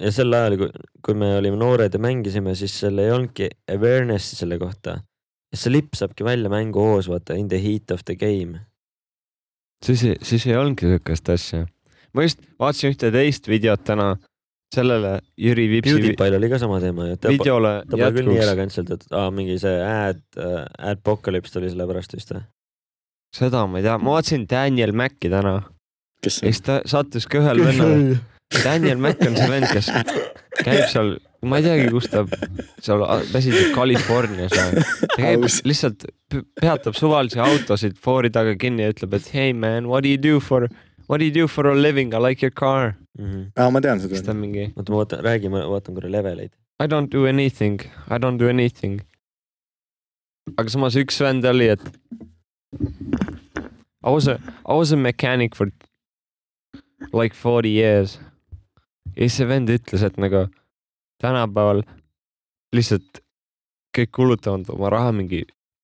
Speaker 6: ja sel ajal , kui , kui me olime noored ja mängisime , siis seal ei olnudki awareness'i selle kohta . see lipp saabki välja mänguhoos , vaata in the heat of the game .
Speaker 5: siis , siis ei olnudki siukest asja . ma just vaatasin ühte teist videot täna , sellele Jüri Vipsi vi-
Speaker 6: PewDiePie'l oli ka sama teema ju , et ta pa-
Speaker 5: videole
Speaker 6: ta pole küll nii ära
Speaker 5: jätkuks ,
Speaker 6: canceldatud , aa mingi see ad , adpocalypse tuli selle pärast vist või ?
Speaker 5: seda ma ei tea , ma vaatasin Daniel Mac'i täna
Speaker 4: kes
Speaker 5: ja
Speaker 4: see
Speaker 5: siis ta sattus ka ühele vennale , Daniel Mac on see vend , kes käib seal , ma ei teagi , kus ta seal väsiselt Californias või . ta käib
Speaker 4: Aus.
Speaker 5: lihtsalt , peatab suvalisi autosid foori taga kinni ja ütleb , et hey man , what do you do for , what do you do for a living , I like your car .
Speaker 4: aa , ma tean
Speaker 5: siis ta
Speaker 4: seda .
Speaker 5: on mingi
Speaker 6: Mhm. oota , ma vaatan , räägi , ma vaatan korra leveleid .
Speaker 5: I don't do anything , I don't do anything . aga samas üks vend oli , et I was a , I was a mechanic for like forty years . ja siis see vend ütles , et nagu tänapäeval lihtsalt kõik kulutavad oma raha mingi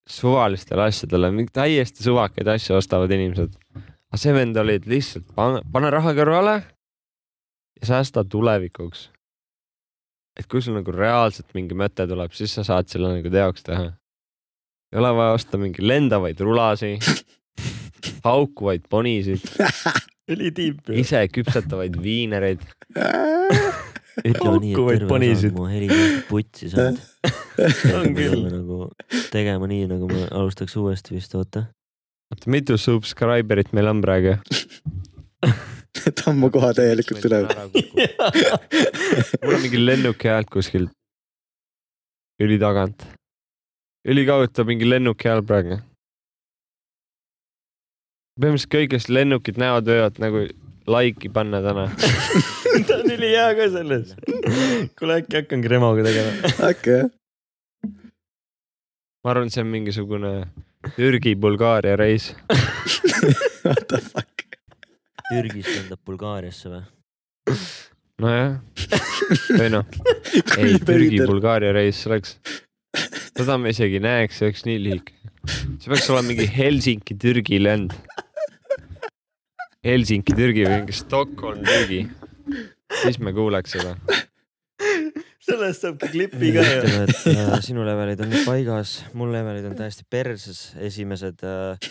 Speaker 5: suvalistele asjadele , mingi täiesti suvakaid asju ostavad inimesed . aga see vend oli , et lihtsalt pane , pane raha kõrvale ja säästa tulevikuks . et kui sul nagu reaalselt mingi mõte tuleb , siis sa saad selle nagu teoks teha . ei ole vaja osta mingi lendavaid rulasi , haukuvaid ponisid ,
Speaker 3: ülitiip .
Speaker 5: ise küpsetavaid viinereid .
Speaker 6: ütleme
Speaker 3: Haukuvaid
Speaker 6: nii , et terve osa
Speaker 3: ponisid.
Speaker 6: on mu heli putsi saanud .
Speaker 3: On küll.
Speaker 6: nagu tegema nii , nagu ma alustaks uuesti vist , oota .
Speaker 5: oota , mitu subscriber'it meil on praegu ?
Speaker 4: tammu koha täielikult üle .
Speaker 5: mul on mingi lennuki hääl kuskilt üli tagant . ülikaugelt on mingi lennuki hääl praegu . põhimõtteliselt kõik , kes lennukit näevad , võivad nagu like'i panna täna .
Speaker 3: ta on ülihea ka selles . kuule , äkki hakkan Gremoga tegema .
Speaker 4: äkki jah ?
Speaker 5: ma arvan , see on mingisugune Türgi-Bulgaaria reis .
Speaker 4: What the fuck ?
Speaker 6: Türgist lendab Bulgaariasse või ?
Speaker 5: nojah , või noh , ei
Speaker 4: kui veider .
Speaker 5: Türgi-Bulgaaria reis oleks , seda me isegi näeks , see oleks nii lühike . see peaks olema mingi Helsingi-Türgi lend . Helsingi-Türgi või mingi Stockholm-Türgi . siis me kuuleks seda .
Speaker 3: sellest saabki klipi ka ju .
Speaker 6: ütleme , et äh, sinu levelid on nüüd paigas , mul levelid on täiesti perses , esimesed äh,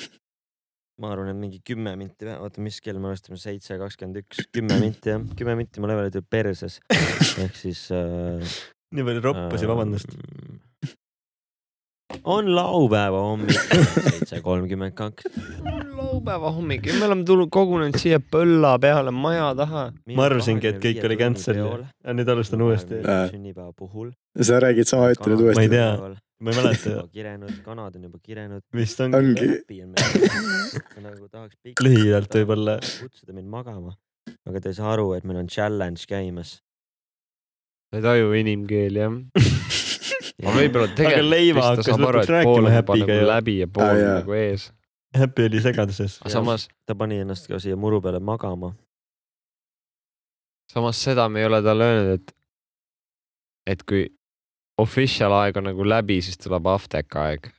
Speaker 6: ma arvan , et mingi kümme minti , oota , mis kell me alustame , seitse , kakskümmend üks , kümme minti jah , kümme minti mu levelid olid perses . ehk siis äh,
Speaker 3: nii palju roppusi , vabandust .
Speaker 6: Ähm, Ehm, on laupäeva hommik seitse kolmkümmend kaks .
Speaker 5: laupäeva hommik ja me oleme tulnud , kogunenud siia põlla peale maja taha .
Speaker 3: ma arvasingi , et kõik oli cancel ja ja nüüd alustan uuesti .
Speaker 4: Äh.
Speaker 6: sünnipäeva puhul .
Speaker 4: sa räägid sama juttu nüüd
Speaker 3: Ma ei
Speaker 4: uuesti ?
Speaker 3: tea. ma ei mäleta ju ,
Speaker 6: kirenud , kanad on juba kirenud .
Speaker 3: vist on
Speaker 4: ongi .
Speaker 6: nagu tahaks pikalt-
Speaker 3: Lühidalt võib-olla.
Speaker 6: kutsuda mind magama , aga te ei saa aru , et meil on challenge käimas .
Speaker 5: ei taju inimkeeli jah . aga võib-olla
Speaker 3: Aga Leiva
Speaker 5: tegelikult
Speaker 3: hakkas lõpuks rääkima Happy'ga
Speaker 5: ju .
Speaker 3: ju.
Speaker 5: nagu läbi ja pool
Speaker 4: Aa,
Speaker 5: on
Speaker 4: jaa.
Speaker 5: nagu ees .
Speaker 3: Happy oli segaduses .
Speaker 5: aga samas
Speaker 6: ta pani ennast ka siia muru peale magama .
Speaker 5: samas seda me ei ole talle öelnud , et , et kui official aeg on nagu läbi , siis tuleb aftek aeg .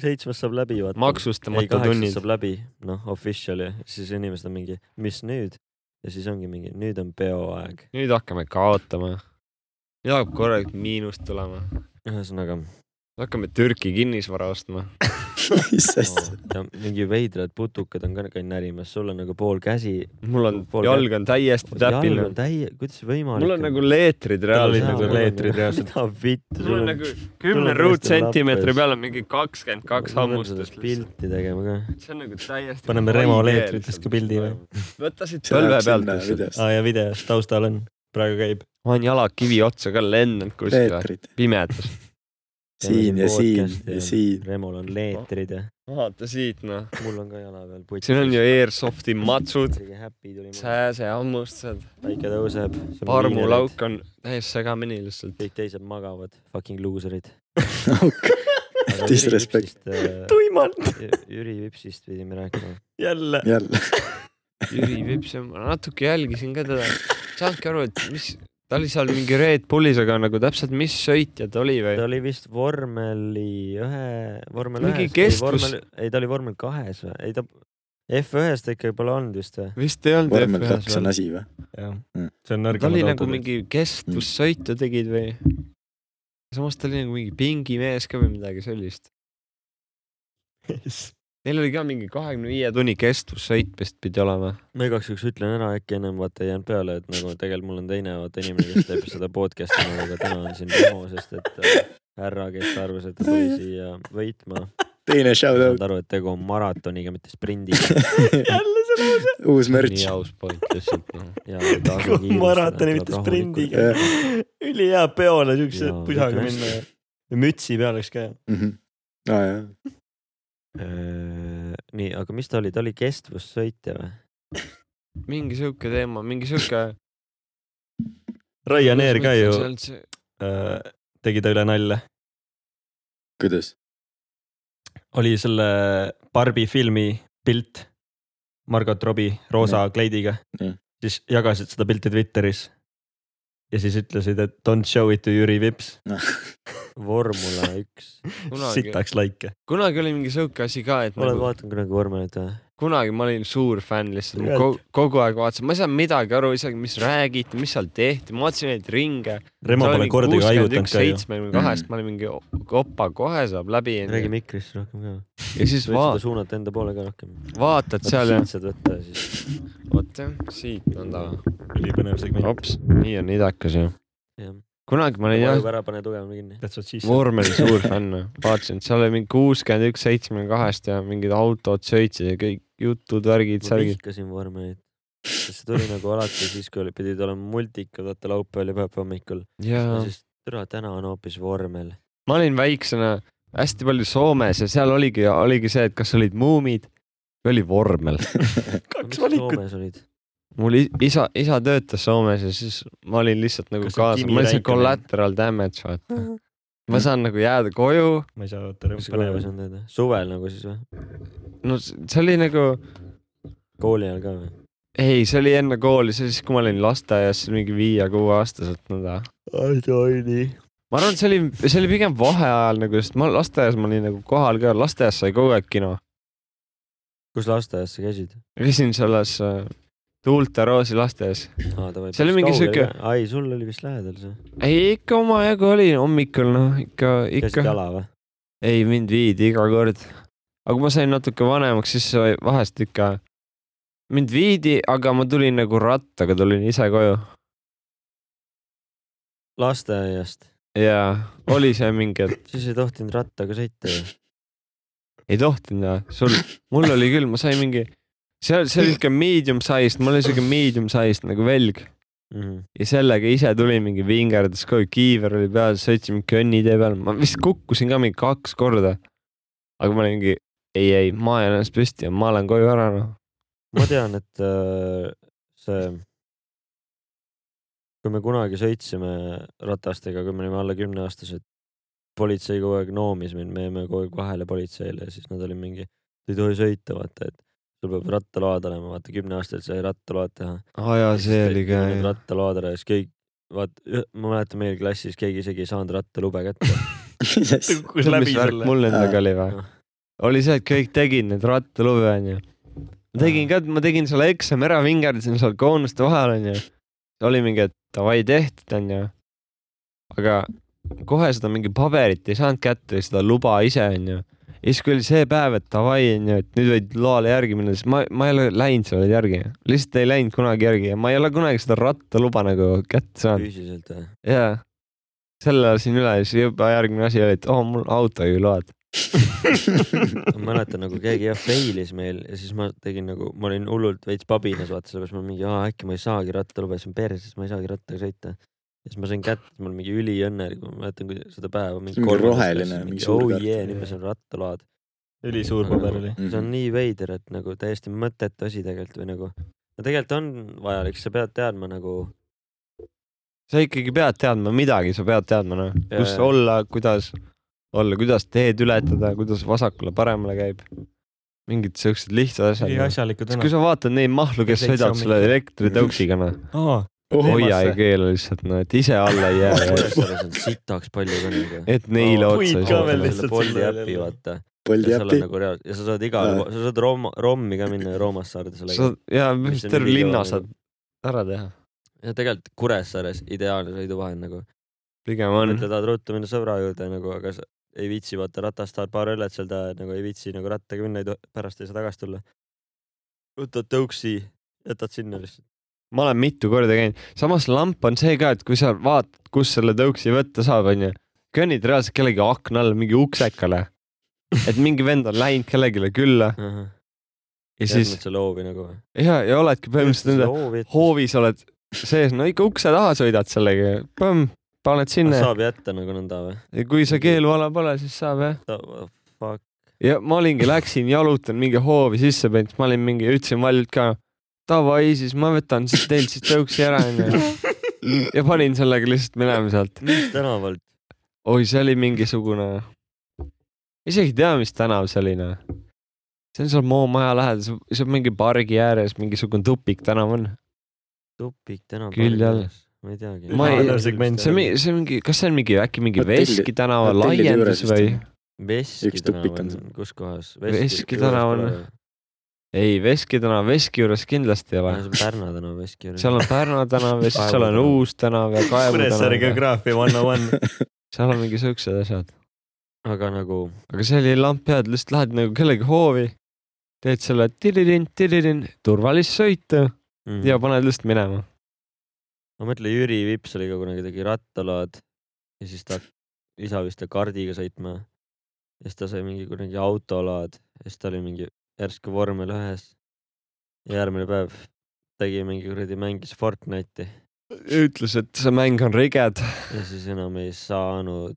Speaker 6: seitsmes saab läbi , vaata . ei ,
Speaker 5: maksustamata
Speaker 6: kaheksas
Speaker 5: tunnid
Speaker 6: saab . läbi , noh , official ja siis inimesed on mingi , mis nüüd ? ja siis ongi mingi , nüüd on peoaeg .
Speaker 5: nüüd hakkame kaotama . nüüd hakkab korralik miinus tulema .
Speaker 6: ühesõnaga ,
Speaker 5: hakkame Türki kinnisvara ostma .
Speaker 4: mis asja ?
Speaker 6: mingi veidrad putukad on ka ka närimas , sul on nagu pool käsi .
Speaker 5: mul on ,
Speaker 6: Pool
Speaker 5: jalg on täiesti
Speaker 6: jalg on
Speaker 5: täpiline .
Speaker 6: täie- , kuidas see võimalik
Speaker 5: mul on nagu leetrid reaalselt .
Speaker 3: nagu leetrid reaalselt. .
Speaker 6: vittu ,
Speaker 5: mul on nagu
Speaker 6: sul
Speaker 5: kümne
Speaker 6: on
Speaker 5: ruutsentimeetri
Speaker 6: lappes.
Speaker 5: peal on mingi kakskümmend kaks hammustust .
Speaker 6: pilti tegema ka .
Speaker 5: see on nagu täiesti .
Speaker 3: Paneme Remo leetritest ka pildi või? ?
Speaker 5: võta siit põlve pealt lihtsalt .
Speaker 3: aa ja videos taustal on , praegu käib .
Speaker 5: ma olen jala kivi otsa ka lennanud kuskile
Speaker 4: Peetrid ,
Speaker 5: pimedas .
Speaker 4: siin ja siin ja siin .
Speaker 6: Remol on leetrid ja
Speaker 5: vaata siit noh ,
Speaker 6: mul on ka jala peal putsis .
Speaker 5: siin on ju Airsofti matsud ,
Speaker 6: Happy tuli mul ,
Speaker 5: sääsehammustused ,
Speaker 6: päike tõuseb .
Speaker 5: armulauk on täiesti segamini lihtsalt .
Speaker 6: kõik teised magavad , fucking luuserid .
Speaker 4: Disrespect. .
Speaker 3: tuimalt ,
Speaker 6: äh, Jüri Vipsist pidime rääkima .
Speaker 3: jälle .
Speaker 4: jälle .
Speaker 5: Jüri Vips , ma natuke jälgisin ka teda , ei saanudki aru , et mis , ta oli seal mingi Red Bullis , aga nagu täpselt , mis sõitja ta oli või
Speaker 6: ta ? oli vist vormeli ühe , vormel
Speaker 5: Mingi
Speaker 6: ühes .
Speaker 5: kestvus- .
Speaker 6: ei , ta oli vormel kahes või ? ei ta , F1-s ta ikka pole olnud vist või ?
Speaker 5: vist ei olnud
Speaker 4: vormel
Speaker 5: F1-s
Speaker 4: kaks on
Speaker 5: veel .
Speaker 4: asi või ?
Speaker 3: jah
Speaker 4: Mm. ,
Speaker 3: see on
Speaker 5: ta oli
Speaker 3: nõrgemad
Speaker 5: nagu . mingi kestvussõitu tegid või ? samas ta oli nagu mingi pingimees ka või midagi sellist . Neil oli ka mingi kahekümne viie tunni kestvus sõit vist pidi olema .
Speaker 6: ma igaks juhuks ütlen ära , äkki ennem vaata ei jäänud peale , et nagu tegelikult mul on teine vaata inimene , kes teeb seda podcast'i , aga täna on siin demo , sest et äh, härra , kes arvas , et ta tuli siia võitma ,
Speaker 4: teine shout out ,
Speaker 6: saanud aru , et tegu on maratoniga , mitte sprindiga
Speaker 4: uus
Speaker 5: nii
Speaker 4: mürts .
Speaker 5: aus point lihtsalt noh .
Speaker 6: ja ta
Speaker 3: Tegu on
Speaker 6: asub
Speaker 3: maratoni,
Speaker 6: tuleb
Speaker 3: mitte
Speaker 6: rahulikult.
Speaker 3: sprindiga. ülihea peole siukse
Speaker 6: Jaa,
Speaker 3: pusaga
Speaker 6: kõik on
Speaker 3: minna ja
Speaker 6: hästi.
Speaker 3: ja mütsi peal oleks ka .
Speaker 4: Mhm. aa jaa ,
Speaker 6: Öö, Äh, nii , aga mis ta oli , ta oli kestvussõitja või ?
Speaker 5: mingi siuke teema , mingi siuke .
Speaker 3: Ryanair ka ju äh, tegi ta üle nalja ,
Speaker 4: kuidas ?
Speaker 3: oli selle Barbi filmi pilt . Margot Robbie roosa kleidiga
Speaker 4: Jah. ,
Speaker 3: siis jagasid seda pilti Twitteris . ja siis ütlesid , et don't show it to Jüri Vips ,
Speaker 6: vormula üks .
Speaker 5: Nagu- kunagi ,
Speaker 3: sitaks laike .
Speaker 5: kunagi oli mingi siuke asi ka , et
Speaker 6: oled
Speaker 5: nagu,
Speaker 6: vaadanud kunagi vormelit või ?
Speaker 5: kunagi ma olin suur fänn lihtsalt , ma
Speaker 3: Tegelikult.
Speaker 5: kogu, kogu aeg vaatasin , ma ei saanud midagi aru isegi , mis räägiti , mis seal tehti , ma vaatasin neid ringe .
Speaker 3: Remo pole kordagi haigutanud ka ju . Mm.
Speaker 5: seitsmekümne kahest ma olin mingi opa , kohe saab läbi .
Speaker 6: räägi mikrisse rohkem ka .
Speaker 5: ja siis
Speaker 6: võid seda
Speaker 5: vaat- ,
Speaker 6: suunata enda poole ka rohkem .
Speaker 5: vaatad seal ja
Speaker 6: saad võtta ja siis .
Speaker 5: vot jah , siit on ta .
Speaker 3: ülipõnev segment .
Speaker 5: hops , nii on idakas ju .
Speaker 6: jah ,
Speaker 5: kunagi ma olin jah
Speaker 6: vajub ära , pane tugevamini kinni .
Speaker 3: That's what she said .
Speaker 5: vormeli suur fänn , vaatasin , et seal oli mingi kuuskümmend üks , seitsmekümne kahest ja mingid autod sõitsid ja kõik jutud , värgid ,
Speaker 6: ma
Speaker 5: särgid .
Speaker 6: vihkasin vormelit , sest see tuli nagu alati siis , kui oli- pidid olema multikad , vaata laupäeval ja pühapäeva hommikul . ja
Speaker 5: jaa ,
Speaker 6: siis türa , täna on hoopis vormel .
Speaker 5: ma olin väiksena hästi palju Soomes ja seal oligi , oligi see , et kas olid muumid või oli vormel .
Speaker 3: kaks valikut .
Speaker 6: Soomes olid .
Speaker 5: mul i- isa , isa töötas Soomes ja siis ma olin lihtsalt nagu
Speaker 3: Kas see
Speaker 5: kaasa ,
Speaker 3: Kimi
Speaker 5: ma olin see
Speaker 3: Räikkönen?
Speaker 5: collateral damage , vaata . ma saan nagu jääda koju ,
Speaker 3: ma ei saa oota ,
Speaker 6: kas sa kooli
Speaker 3: põnev
Speaker 6: ei . saanud teada ? suvel nagu siis või ?
Speaker 5: no s- see oli nagu ,
Speaker 6: kooli ajal ka või ?
Speaker 5: ei , see oli enne kooli , see oli siis , kui ma olin lasteaias mingi viie-kuueaastaselt , nõnda
Speaker 6: Aidoni .
Speaker 5: ma arvan , et see oli , see oli pigem vaheajal nagu , sest ma lasteaias ma olin nagu kohal ka , lasteaias sai kogu aeg kino .
Speaker 6: kus lasteaias sa käisid ?
Speaker 5: käisin selles äh, Tuulte Roosi lasteaias .
Speaker 6: aa , davai .
Speaker 5: See oli mingi sihuke- .
Speaker 6: ai , sul oli vist lähedal see .
Speaker 5: ei , ikka omajagu oli hommikul , noh ikka ,
Speaker 6: käisid
Speaker 5: ikka .
Speaker 6: jala või ?
Speaker 5: ei , mind viidi iga kord . aga kui ma sain natuke vanemaks , siis sai vahest ikka , mind viidi , aga ma tulin nagu rattaga , tulin ise koju
Speaker 6: lasteaiast .
Speaker 5: ja oli see mingi , et
Speaker 6: siis ei tohtinud rattaga sõita või ?
Speaker 5: ei tohtinud jah , sul , mul oli küll , ma sain mingi , see oli , see oli siuke medium sized , mul oli siuke medium sized nagu velg
Speaker 4: Mhm.
Speaker 5: ja sellega ise tulin mingi vingerdas koju , kiiver oli peal , sõitsime kõnnitee peal , ma vist kukkusin ka mingi kaks korda . aga ma olin mingi ei , ei , ma ajan ennast püsti ja ma lähen koju ära noh .
Speaker 6: ma tean , et äh, see , kui me kunagi sõitsime ratastega , kui me olime alla kümneaastased , politsei kogu aeg noomis mind , me jäime kogu aeg vahele politseile ja siis nad olid mingi , ei tohi sõita , vaata , et sul peab rattaload olema , vaata kümneaastaselt sai rattaload teha .
Speaker 5: aa jaa , see oli ka
Speaker 6: jah .
Speaker 5: jah .
Speaker 6: rattaload ära ja siis keegi , vaat , ma mäletan meil klassis keegi isegi ei saanud rattalube kätte .
Speaker 3: kukkus
Speaker 5: tead , mis
Speaker 3: läbi
Speaker 5: värk
Speaker 3: selle .
Speaker 5: mul endaga oli või
Speaker 6: Jah. ?
Speaker 5: oli see , et kõik tegid neid rattalube onju . ma tegin ka , ma tegin selle eksami ära , vingerdasin seal koonuste vahel onju . oli mingi , et davai tehtud onju . aga kohe seda mingi paberit ei saanud kätte , seda luba ise onju . ja siis , kui oli see päev , et davai onju , et nüüd võid loale järgi minna , siis ma , ma ei ole läinud sellele järgi . lihtsalt ei läinud kunagi järgi ja ma ei ole kunagi seda rattaluba nagu kätte saanud .
Speaker 6: füüsiliselt või ?
Speaker 5: jaa , selle lasin üle ja siis juba järgmine asi oli , et oo oh, mul autojuhiload .
Speaker 6: ma mäletan nagu keegi jah fail'is meil ja siis ma tegin nagu , ma olin hullult veits pabinas vaata , sellepärast ma mingi , aa äkki ma ei saagi rattalube , siis ma perses , ma ei saagi rattaga sõita . ja siis ma sain kätte , mul oli mingi üliõnnelik , ma mäletan kui seda päeva .
Speaker 4: mingi roheline, mingi suur
Speaker 6: oh
Speaker 4: kart.
Speaker 6: jee , nüüd ma saan rattalaad .
Speaker 3: ülisuur paber oli .
Speaker 6: see on nii veider , et nagu täiesti mõttetu asi tegelikult või nagu , no tegelikult on vajalik , sa pead teadma nagu ,
Speaker 5: sa ikkagi pead teadma midagi , sa pead teadma noh ,
Speaker 6: Jaa,
Speaker 5: kus
Speaker 6: jaa.
Speaker 5: olla , kuidas olla , kuidas teed ületada , kuidas vasakule-paremale käib . mingid siuksed lihtsad
Speaker 3: nii
Speaker 5: asjad .
Speaker 3: asjalikud
Speaker 5: kui
Speaker 3: sõnad .
Speaker 5: sa vaatad neid mahlu , kes
Speaker 3: Ja täitsa
Speaker 5: sõidavad selle
Speaker 3: hommikul.
Speaker 5: elektritõuksiga noh ,
Speaker 3: aa ,
Speaker 5: hoia ei keela lihtsalt noh , et ise alla ei jää ,
Speaker 6: Kuressaares on sitaks palju ka nagu .
Speaker 5: et neile
Speaker 3: Aa,
Speaker 5: otsa ei
Speaker 3: puid ka
Speaker 5: saa
Speaker 3: veel
Speaker 5: tulla.
Speaker 3: lihtsalt
Speaker 6: Bolti
Speaker 3: sinna
Speaker 6: äpi
Speaker 3: jälle.
Speaker 6: vaata .
Speaker 4: Bolti
Speaker 6: ja seal on
Speaker 4: äpi .
Speaker 6: nagu reaal- ja sa saad igal pool , sa saad Rom- , Rommi ka minna ja Roomast saada sellega
Speaker 5: sa . ja
Speaker 6: Mis on
Speaker 5: terve
Speaker 6: nii kõva
Speaker 5: linna
Speaker 6: nagu.
Speaker 5: saad ära teha ,
Speaker 6: ja tegelikult Kuressaares ideaalne sõiduvahend nagu .
Speaker 5: pigem on
Speaker 6: mõtled , tahad ruttu minna sõbra juurde nagu , aga sa ei viitsi vaata ratast tahad paar õllet seal taha , et nagu ei viitsi nagu rattaga minna , ei tohi , pärast ei saa tagasi tulla . võtad tõuksi , jätad sinna lihtsalt .
Speaker 5: ma olen mitu korda käinud , samas lamp on see ka , et kui sa vaatad , kus selle tõuksi võtta saab , onju , kõnnid reaalselt kellegi akna all mingi uksekale , et mingi vend on läinud kellelegi külla ja siis
Speaker 6: jätnud selle hoovi nagu või ?
Speaker 5: ja , ja oledki põhimõtteliselt nende
Speaker 6: hoovi . Ah,
Speaker 5: hoovis oled sees , no ikka ukse taha sõidad sellega , põmm , paned sinna
Speaker 6: saab jätta nagu nõnda või ?
Speaker 5: ja kui sa keeluala pole , siis saab jah .
Speaker 6: Fuck ,
Speaker 5: ja ma olingi , läksin , jalutan mingi hoovi sisse peinud , ma olin mingi , ütlesin valjult ka , davai , siis ma võtan siis teilt siis tõuksi ära onju ja panin sellega lihtsalt minema sealt .
Speaker 6: mis tänavalt ?
Speaker 5: oi , see oli mingisugune , isegi ei tea , mis tänav see oli noh . see on seal Moo maja lähedal , see on mingi pargi ääres mingisugune tupik tänav on .
Speaker 6: tupik tänav .
Speaker 5: Küll jälle. .
Speaker 6: ma ei teagi .
Speaker 5: Ma ei- see on
Speaker 3: on
Speaker 5: mingi , see on mingi , kas see on mingi äkki mingi
Speaker 4: Hotelli-
Speaker 5: Veski tänava
Speaker 4: hotellide
Speaker 5: laiendus
Speaker 4: juures
Speaker 5: või ?
Speaker 4: vist
Speaker 6: Veski
Speaker 4: Üks tupik on seal.
Speaker 6: tänav , kus kohas ?
Speaker 5: Veski tänav on- ei , Veski tänav , Veski juures kindlasti ei ole .
Speaker 6: Pärna tänav , Veski juures .
Speaker 5: seal on Pärnu tänav ja siis
Speaker 6: Kaevu
Speaker 5: seal on
Speaker 6: tänav.
Speaker 5: Uus tänav ja Kaevu
Speaker 3: Kuressaare
Speaker 5: tänav .
Speaker 3: geograafia one on one .
Speaker 5: seal on mingi siuksed asjad .
Speaker 6: aga nagu
Speaker 5: aga see oli lamp hea , et lihtsalt lähed nagu kellegi hoovi , teed selle tiririn , tiririn , turvalist sõitu
Speaker 6: mm.
Speaker 5: ja paned lihtsalt minema .
Speaker 6: ma mõtlen , Jüri Vips oli ka kunagi , tegi rattalaad ja siis ta , isa vist ta kardiga sõitma . ja siis ta sai mingi kunagi autolaad ja siis ta oli mingi järsku vormel ühes . ja järgmine päev tegi mingi kuradi , mängis Fortnite'i
Speaker 5: ütles , et see mäng on riged .
Speaker 6: ja siis enam ei saanud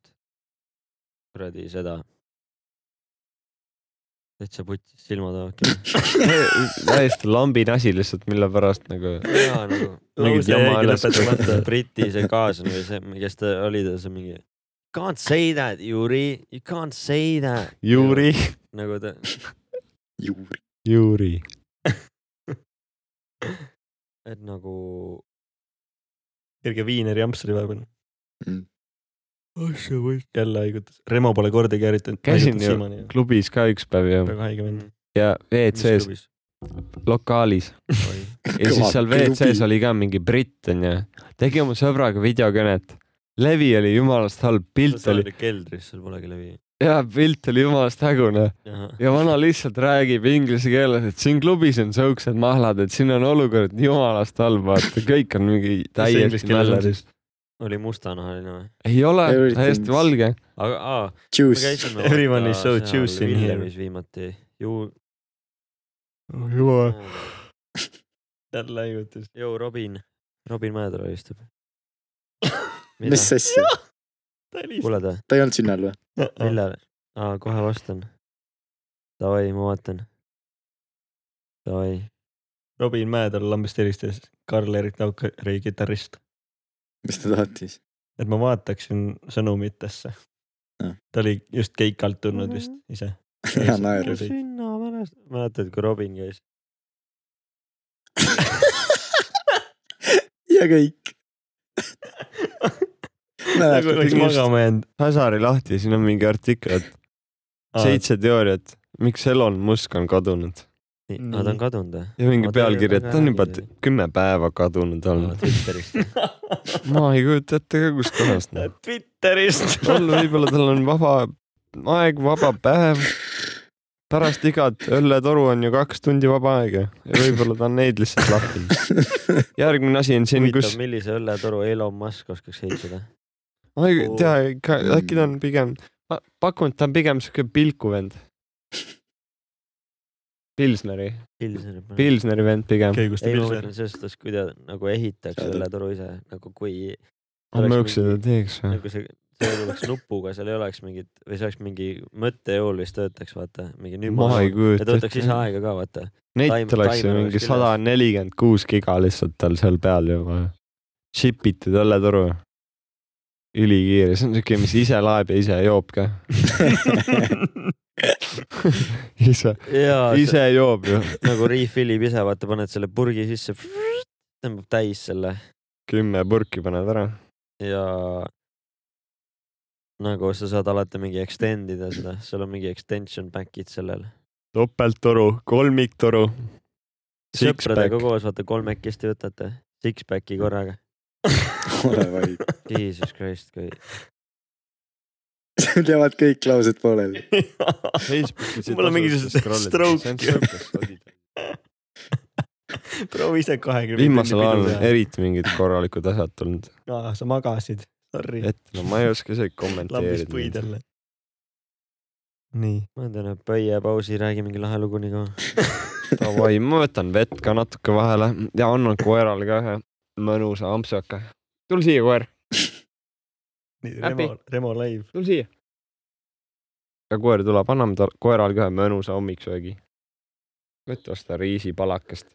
Speaker 6: kuradi seda . täitsa putis silmad avaki .
Speaker 5: täiesti lambine asi lihtsalt , mille pärast nagu .
Speaker 6: jaa nagu
Speaker 5: Mingid
Speaker 6: õudse
Speaker 5: jama
Speaker 6: jäigi
Speaker 5: alles
Speaker 6: lõpetamata
Speaker 5: kuulata.
Speaker 6: Briti see kaaslane või see , kes ta oli , ta see mingi Can't say that , Juri , you can't say that .
Speaker 5: Juri ,
Speaker 6: nagu ta ,
Speaker 4: juuri .
Speaker 5: Juri .
Speaker 6: et nagu
Speaker 3: kerge viineri jamps oli vahepeal .
Speaker 4: Mm.
Speaker 3: asja võis . jälle haigutas , Remo pole kordagi harjutanud .
Speaker 5: Käisin ju- klubis ka üks päev ju
Speaker 3: väga haige vend .
Speaker 5: ja WC-s , lokaalis . ja siis seal WC-s oli ka mingi britt onju , tegi oma sõbraga videokõnet , levi oli jumalast halb , pilt
Speaker 6: sa
Speaker 5: oli ,
Speaker 6: oled keldris , sul polegi levi .
Speaker 5: jaa pilt oli jumalast hägune ja vana lihtsalt räägib inglise keeles , et siin klubis on siuksed mahlad , et siin on olukord jumalast halb , vaata kõik on mingi täiesti mälleris .
Speaker 6: oli mustanahaline või ?
Speaker 5: ei ole ,
Speaker 4: Everything's-
Speaker 5: täiesti valge ,
Speaker 6: aga aa , me
Speaker 4: Juice .
Speaker 6: käisime .
Speaker 3: Everyone is so juicy in here.
Speaker 6: Villemis viimati . ju ,
Speaker 3: jumal , jälle haigutas .
Speaker 6: ju Robin , Robin Mäedalu istub .
Speaker 4: mis asja ,
Speaker 6: kuuled või ?
Speaker 4: ta ei olnud sinna all või ?
Speaker 6: millal ? aa , kohe vastan . Davai , ma vaatan . Davai ,
Speaker 3: Robin Mäetal lambist helistas Karl-Erik Taukari kitarrist ,
Speaker 4: mis ta tahtis ?
Speaker 3: et ma vaataksin sõnumitesse
Speaker 4: Jah. .
Speaker 3: ta oli just keikalt tulnud vist ise .
Speaker 4: hea naer .
Speaker 3: Tõsi.
Speaker 6: sinna pärast , mäletad , kui Robin käis ?
Speaker 4: ja kõik .
Speaker 3: nagu
Speaker 4: mäletad ,
Speaker 3: oleks magama jäänud .
Speaker 5: Häsari lahti , siin on mingi artikkel , et seitse teooriat , miks Elon Musk on kadunud
Speaker 6: aa , ta on kadunud või ?
Speaker 5: ja mingi
Speaker 6: Ma tean,
Speaker 5: pealkiri , et
Speaker 6: väga
Speaker 5: ta on
Speaker 6: hea
Speaker 5: juba
Speaker 6: kiri.
Speaker 5: t- kümme päeva kadunud olnud .
Speaker 6: Twitterist .
Speaker 5: ma ei kujuta ette ka , kuskohast noh .
Speaker 3: Twitterist .
Speaker 5: tal võib-olla tal on vaba aeg , vaba päev . pärast igat õlletoru on ju kaks tundi vaba aega ja võib-olla ta on neid lihtsalt lahtinud . järgmine asi on siin ,
Speaker 6: huvitav
Speaker 5: kus ,
Speaker 6: millise õlletoru Elon Musk oskaks heitseda .
Speaker 5: ma
Speaker 6: Oh.
Speaker 5: ei tea , äkki ta on pigem , ma pakun , et ta on pigem siuke pilkuvend . Pilsneri ,
Speaker 6: Pilsner .
Speaker 5: Pilsneri vend pigem .
Speaker 3: okei , kus ta
Speaker 6: ei , ma
Speaker 3: pildis oli
Speaker 6: mõtlen ? selles suhtes , kui ta nagu ehitaks
Speaker 4: Saad aru.
Speaker 6: õlletoru ise , nagu kui ,
Speaker 5: ma mõõksin ta teeks või ?
Speaker 6: nagu see , see oleks nupuga , seal ei oleks mingit või see oleks mingi mõttejõul vist töötaks , vaata , mingi nüüd
Speaker 5: ma ei
Speaker 6: ja ta
Speaker 5: kujuta
Speaker 6: võtaks ise . aega ka , vaata .
Speaker 5: Neid
Speaker 6: taim-
Speaker 5: oleks ju
Speaker 6: taimer
Speaker 5: mingi
Speaker 6: oleks küljes.
Speaker 5: sada nelikümmend kuus giga lihtsalt tal seal peal juba . Chip itud õlletoru . ülikiire , see on siuke , mis ise laeb ja ise joob ka . ise ,
Speaker 6: jaa ,
Speaker 5: ise joob ju .
Speaker 6: nagu refill ib ise , vaata , paned selle purgi sisse , tõmbab täis selle
Speaker 5: kümme purki paned ära .
Speaker 6: ja nagu sa saad alati mingi extend ida seda , sul on mingi extension back'id sellel .
Speaker 5: topelttoru , kolmiktoru .
Speaker 6: sõpradega
Speaker 5: Six-pack ,
Speaker 6: koos , vaata kolmekesti võtate , six-pack'i korraga .
Speaker 4: ole vaid .
Speaker 6: Jesus Christ , kui
Speaker 4: sul jäävad kõik laused pooleli .
Speaker 6: Mul on mingisugune stroke.
Speaker 3: proovi ise kahekümne .
Speaker 5: viimasel ajal on . eriti mingid korralikud asjad tulnud ,
Speaker 3: sa magasid , sorry ,
Speaker 5: et no ma ei oska isegi
Speaker 3: lambis puid
Speaker 5: kommenteerida .
Speaker 3: jälle . nii ,
Speaker 6: ma teen ühe põiepausi , räägi mingi lahe lugu nagu. nii kaua .
Speaker 5: Davai , ma võtan vett ka natuke vahele ja annan koerale ka ühe mõnusa ampsuka . tule siia , koer ,
Speaker 3: nii
Speaker 5: Äpi.
Speaker 3: Remo , Remo live .
Speaker 5: tule siia . ja koer tuleb , anname ta koerale ka ühe mõnusa hommiksöögi . võta osta riisipalakest ,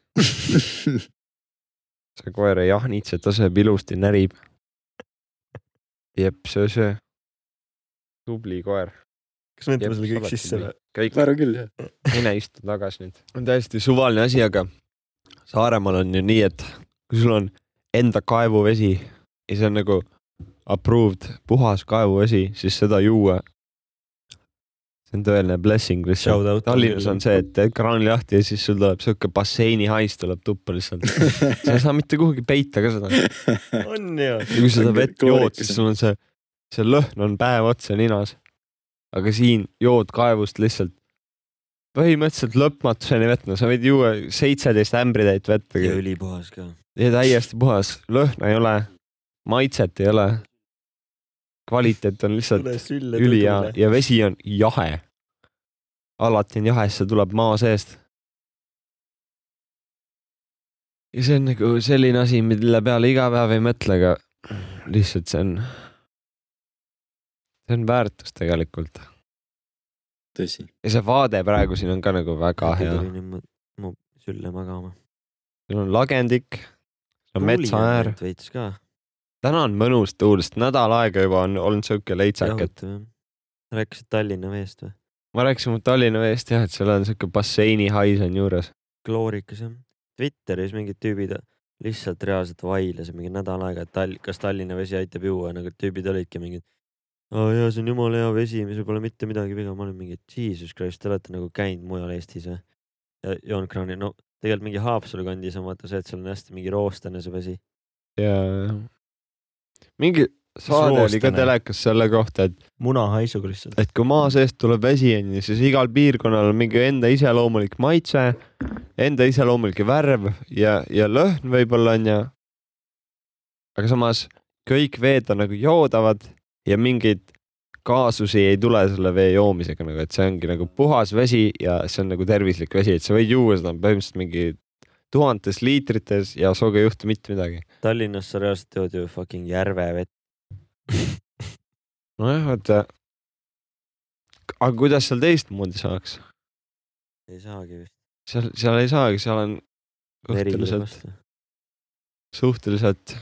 Speaker 5: see koer ei ahnitse , ta sööb ilusti , närib . jep , söö , söö . tubli koer .
Speaker 3: kas me ütleme selle kõik sisse või ??
Speaker 5: kõik ,
Speaker 4: ma arvan küll jah .
Speaker 5: mine istu tagasi nüüd . on täiesti suvaline asi , aga Saaremaal on ju nii , et kui sul on enda kaevuvesi ja see on nagu approved puhas kaevuvesi , siis seda juua . see on tõeline blessing lihtsalt . Tallinnas on see , et teed kraani lahti ja siis sul tuleb siuke basseini hais tuleb tuppa lihtsalt . sa ei saa mitte kuhugi peita ka seda .
Speaker 3: on ju ,
Speaker 5: ja kui sa seda
Speaker 4: On
Speaker 5: vett
Speaker 4: kloorikas
Speaker 5: jood , siis sul on see , see lõhn on päev otsa ninas . aga siin jood kaevust lihtsalt põhimõtteliselt lõpmatuseni vett , no sa võid juua seitseteist ämbritäit vett
Speaker 6: ja
Speaker 5: ja
Speaker 6: ülipuhas ka .
Speaker 5: täiesti puhas , lõhna ei ole , maitset ei ole . kvaliteet on lihtsalt
Speaker 3: tule sülle
Speaker 5: ülihea
Speaker 3: tutule .
Speaker 5: ja vesi on jahe . alati on jahe , sest see tuleb maa seest . ja see on nagu selline asi , mille peale iga päev ei mõtle , aga lihtsalt see on , see on väärtus tegelikult .
Speaker 4: tõsi .
Speaker 5: ja see vaade praegu siin on ka nagu väga hea .
Speaker 6: mu sülle magama .
Speaker 5: siin on lagendik , on metsa äär ,
Speaker 6: veits ka .
Speaker 5: täna on mõnus tuul , sest nädal aega juba on olnud siuke leitsak , et
Speaker 6: jahutav jah . rääkisid Tallinna veest või ?
Speaker 5: ma rääkisin Tallinna veest jah , et seal on siuke basseini hais on juures .
Speaker 6: kloorikas jah . Twitteris mingid tüübid lihtsalt reaalselt vailesid mingi nädal aega , et Tall- , kas Tallinna vesi aitab juua , nagu tüübid olidki mingid . aa jaa , see on jumala hea vesi , mis ei pole mitte midagi viga , ma olin mingi jesus christ , te olete nagu käinud mujal Eestis või ? ja joon kraani , no tegelikult mingi Haapsalu kandis on vaata see , et seal on hästi mingi roostane see vesi .
Speaker 5: ja mingi saade oli ka
Speaker 3: roostane?
Speaker 5: telekas selle kohta , et ,
Speaker 3: munahaisuga lihtsalt .
Speaker 5: et kui maa seest tuleb vesi onju , siis igal piirkonnal on mingi enda iseloomulik maitse , enda iseloomulik värv ja , ja lõhn võib-olla onju . aga samas kõik veed on nagu joodavad ja mingeid kaasusi ei tule selle vee joomisega nagu , et see ongi nagu puhas vesi ja see on nagu tervislik vesi , et sa võid juua seda põhimõtteliselt mingi tuhandes liitrites ja sinuga ei juhtu mitte midagi .
Speaker 6: Tallinnas sa reaalselt jood ju fucking järvevett .
Speaker 5: nojah , vaata . aga kuidas seal teistmoodi saaks ?
Speaker 6: ei saagi vist .
Speaker 5: seal , seal ei saagi , seal on suhteliselt , suhteliselt .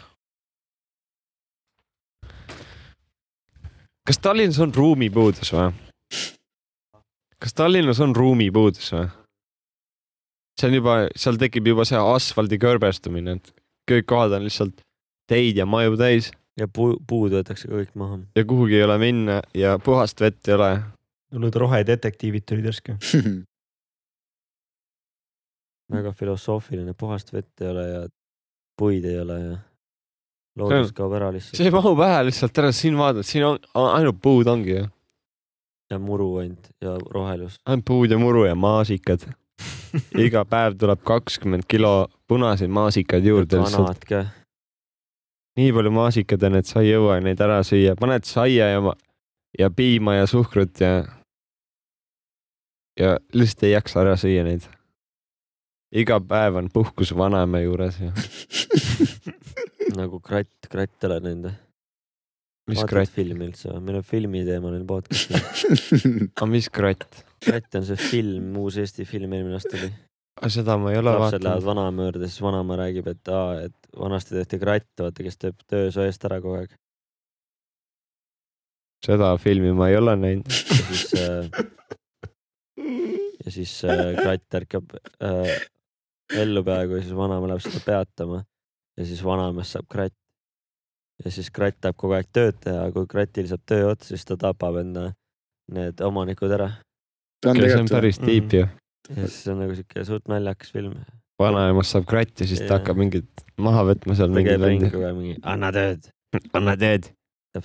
Speaker 5: kas Tallinnas on ruumipuudus või ? kas Tallinnas on ruumipuudus või ? see on juba , seal tekib juba see asfaldi kõrbestumine , et kõik kohad on lihtsalt teid ja maju täis
Speaker 6: ja puu , puud võetakse ka kõik maha .
Speaker 5: ja kuhugi ei ole minna ja puhast vett ei ole
Speaker 3: hullud rohedetektiivid tulid järsku .
Speaker 6: väga filosoofiline , puhast vett ei ole ja puid ei ole ja loodus
Speaker 5: See-
Speaker 6: kaob ära
Speaker 5: see ei
Speaker 6: lihtsalt
Speaker 5: mahu pähe lihtsalt ära , siin vaatad , siin on a- ainult puud ongi ju ,
Speaker 6: ja muru ainult ja rohelus .
Speaker 5: ainult puud ja muru ja maasikad . iga päev tuleb kakskümmend kilo punaseid maasikaid juurde lihtsalt ,
Speaker 6: vanad ka ,
Speaker 5: nii palju maasikaid on , et sa ei jõua neid ära süüa , paned saia ja , ja piima ja suhkrut ja . ja lihtsalt ei jaksa ära süüa neid . iga päev on puhkus vanaema juures ja
Speaker 6: nagu kratt , kratt oled nende .
Speaker 5: mis
Speaker 6: vaatad
Speaker 5: kratt ,
Speaker 6: filmi üldse või ? meil on filmiteemaline podcast .
Speaker 5: aga Ah, mis kratt ,
Speaker 6: kratt on see film , uus Eesti film eelmine aasta oli .
Speaker 5: Ah, seda ma ei ole
Speaker 6: lapsed lähevad
Speaker 5: vaadanud .
Speaker 6: vanaema juurde , siis vanaema räägib , et aa , et vanasti tehti kratt , vaata , kes teeb töö su eest ära kogu aeg .
Speaker 5: seda filmi ma ei ole näinud .
Speaker 6: ja siis äh, , ja siis äh, kratt ärkab äh, ellu peaaegu ja siis vanaema läheb seda peatama ja siis vanaemast saab kratt . ja siis kratt tahab kogu aeg tööd teha , kui kratil saab töö otsa , siis ta tapab enda need omanikud ära .
Speaker 5: see on päris
Speaker 3: Mhm.
Speaker 5: tiip ju .
Speaker 6: ja siis see on nagu siuke suht naljakas film .
Speaker 5: vanaemast saab kratti , siis ta
Speaker 6: Jaa.
Speaker 5: hakkab mingit maha võtma seal
Speaker 6: ta
Speaker 5: mingeid
Speaker 6: käib ringi
Speaker 5: vendi .
Speaker 6: kogu aeg mingi , anna tööd .
Speaker 5: anna tööd ,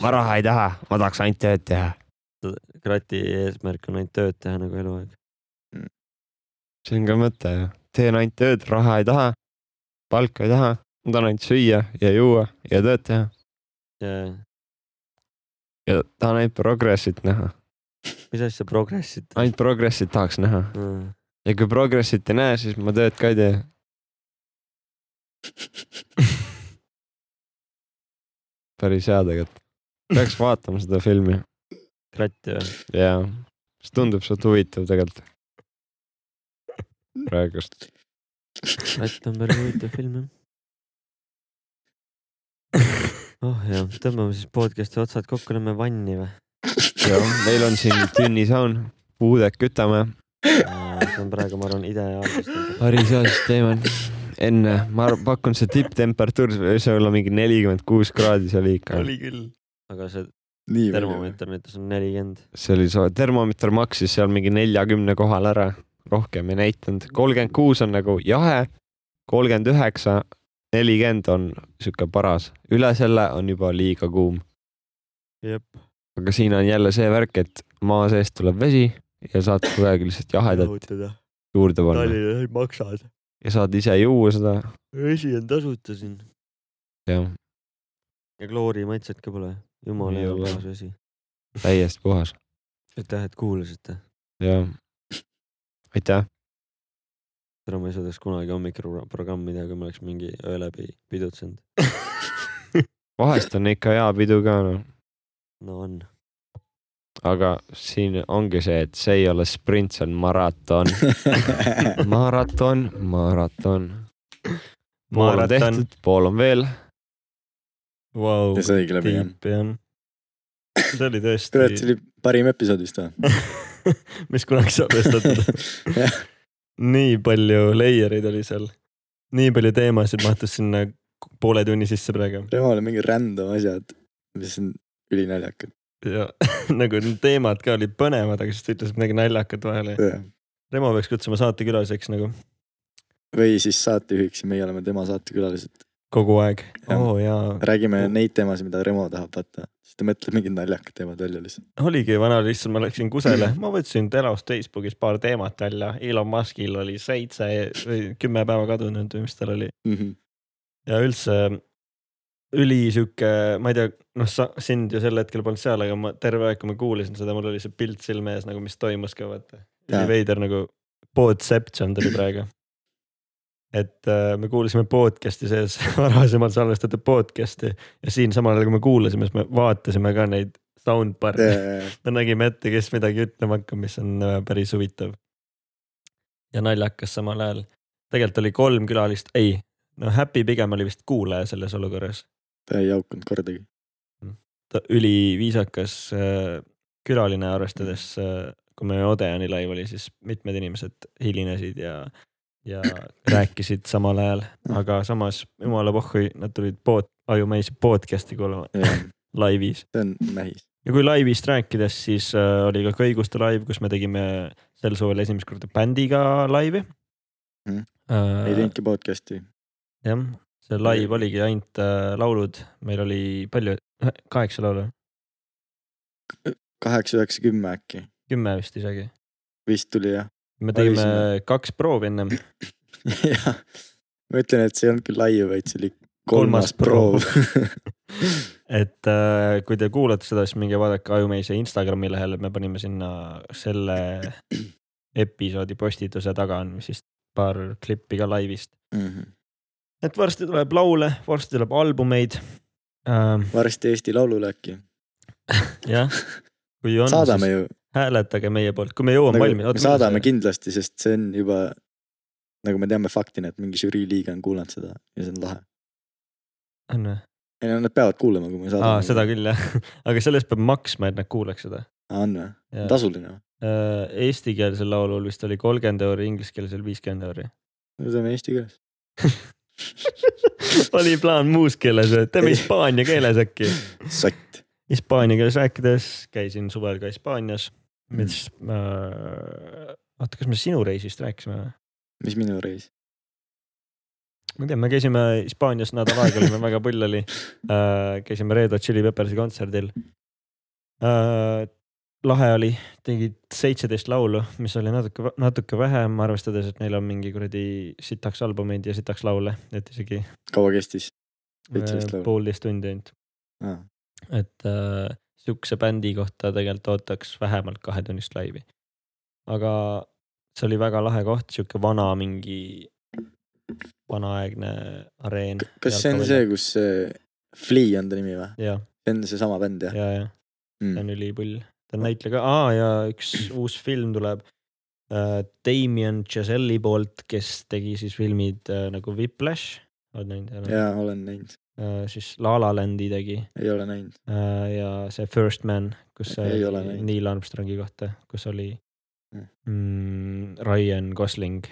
Speaker 5: ma raha ei taha , ma tahaks ainult tööd teha .
Speaker 6: kratta , krati eesmärk on ainult tööd teha nagu eluaeg .
Speaker 5: see on ka mõte ju . teen ainult tööd , raha ei taha , palka ei taha , ma tahan ainult süüa ja juua ja tööd teha
Speaker 6: mis
Speaker 5: ja tahan ainult progressit näha ,
Speaker 6: asja progressid
Speaker 5: ainult progressit tahaks näha
Speaker 6: mm. ?
Speaker 5: ja kui progressit ei näe , siis ma tööd ka ei tee . päris hea tegelikult , peaks vaatama seda filmi
Speaker 6: kratt või ?
Speaker 5: ja see tundub suht huvitav tegelikult praegust .
Speaker 6: kratt on päris huvitav film jah . oh jah , tõmbame siis podcast'i otsad kokku , lähme vanni või ?
Speaker 5: jah , meil on siin tünnisaun , puudet kütame .
Speaker 6: see on praegu , ma arvan , ideaalne .
Speaker 5: hariseadust teeme enne , ma ar- pakun , see tipptemperatuur võis olla mingi nelikümmend kuus kraadi seal ikka .
Speaker 6: küll . aga see
Speaker 2: nii palju .
Speaker 6: termomeeter näitas on nelikümmend .
Speaker 5: see oli soe , termomeeter maksis seal mingi neljakümne kohal ära , rohkem ei näitanud . kolmkümmend kuus on nagu jahe , kolmkümmend üheksa , nelikümmend on sihuke paras , üle selle on juba liiga kuum .
Speaker 6: jep .
Speaker 5: aga siin on jälle see värk , et maa seest tuleb vesi ja saad kogu aeg lihtsalt jahedat
Speaker 6: jahutada .
Speaker 5: juurde panna
Speaker 6: Tallinnas ei maksa .
Speaker 5: ja saad ise juua seda ,
Speaker 6: vesi on tasuta siin .
Speaker 5: jah
Speaker 6: ja kloorimaitset ka pole . jumala
Speaker 5: Ei
Speaker 6: hea
Speaker 5: ole.
Speaker 6: puhas vesi .
Speaker 5: täiesti puhas
Speaker 6: aitäh , et kuulasite .
Speaker 5: ja aitäh ,
Speaker 6: täna ma ei suudaks kunagi hommikuprogrammi teha , kui ma oleks mingi öö läbi pidutsenud .
Speaker 5: vahest on ikka hea pidu ka noh ,
Speaker 6: no on .
Speaker 5: aga siin ongi see , et see ei ole sprint , see on maraton , maraton , maraton . pool on
Speaker 3: Maraton.
Speaker 5: tehtud , pool on veel ,
Speaker 3: Vau ,
Speaker 2: ja see oligi läbi jah .
Speaker 3: tiip jah . see oli
Speaker 2: kurat , see
Speaker 3: tõesti ,
Speaker 2: oli parim episood vist või ?
Speaker 3: mis kunagi saab tõstatada .
Speaker 2: jah ,
Speaker 3: nii palju layer eid oli seal , nii palju teemasid mahtus sinna poole tunni sisse praegu
Speaker 2: Remal on mingi random asjad , mis on ülinaljakad .
Speaker 3: ja nagu need teemad ka olid põnevad , aga siis ta ütles midagi naljakat vahele . Remo peaks kutsuma saatekülaliseks nagu
Speaker 2: või siis saatejuhiks ja meie oleme tema saatekülalised .
Speaker 3: kogu aeg .
Speaker 2: Jah.
Speaker 3: oo jaa ,
Speaker 2: räägime neid teemasid , mida Remo tahab vaata , siis ta mõtleb mingid naljakad teemad välja lihtsalt .
Speaker 3: oligi vana lihtsalt , ma läksin kusele , ma võtsin Telost Facebookis paar teemat välja , Elon Muskil oli seitse või kümme päeva kadunud või mis tal oli
Speaker 2: Mhm.
Speaker 3: ja üldse mm, üli sihuke , ma ei tea , noh , sa , sind ju sel hetkel polnud seal , aga ma terve aeg , kui ma kuulasin seda , mul oli see pilt silme ees nagu , mis toimus ka vaata .
Speaker 2: Jaa.
Speaker 3: üli veider nagu podception tuli praegu . et äh, me kuulasime podcast'i sees varasemalt salvestatud podcast'i ja siin samal ajal , kui me kuulasime , siis me vaatasime ka neid soundbar'e yeah. , me nägime ette , kes midagi ütlema hakkab , mis on äh, päris huvitav . ja naljakas samal ajal , tegelikult oli kolm külalist , ei no Happy pigem oli vist kuulaja selles olukorras .
Speaker 2: ta ei haukunud kordagi .
Speaker 3: ta üliviisakas äh, külaline arvestades , kui meil Odeoni laiv oli , siis mitmed inimesed hilinesid ja , ja rääkisid samal ajal , aga samas jumala pohhui , nad tulid pood , Ajumäise podcast'i kuulama
Speaker 2: see
Speaker 3: laivis .
Speaker 2: on näis .
Speaker 3: ja kui laivist rääkides , siis äh, oli ka Kõiguste laiv , kus me tegime sel suvel esimest korda bändiga laivi
Speaker 2: Mhm.
Speaker 3: Äh,
Speaker 2: ei teinudki podcast'i .
Speaker 3: jah , see laiv oligi ainult äh, laulud , meil oli palju , kaheksa laulu ,
Speaker 2: kaheksa , üheksa , kümme äkki
Speaker 3: kümme vist isegi .
Speaker 2: vist tuli jah ?
Speaker 3: me tegime
Speaker 2: Valisime.
Speaker 3: kaks proovi ennem ,
Speaker 2: jah . ma ütlen , et see ei olnud küll laiu , vaid see oli
Speaker 3: Kolmas
Speaker 2: kolmas proov .
Speaker 3: et äh, kui te kuulate seda , siis minge vaadake Ajumeise Instagrami lehele , me panime sinna selle episoodi postituse taga on siis paar klippi ka laivist .
Speaker 2: Mhm.
Speaker 3: et varsti tuleb laule , varsti tuleb albumeid ähm, .
Speaker 2: varsti Eesti Laulule äkki .
Speaker 3: jah , kui on ,
Speaker 2: saadame
Speaker 3: siis
Speaker 2: ju .
Speaker 3: hääletage meie poolt , kui me jõuame valmis .
Speaker 2: me saadame kindlasti , sest see on juba nagu me teame faktina , et mingi žürii liige on kuulanud seda ja see on lahe .
Speaker 3: kindlasti .
Speaker 2: ei no nad peavad kuulama , kui me
Speaker 3: aa ,
Speaker 2: saadame .
Speaker 3: seda küll jah , aga selle eest peab maksma , et nad kuuleks seda .
Speaker 2: Ah, on või ? tasuline või ?
Speaker 3: Äh, Eestikeelsel laulul vist oli kolmkümmend euri , ingliskeelsel viiskümmend euri .
Speaker 2: me teeme eesti keeles .
Speaker 3: oli plaan muus keeles , teeme hispaania keeles äkki .
Speaker 2: sott .
Speaker 3: Hispaania keeles rääkides käisin suvel ka Hispaanias , mis äh, , oota , kas me sinu reisist rääkisime või ?
Speaker 2: mis minu reis ?
Speaker 3: ma ei tea , me käisime Hispaanias nädal aega , olime väga pull oli äh, . käisime Red Hot Chili Peppersi kontserdil äh, . lahe oli , tegid seitseteist laulu , mis oli natuke , natuke vähem , arvestades , et neil on mingi kuradi sitaks albumeid ja sitaks laule , et isegi
Speaker 2: kaua kestis ?
Speaker 3: äh,
Speaker 2: 17 laulu.
Speaker 3: poolteist tundi ainult . et äh, siukse bändi kohta tegelikult ootaks vähemalt kahetunnist laivi . aga see oli väga lahe koht , siuke vana mingi , vanaaegne areen .
Speaker 2: kas see on see , kus see Flea on ta nimi või ?
Speaker 3: jah ,
Speaker 2: see on seesama bänd jah ? Mm.
Speaker 3: ja , ja ta on ülipull , ta on näitleja ka , aa ja üks uus film tuleb äh, . Damien Chazelli poolt , kes tegi siis filmid äh, nagu Whiplash , oled näinud ära ?
Speaker 2: jaa , olen näinud ,
Speaker 3: Äh, siis La La Landi tegi
Speaker 2: ei ole näinud .
Speaker 3: äh, ja see First Man , kus see
Speaker 2: Ei ole
Speaker 3: oli
Speaker 2: näinud.
Speaker 3: Neil Armstrongi kohta , kus oli
Speaker 2: Mm.
Speaker 3: mm, Ryan Gosling .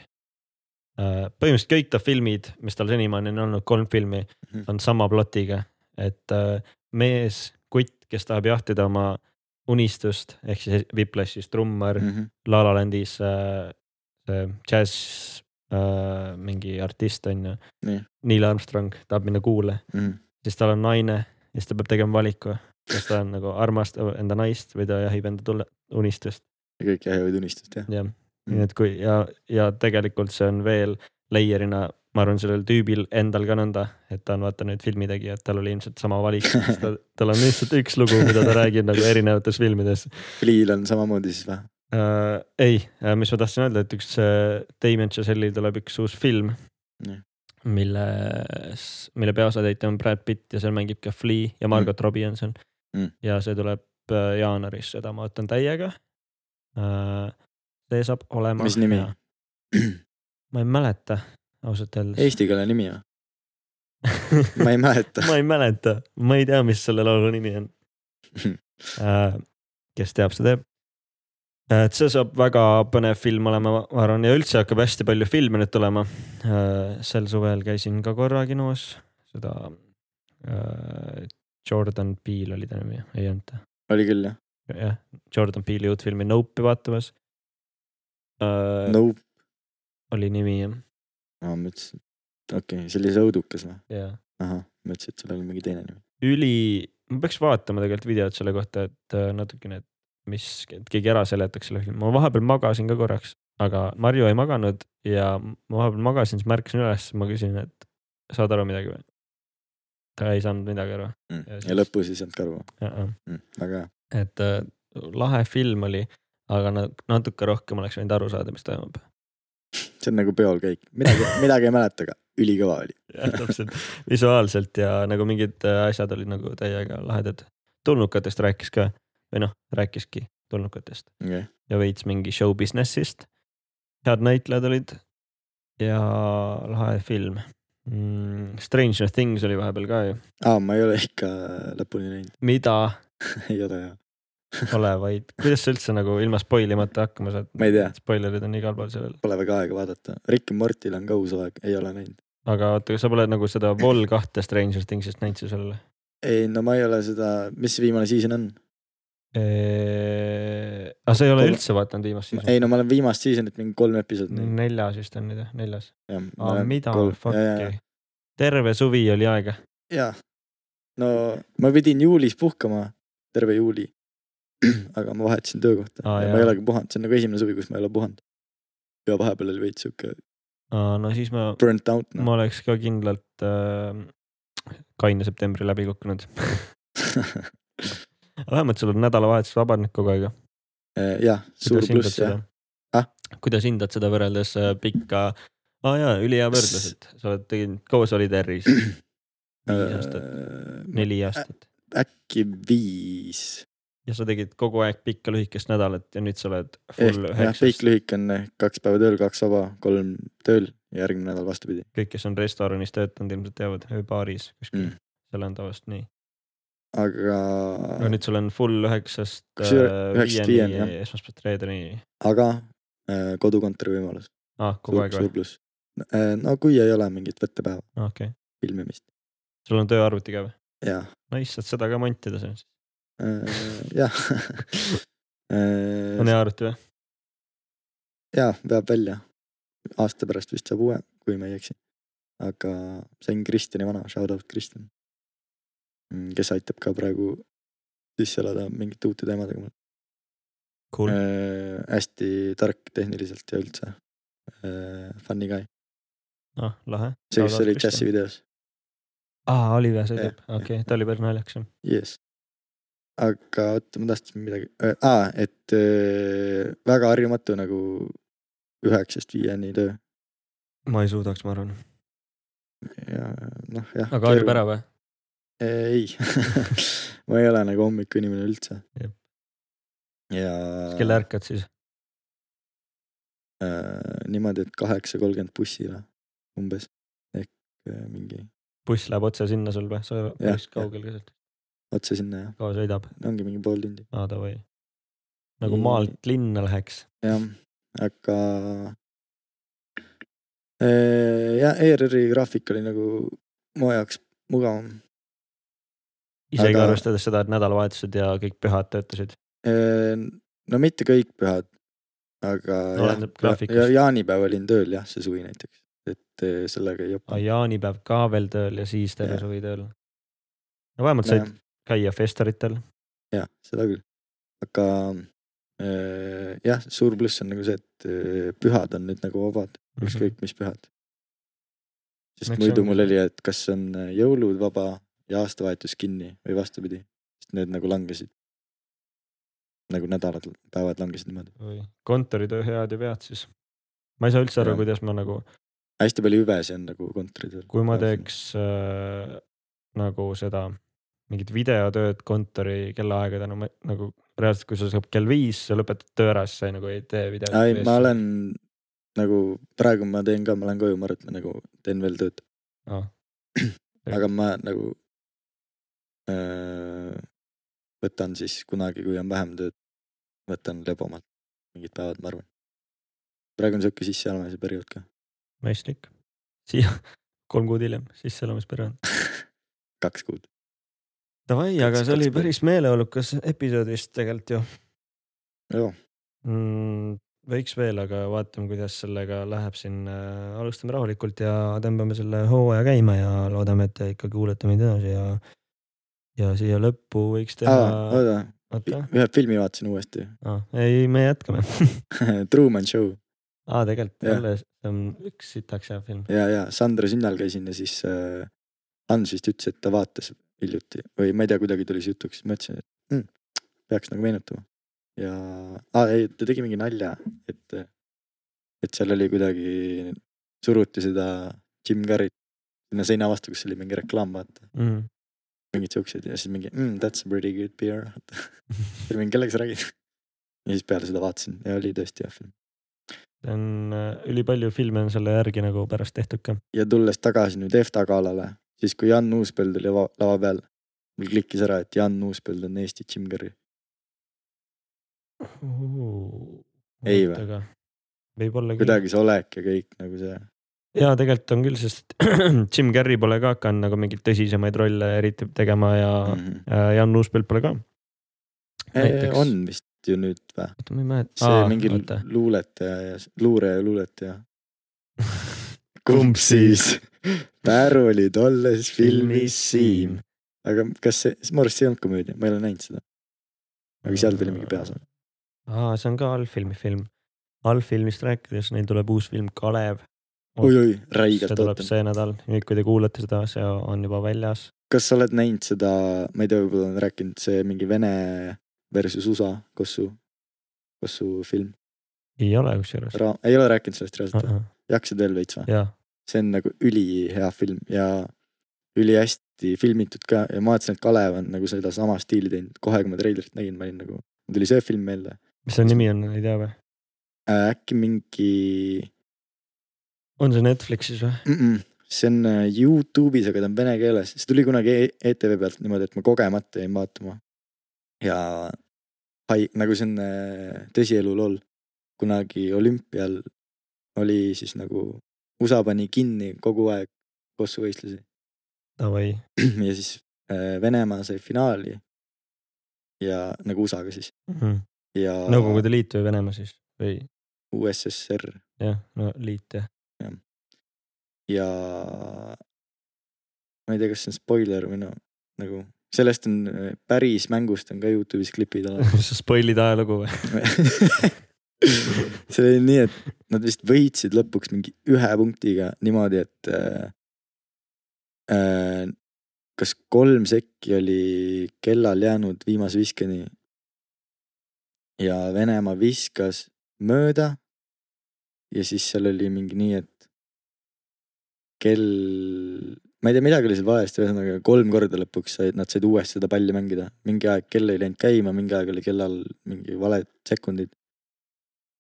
Speaker 3: põhimõtteliselt kõik ta filmid , mis tal senimaani on olnud , kolm filmi ,
Speaker 2: Mhm.
Speaker 3: on sama plotiga , et äh, mees , kutt , kes tahab jahtida oma unistust ehk siis Whiplashis trummar
Speaker 2: Mhm.
Speaker 3: mm. , La La Landis äh, see džäss äh, mingi artist on ju
Speaker 2: Nii. .
Speaker 3: Neil Armstrong tahab minna kuule , siis tal on naine ja siis ta peab tegema valiku , kas ta on nagu armastab enda naist või ta jahib enda tule- , unistust ,
Speaker 2: ja kõik jahivad unistust jah ?
Speaker 3: jah .
Speaker 2: Mm.
Speaker 3: nii et kui ja , ja tegelikult see on veel layer'ina , ma arvan , sellel tüübil endal ka nõnda , et ta on vaata nüüd filmitegija , et tal oli ilmselt sama valik , sest ta, tal on lihtsalt üks lugu , mida ta räägib nagu erinevates filmides
Speaker 2: Flea'l on samamoodi siis või ?
Speaker 3: äh, . ei , mis ma tahtsin öelda , et üks äh, Damien Chazelle'il tuleb üks uus film
Speaker 2: Nii. ,
Speaker 3: milles , mille peaosatäitja on Brad Pitt ja seal mängib ka Flea ja Margot mm. Robinson
Speaker 2: Mm. .
Speaker 3: ja see tuleb äh, jaanuaris , seda ma ootan täiega äh, . see saab olema .
Speaker 2: Mis nimi? ?
Speaker 3: ma ei mäleta ausalt öeldes .
Speaker 2: Eesti keele nimi või ? ma ei mäleta
Speaker 3: ma ei mäleta , ma ei tea , mis selle laulu nimi on . kes teab , see teab . et see saab väga põnev film olema , ma arvan , ja üldse hakkab hästi palju filme nüüd tulema . sel suvel käisin ka korra kinos , seda äh, Jordan Peele oli ta nimi , ei olnud ta ,
Speaker 2: oli küll jah ?
Speaker 3: jah , Jordan Peele'i uut filmi Nope'i vaatamas .
Speaker 2: Nope ,
Speaker 3: oli nimi jah ,
Speaker 2: ma mõtlesin , et okei okay, , see oli see õudukas või ?
Speaker 3: jaa .
Speaker 2: ahah , mõtlesin , et seal oli mingi teine nimi .
Speaker 3: üli , ma peaks vaatama tegelikult videot selle kohta , et äh, natukene , et mis , et keegi ära seletaks selle filmi , ma vahepeal magasin ka korraks , aga Marju ei maganud ja ma vahepeal magasin , siis ma ärkasin üles , ma küsin , et saad aru midagi või ? ta ei saanud midagi aru , Ja siis-
Speaker 2: ja lõpus ei saanud ka aru , väga hea .
Speaker 3: et äh, lahe film oli , aga na- natuke rohkem oleks võinud aru saada , mis toimub .
Speaker 2: see on nagu peol käik , midagi , midagi ei mäleta , aga ülikõva oli .
Speaker 3: jah , täpselt visuaalselt ja nagu mingid äh, asjad olid nagu täiega lahedad . tulnukatest rääkis ka või noh , rääkiski tulnukatest
Speaker 2: okei ,
Speaker 3: ja veits mingi show business'ist . head näitlejad olid ja lahe film mm, . Stranger Things oli vahepeal ka ju ,
Speaker 2: aa , ma ei ole ikka lõpuni näinud ,
Speaker 3: mida
Speaker 2: ei ole hea .
Speaker 3: ole , vaid kuidas sa üldse nagu ilma spoil imata hakkama saad ?
Speaker 2: Ma ei tea.
Speaker 3: spoilerid on igal pool sellel ,
Speaker 2: Pole väga aega vaadata , Rick ja Mortil on ka uus aeg , ei ole näinud .
Speaker 3: aga oota , kas sa pole nagu seda Vol kahte Stranger Thingsist näinud siis veel ?
Speaker 2: ei , no ma ei ole seda , mis see viimane season on ?
Speaker 3: Äh, aga sa ei ole
Speaker 2: Pole.
Speaker 3: üldse vaatanud viimast siis ?
Speaker 2: ei no ma olen viimast seasonit mingi kolm episoodi näinud .
Speaker 3: neljas vist on nüüd jah , neljas . mida
Speaker 2: jaa ,
Speaker 3: fuck'i , terve suvi oli aega .
Speaker 2: jaa . no ma pidin juulis puhkama , terve juuli . aga ma vahetasin töökohta
Speaker 3: Aa,
Speaker 2: ja
Speaker 3: jaa.
Speaker 2: ma ei olegi puhanud , see on nagu esimene suvi , kus ma ei ole puhanud . ja vahepeal oli veits siuke
Speaker 3: no siis ma
Speaker 2: burnt out
Speaker 3: no. ma
Speaker 2: noh .
Speaker 3: oleks ka kindlalt äh, kaine septembri läbi kukkunud . vähemalt sul on nädalavahetus vabad nüüd kogu aeg .
Speaker 2: Eh, jah , suur pluss jah . Ah? .
Speaker 3: kuidas hindad seda võrreldes äh, pikka , aa jaa , ülihea võrdlus , et sa oled teinud koos olid R-is viis aastat , neli
Speaker 2: Ah.
Speaker 3: aastat
Speaker 2: Äh, äkki viis .
Speaker 3: ja sa tegid kogu aeg pikka lühikest nädalat ja nüüd sa oled
Speaker 2: ehk
Speaker 3: full
Speaker 2: jah , kõik
Speaker 3: üheksast .
Speaker 2: lühike on eh, kaks päeva tööl , kaks vaba , kolm tööl ja järgmine nädal vastupidi .
Speaker 3: kõik , kes on restoranis töötanud , ilmselt teavad , või baaris kuskil mm.
Speaker 2: Mm. ,
Speaker 3: seal on tavaliselt nii .
Speaker 2: aga
Speaker 3: no nüüd sul on full üheksast
Speaker 2: Kusjuures
Speaker 3: äh,
Speaker 2: üheksast viieni, jah.
Speaker 3: viieni , esmaspäevast reedeni ,
Speaker 2: aga äh, kodukontori võimalus ,
Speaker 3: ah kogu
Speaker 2: suur ,
Speaker 3: aeg või Ah,
Speaker 2: suur ? pluss . äh, no kui ei ole mingit võttepäeva
Speaker 3: okei okay. ,
Speaker 2: filmimist
Speaker 3: sul on tööarvuti ka või ?
Speaker 2: ja ,
Speaker 3: Nice , saad seda ka montida selles .
Speaker 2: Äh, jah .
Speaker 3: on hea arvuti või ?
Speaker 2: ja veab välja , aasta pärast vist saab uue , kui ma ei eksi . aga see on Kristjani vana , shout out Kristjan . Mm, kes aitab ka praegu sisse elada mingite uute teemadega mul .
Speaker 7: Cool.
Speaker 2: äh, hästi tark tehniliselt ja üldse äh, funny guy ,
Speaker 3: ah , lahe .
Speaker 2: see kes oli džässivideos ,
Speaker 3: aa , oli või , see
Speaker 2: Jah,
Speaker 3: tüüp , okei ,
Speaker 2: eh.
Speaker 3: ta oli päris naljakas jah .
Speaker 2: jess . aga oota , ma tahtsin midagi äh, , aa , et äh, väga harjumatu nagu üheksast viieni töö
Speaker 3: ma ei suudaks , ma arvan .
Speaker 2: ja noh , jah .
Speaker 3: aga harjub ära või ?
Speaker 2: ei , ma ei ole nagu hommikuinimene üldse
Speaker 3: Jep. .
Speaker 2: ja .
Speaker 3: kelle ärkad siis ?
Speaker 2: äh, niimoodi , et kaheksa kolmkümmend bussile umbes ehk äh, mingi
Speaker 3: buss läheb otse sinna sul või ? sa oled
Speaker 2: Jah,
Speaker 3: päris
Speaker 2: jah.
Speaker 3: kaugel ka sealt ,
Speaker 2: otse sinna ja
Speaker 3: kaua sõidab ?
Speaker 2: ongi mingi pool tundi
Speaker 3: aa , davai . nagu
Speaker 2: Mm.
Speaker 3: maalt linna läheks .
Speaker 2: jah , aga äh, . ja ERR-i graafik oli nagu mu jaoks mugavam
Speaker 3: isegi
Speaker 2: Aga-
Speaker 3: arvestades seda , et nädalavahetused ja kõik pühad töötasid .
Speaker 2: äh, . no mitte kõik pühad , aga
Speaker 3: Oleneb
Speaker 2: jah,
Speaker 3: graafikust.
Speaker 2: ja, jaanipäev olin tööl jah , see suvi näiteks , et äh, sellega ei japa .
Speaker 3: jaanipäev ka veel tööl ja siis terve
Speaker 2: Jah.
Speaker 3: suvi tööl . no vähemalt said käia festivalitel .
Speaker 2: jah , seda küll , aga äh, jah , suur pluss on nagu see , et äh, pühad on nüüd nagu vabad ,
Speaker 3: Mhm.
Speaker 2: ükskõik mis pühad . sest
Speaker 3: Eks
Speaker 2: muidu
Speaker 3: ongi.
Speaker 2: mul oli , et kas on äh, jõulud vaba ja aastavahetus kinni või vastupidi , sest need nagu langesid . nagu nädalad , päevad langesid niimoodi ,
Speaker 3: kontoritöö head ja pead siis . ma ei saa üldse aru ,
Speaker 2: Jah.
Speaker 3: kuidas ma nagu
Speaker 2: hästi palju hüvesid on nagu kontoritööl .
Speaker 3: kui ma . teeks äh, nagu seda mingit videotööd kontori kellaaegadena , nagu reaalselt , kui sul saab kell viis , sa lõpetad töö ära , siis sa ei, nagu ei tee videot .
Speaker 2: ei , ma . olen nagu praegu ma teen ka , ma lähen koju , ma arvan , et ma nagu teen veel tööd . aga ma nagu öö, võtan siis kunagi , kui on vähem tööd , võtan lebamalt mingid päevad , ma arvan . praegu on sihuke sisseelamise periood ka ,
Speaker 3: mõistlik . siia kolm kuud hiljem sisseelamisperiood .
Speaker 2: kaks kuud .
Speaker 3: Davai , aga
Speaker 2: Kaks-
Speaker 3: see oli
Speaker 2: kaks
Speaker 3: päris meeleolukas episood vist tegelikult ju
Speaker 2: joo ,
Speaker 3: mm, . võiks veel , aga vaatame , kuidas sellega läheb siin . alustame rahulikult ja tõmbame selle hooaja käima ja loodame , et te ikka kuulete meid edasi ja , ja siia lõppu võiks teha .
Speaker 2: oota ,
Speaker 3: oota ,
Speaker 2: ühe filmi vaatasin uuesti
Speaker 3: ah, , ei , me jätkame .
Speaker 2: Truman Show
Speaker 3: aa , tegelikult
Speaker 2: Jah.
Speaker 3: jälle , see on üks sitaks hea film .
Speaker 2: ja , ja Sandra Sünnal käisin ja siis äh, Hans vist ütles , et ta vaatas hiljuti või ma ei tea , kuidagi tuli see jutuks , ma ütlesin , et mm, peaks nagu meenutama . ja ah, , ei , ta tegi mingi nalja , et , et seal oli kuidagi , suruti seda Jim Carrey't sinna seina vastu , kus oli mingi reklaam , vaata ,
Speaker 3: Mm.
Speaker 2: mingid siuksed ja siis mingi mm, that's a pretty good beer . see oli mingi , kellega sa räägid ? ja siis peale seda vaatasin ja oli tõesti hea film .
Speaker 3: see on , ülipalju filme on selle järgi nagu pärast tehtud ka .
Speaker 2: ja tulles tagasi nüüd EFTA galale , siis kui Jan Uuspõld oli lava, lava peal , mul klikkis ära , et Jan Uuspõld on Eesti Jim Carrey . Ei või? ?
Speaker 3: võib-olla küll .
Speaker 2: kuidagi see olek ja kõik nagu see ,
Speaker 3: jaa , tegelikult on küll , sest Jim Carrey pole ka hakanud nagu mingeid tõsisemaid rolle eriti tegema ja mm.
Speaker 2: Mhm.
Speaker 3: Jan Uuspõld pole ka .
Speaker 2: Eh,
Speaker 3: näiteks-
Speaker 2: on vist ju nüüd või ?
Speaker 3: oota , ma ei mäleta .
Speaker 2: see Aa, mingi oota. luuletaja ja luureja ja luuletaja . kumb siis ? Pär oli tolles filmis Siim . aga kas see , ma arvan , et see ei olnud komöödia , ma ei ole näinud seda . aga seal tuli mingi peaosa .
Speaker 3: aa , see on ka allfilmi film . allfilmist rääkides , neil tuleb uus film Kalev .
Speaker 2: oi-oi ,
Speaker 3: see
Speaker 2: räigelt
Speaker 3: tuleb
Speaker 2: ootan .
Speaker 3: see nädal , nüüd kui te kuulate seda , see on juba väljas .
Speaker 2: kas sa oled näinud seda , ma ei tea , võib-olla olen rääkinud , see mingi Vene versus USA Kossu , Kossu film
Speaker 3: ei ole kusjuures .
Speaker 2: Ra , ei ole rääkinud sellest reaalselt või ? jaksid veel veits või ?
Speaker 3: jaa ,
Speaker 2: see on nagu ülihea film ja ülihästi filmitud ka ja ma vaatasin , et Kalev on nagu sedasama stiili teinud , kohe kui ma treilerit nägin , ma olin nagu , mul tuli see film meelde
Speaker 3: mis selle nimi on , ei tea või ?
Speaker 2: äh, . äkki mingi
Speaker 3: on see Netflixis või ?
Speaker 2: mm , -mm. see on äh, Youtube'is , aga ta on vene keeles , see tuli kunagi E- ETV pealt niimoodi , et ma kogemata jäin vaatama . ja hai- , nagu see on äh, tõsielu lool , kunagi olümpial oli siis nagu USA pani kinni kogu aeg kossuvõistlusi
Speaker 3: Davai ,
Speaker 2: ja siis äh, Venemaa sai finaali . ja nagu USA-ga siis ja
Speaker 3: Mhm. Nõukogude Liit või Venemaa siis või
Speaker 2: USSR
Speaker 3: jah , no liit jah .
Speaker 2: ja ma ei tea , kas see on spoiler või no nagu sellest on äh, päris mängust on ka Youtube'is klipid olemas .
Speaker 3: sa spoil'id ajalugu või ?
Speaker 2: see oli nii , et nad vist võitsid lõpuks mingi ühe punktiga niimoodi , et äh, äh, kas kolm sekki oli kellal jäänud viimase viskeni . ja Venemaa viskas mööda . ja siis seal oli mingi nii , et kell , ma ei tea , midagi oli seal valesti , ühesõnaga kolm korda lõpuks said , nad said uuesti seda palli mängida . mingi aeg kell ei läinud käima , mingi aeg oli kellal mingi valed sekundid .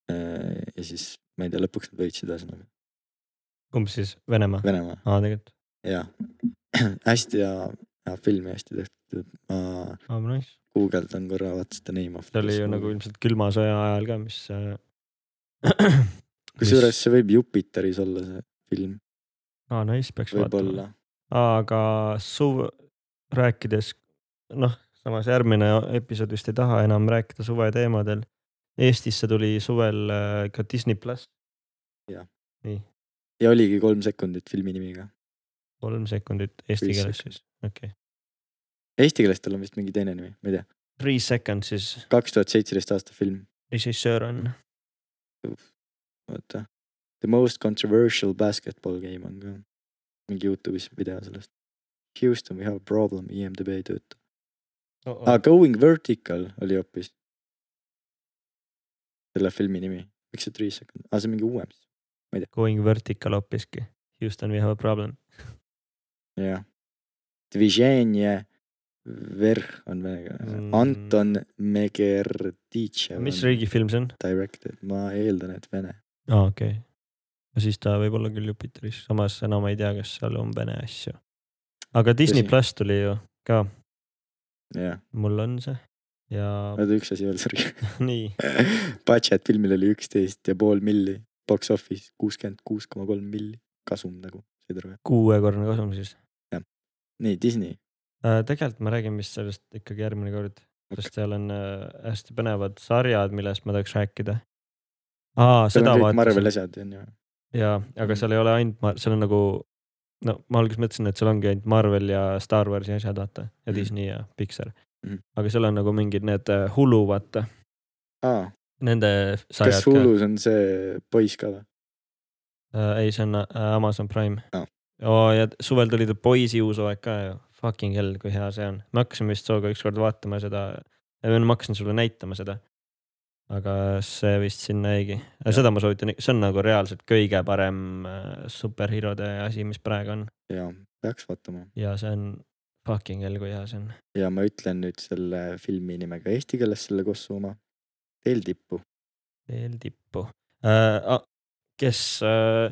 Speaker 2: ja siis ma ei tea , lõpuks nad võitsid ühesõnaga ,
Speaker 3: kumb siis , Venemaa ?
Speaker 2: Venemaa ,
Speaker 3: aa , tegelikult .
Speaker 2: jaa . hästi hea , hea film ja hästi tehtud , ma
Speaker 3: aa , nice .
Speaker 2: guugeldan korra , vaata seda name of .
Speaker 3: ta oli ju nagu . ilmselt külma sõja ajal ka , mis äh... .
Speaker 2: kusjuures . see võib Jupiteris olla see film ,
Speaker 3: aa , Ah, nice , peaks vaatama .
Speaker 2: võib-olla .
Speaker 3: aga suv , rääkides , noh , samas järgmine episood vist ei taha enam rääkida suve teemadel . Eestisse tuli suvel äh, ka Disney pluss ,
Speaker 2: ja oligi kolm sekundit filmi nimiga .
Speaker 3: kolm sekundit eesti
Speaker 2: Three
Speaker 3: keeles
Speaker 2: seconds.
Speaker 3: siis , okei okay. .
Speaker 2: Eesti keeles tal on vist mingi teine nimi , ma ei tea ,
Speaker 3: Three seconds siis
Speaker 2: kaks tuhat seitseteist aasta film ,
Speaker 3: režissöör on ,
Speaker 2: oota . The most controversial basketball game on ka mingi Youtube'is video sellest . Houston , we have a problem , E IMDB ei tööta
Speaker 3: Oh-oh.
Speaker 2: ah, . Going vertical oli hoopis selle filmi nimi , miks see Three Second , aa see on mingi uuem siis ,
Speaker 3: Going vertical hoopiski , Houston we have a problem .
Speaker 2: jah . Dviženje Verh on vene keeles
Speaker 3: Mm.
Speaker 2: mm. , Anton Megerditšev
Speaker 3: mis
Speaker 2: on
Speaker 3: riigifilm see on ?
Speaker 2: directed , ma eeldan , et vene .
Speaker 3: aa , okei okay. . no siis ta võib olla küll Jupiteris , samas enam ei tea , kas seal on vene asju . aga Disney
Speaker 2: Tõsi.
Speaker 3: pluss tuli ju ka ,
Speaker 2: jah ,
Speaker 3: mul on see ja
Speaker 2: oota üks asi veel , sorry .
Speaker 3: nii ,
Speaker 2: Budget filmil oli üksteist ja pool milli , box office kuuskümmend kuus koma kolm milli , kasum nagu , said aru jah ?
Speaker 3: kuuekordne kasum siis .
Speaker 2: nii , Disney ,
Speaker 3: tegelikult ma räägin vist sellest ikkagi järgmine kord , sest seal on äh, hästi põnevad sarjad , millest ma tahaks rääkida . aa ,
Speaker 2: seal
Speaker 3: seda
Speaker 2: on kõik
Speaker 3: vaatasin
Speaker 2: Marveli asjad Mm. on ju ,
Speaker 3: jaa , aga seal ei ole ainult , seal on nagu , no ma alguses mõtlesin , et seal ongi ainult Marvel ja Star Warsi asjad , vaata , ja
Speaker 2: Mhm.
Speaker 3: Disney ja Pixar
Speaker 2: Mhm. .
Speaker 3: aga seal on nagu mingid need äh, Hulu , vaata ,
Speaker 2: aa
Speaker 3: nende sarjad
Speaker 2: kas
Speaker 3: ka .
Speaker 2: Hulus on see poiss ka või ?
Speaker 3: ei , see on äh, Amazon Prime
Speaker 2: Aa.
Speaker 3: oh, . ja suvel tuli The Boys'i uus hooaeg ka ju , fucking hell , kui hea see on . me hakkasime vist sinuga ükskord vaatama seda , ma hakkasin sulle näitama seda . aga see vist sinna jäigi , seda ma soovitan , see on nagu reaalselt kõige parem äh, superhirode asi , mis praegu on .
Speaker 2: jaa , peaks vaatama
Speaker 3: ja see on fucking hell , kui hea see on .
Speaker 2: ja ma ütlen nüüd selle filmi nimega eesti keeles selle Kossu oma . Teel tippu ,
Speaker 3: veel tippu äh, . kes äh,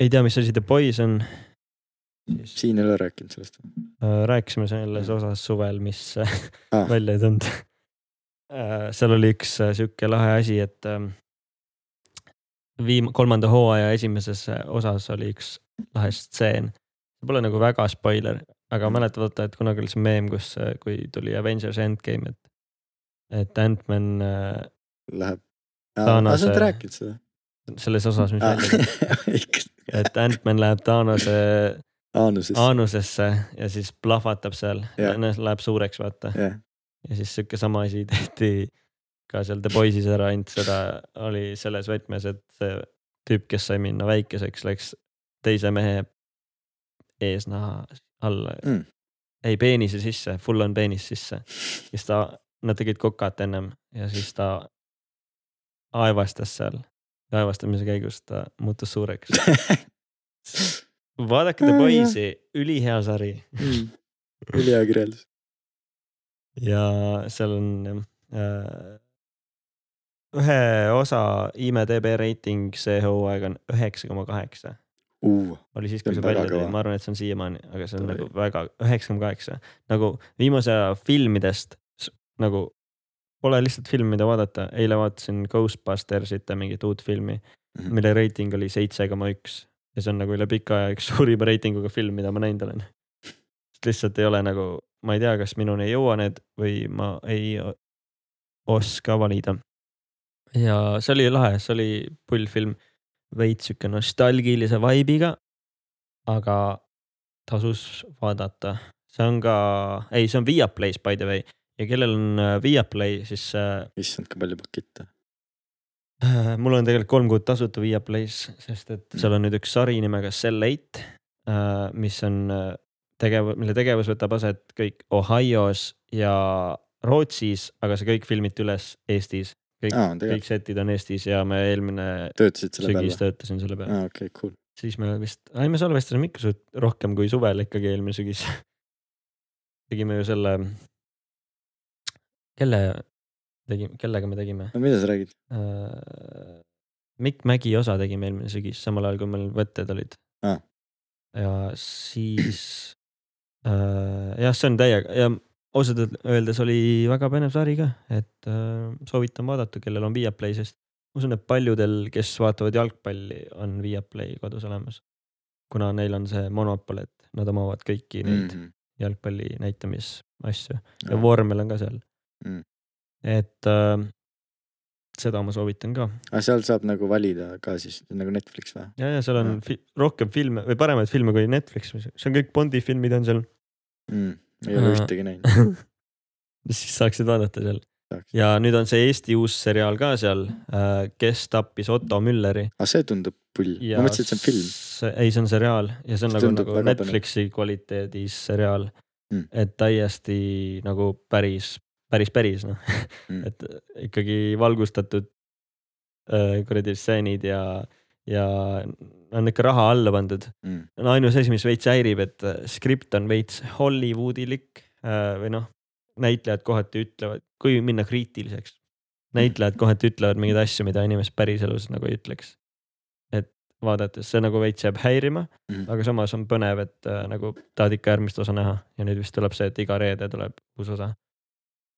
Speaker 3: ei tea , mis asi The Boys on , siis
Speaker 2: siin ei ole rääkinud sellest või ?
Speaker 3: äh, rääkisime selles osas suvel , mis äh,
Speaker 2: Ah.
Speaker 3: välja ei tulnud äh, . seal oli üks äh, sihuke lahe asi , et äh, viim- , kolmanda hooaja esimeses äh, osas oli üks lahe stseen . see pole nagu väga spoiler ,
Speaker 2: Mm.
Speaker 3: aga mäletad , vaata , et kunagi oli see meem , kus , kui tuli Avengers Endgame , et , et Ant-Man äh,
Speaker 2: Läheb . sa
Speaker 3: Taanase-
Speaker 2: oled rääkinud seda ?
Speaker 3: selles osas , mis ah. , et Ant-Man läheb Taanose
Speaker 2: Aanuses .
Speaker 3: aanusesse ja siis plahvatab seal ,
Speaker 2: Jah.
Speaker 3: läheb suureks , vaata .
Speaker 2: jah ,
Speaker 3: ja siis sihuke sama asi tehti ka seal The Boys'is ära , ainult seda oli selles võtmes , et see tüüp , kes sai minna väikeseks , läks teise mehe eesnaha alla
Speaker 2: Mm.
Speaker 3: mm. . ei , peenise sisse , full on peenis sisse . siis ta , nad tegid kokat ennem ja siis ta aevastas seal . aevastamise käigus ta muutus suureks . vaadake The
Speaker 2: Ah, jah.
Speaker 3: Boys'i , ülihea sari
Speaker 2: Mm. ülihea kirjeldus .
Speaker 3: ja seal on äh, ühe osa IMDB reiting see hooaeg on üheksa koma kaheksa , oli siis , kui
Speaker 2: See
Speaker 3: see
Speaker 2: on
Speaker 3: välja
Speaker 2: väga
Speaker 3: tuli ,
Speaker 2: kõva.
Speaker 3: ma arvan , et see on siiamaani , aga see on
Speaker 2: Oi.
Speaker 3: nagu väga üheksa koma kaheksa , nagu viimase aja filmidest s- nagu pole lihtsalt filmi , mida vaadata , eile vaatasin Ghostbustersite mingit uut filmi ,
Speaker 2: Mhm.
Speaker 3: mille reiting oli seitse koma üks ja see on nagu üle pika aja üks suurima reitinguga film , mida ma näinud olen . lihtsalt ei ole nagu , ma ei tea , kas minuni ei jõua need või ma ei o- oska valida . ja see oli lahe , see oli pull film , veits sihuke nostalgilise vibe'iga , aga tasus vaadata ,
Speaker 6: see on ka , ei , see on Viaplay's by the way ja kellel on äh, Viaplay , siis äh,
Speaker 2: issand , kui palju pakette .
Speaker 6: Äh, mul on tegelikult kolm kuud tasuta Via Play's , sest et seal on nüüd üks sari nimega Cell Eight , mis on äh, tegev , mille tegevus võtab aset kõik Ohio's ja Rootsis , aga see kõik filmiti üles Eestis . kõik
Speaker 2: aa , tegelikult
Speaker 6: kõik setid on Eestis ja me eelmine
Speaker 2: töötasid selle peal
Speaker 6: sügis
Speaker 2: või ?
Speaker 6: töötasin selle peale .
Speaker 2: aa , okei , cool .
Speaker 6: siis me vist , ei me salvestasime ikka suht rohkem kui suvel ikkagi eelmine sügis . tegime ju selle , kelle tegime , kellega me tegime ?
Speaker 2: no mida sa räägid ?
Speaker 6: äh, Mikk Mägi osa tegime eelmine sügis , samal ajal kui meil võtted olid
Speaker 2: Aa. .
Speaker 6: ja siis äh, jah , see on täiega ja ausalt öel- öeldes oli väga põnev sari ka , et äh, soovitan vaadata , kellel on Viaplay , sest ma usun , et paljudel , kes vaatavad jalgpalli , on Viaplay kodus olemas . kuna neil on see monopol , et nad omavad kõiki neid
Speaker 2: Mhm.
Speaker 6: mm. jalgpalli näitamisasju ja vormel on ka seal
Speaker 2: Mm. .
Speaker 6: et äh, seda ma soovitan ka
Speaker 2: aga seal saab nagu valida ka siis nagu Netflix või ?
Speaker 6: ja , ja seal on
Speaker 2: Mm.
Speaker 6: fi rohkem filme või paremaid filme kui Netflix , see on kõik Bondi filmid on seal ,
Speaker 2: Mhm. ei ole
Speaker 6: Aa.
Speaker 2: ühtegi näinud .
Speaker 6: siis saaksid vaadata seal
Speaker 2: Saaks.
Speaker 6: ja nüüd on see Eesti uus seriaal ka seal , kes tappis Otto Mülleri .
Speaker 2: aga see tundub pull .
Speaker 6: ja
Speaker 2: ma mõtlesin , et see on film .
Speaker 6: see- ei , see on seriaal ja see
Speaker 2: See
Speaker 6: on see nagu ,
Speaker 2: tundub
Speaker 6: nagu
Speaker 2: väga
Speaker 6: Netflixi kvaliteedis seriaal
Speaker 2: Mm.
Speaker 6: mm. . et täiesti nagu päris , päris , päris noh
Speaker 2: Mm.
Speaker 6: mm. , et ikkagi valgustatud äh, kuradi stseenid ja , ja on ikka raha alla pandud .
Speaker 2: Mm.
Speaker 6: no ainus asi , mis veits häirib , et äh, skript on veits Hollywoodilik äh, või noh , näitlejad kohati ütlevad , kui minna kriitiliseks , näitlejad kohati ütlevad mingeid asju , mida inimesed päriselus nagu ei ütleks . et vaadates see nagu veits jääb häirima ,
Speaker 2: Mm.
Speaker 6: aga samas on põnev , et äh, nagu tahad ikka järgmist osa näha ja nüüd vist tuleb see , et iga reede tuleb uus osa .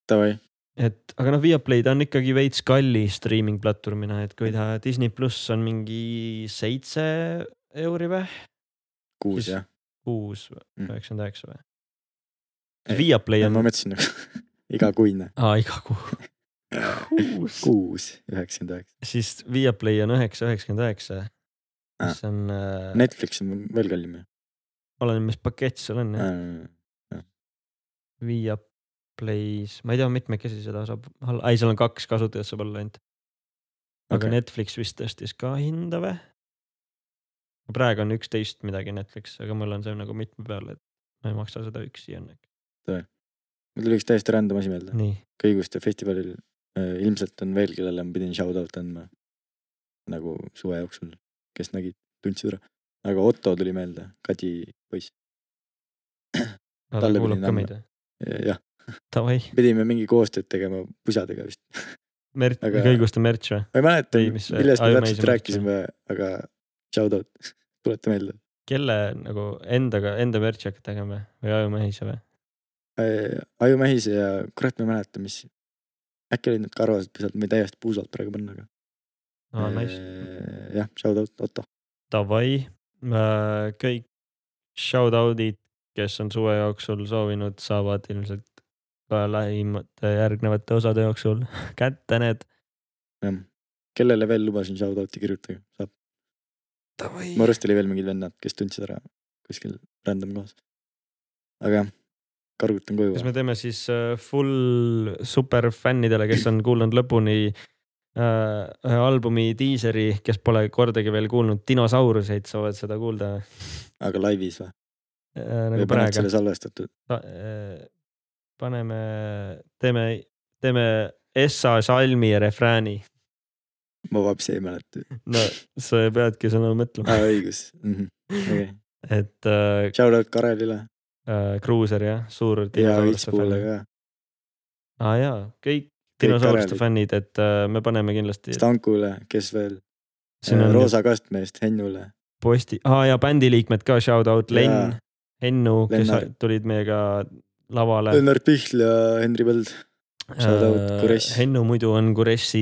Speaker 2: Davai ,
Speaker 6: et aga noh , Viaplay ta on ikkagi veits kalli streaming platvormina , et kui ta Disney pluss on mingi seitse euri või
Speaker 2: kuus
Speaker 6: Siis-
Speaker 2: jah ?
Speaker 6: kuus
Speaker 2: Mm.
Speaker 6: või üheksakümmend üheksa või
Speaker 2: Ei, ?
Speaker 6: Viaplay
Speaker 2: ma
Speaker 6: on ,
Speaker 2: mõtlesin nagu igakuine .
Speaker 6: aa iga kuu , Kuus.
Speaker 2: kuus , üheksakümmend üheksa .
Speaker 6: siis Viaplay on üheksa , üheksakümmend üheksa . mis on äh, Net... ,
Speaker 2: Netflix on veel kallim ju .
Speaker 6: oleneb mis pakett sul on jah ,
Speaker 2: Mm.
Speaker 6: Viaplay's , ma ei tea , mitmekesi seda saab , ei seal on kaks kasutajat saab olla ainult . aga
Speaker 2: Okei.
Speaker 6: okay. Netflix vist tõstis ka hinda või ? praegu on üksteist midagi Netflix , aga mul on see nagu mitme peal , et ma ei maksa seda üksi õnneks .
Speaker 2: mul tuli üks täiesti random asi meelde .
Speaker 6: nii ,
Speaker 2: kõiguste festivalil äh, ilmselt on veel , kellele ma pidin shout out andma . nagu suve jooksul , kes nägid , tundsid ära . aga Otto tuli meelde , Kadi poiss .
Speaker 6: aga
Speaker 2: Talle
Speaker 6: ta kuulab
Speaker 2: pidin
Speaker 6: ka
Speaker 2: andma.
Speaker 6: meid või ?
Speaker 2: jah ,
Speaker 6: Davai ,
Speaker 2: pidime mingi koostööd tegema pusadega vist .
Speaker 6: Mert
Speaker 2: Aga-
Speaker 6: aga... , kõiguste Merch või ?
Speaker 2: ma ei mäleta
Speaker 6: Ei, , mis see-
Speaker 2: millest me
Speaker 6: Iron
Speaker 2: täpselt
Speaker 6: Maiden
Speaker 2: rääkisime , aga shout out , tuleta meelde .
Speaker 6: kelle nagu endaga , enda Merch'i hakkad tegema või? või ajumehise või ?
Speaker 2: Ajumähise Äh, ja kurat , ma ei mäleta , mis . äkki olid need karvased pisad , ma ei täiesti puusalt praegu panna , aga .
Speaker 6: aa , Ah,
Speaker 2: Äh.
Speaker 6: nice ,
Speaker 2: jah , shout out Otto .
Speaker 6: davai , kõik shout out'id , kes on suve jooksul soovinud , saavad ilmselt ka lähimate järgnevate osade jooksul kätte need .
Speaker 2: jah , kellele veel lubasin shout out'i kirjutada , saab . mu arust oli veel mingid vennad , kes tundsid ära kuskil random kohas . aga jah , kargutan koju
Speaker 6: kas . me teeme siis äh, full super fännidele , kes on kuulanud lõpuni äh, ühe albumi diiseri , kes pole kordagi veel kuulnud dinosauruseid , saavad seda kuulda äh,
Speaker 2: aga laivis või ?
Speaker 6: nagu
Speaker 2: või paned
Speaker 6: praegu äh,
Speaker 2: selle . salvestatud ?
Speaker 6: paneme , teeme , teeme Essa salmi ja refrääni .
Speaker 2: ma vapsi ei mäleta .
Speaker 6: no sa peadki sõna mõtlema ,
Speaker 2: aa , õigus . okei ,
Speaker 6: et äh,
Speaker 2: shout out Karelile
Speaker 6: äh, Kruuser jah , suur
Speaker 2: ja
Speaker 6: dinosauruste
Speaker 2: Vitspuule
Speaker 6: fänn .
Speaker 2: ka .
Speaker 6: aa jaa , kõik dinosauruste
Speaker 2: Karelid.
Speaker 6: fännid , et äh, me paneme kindlasti .
Speaker 2: Stankule , kes veel ?
Speaker 6: siin on
Speaker 2: Roosa Kastmeest , Hennule .
Speaker 6: posti , aa ja bändiliikmed ka , shout out Len
Speaker 2: Jaa. ,
Speaker 6: Hennu , kes
Speaker 2: Lennart.
Speaker 6: tulid meiega lavale .
Speaker 2: Lennart Pihl ja Henri Põld . shout out
Speaker 6: Äh,
Speaker 2: Kuress.
Speaker 6: Hennu muidu on Kuressi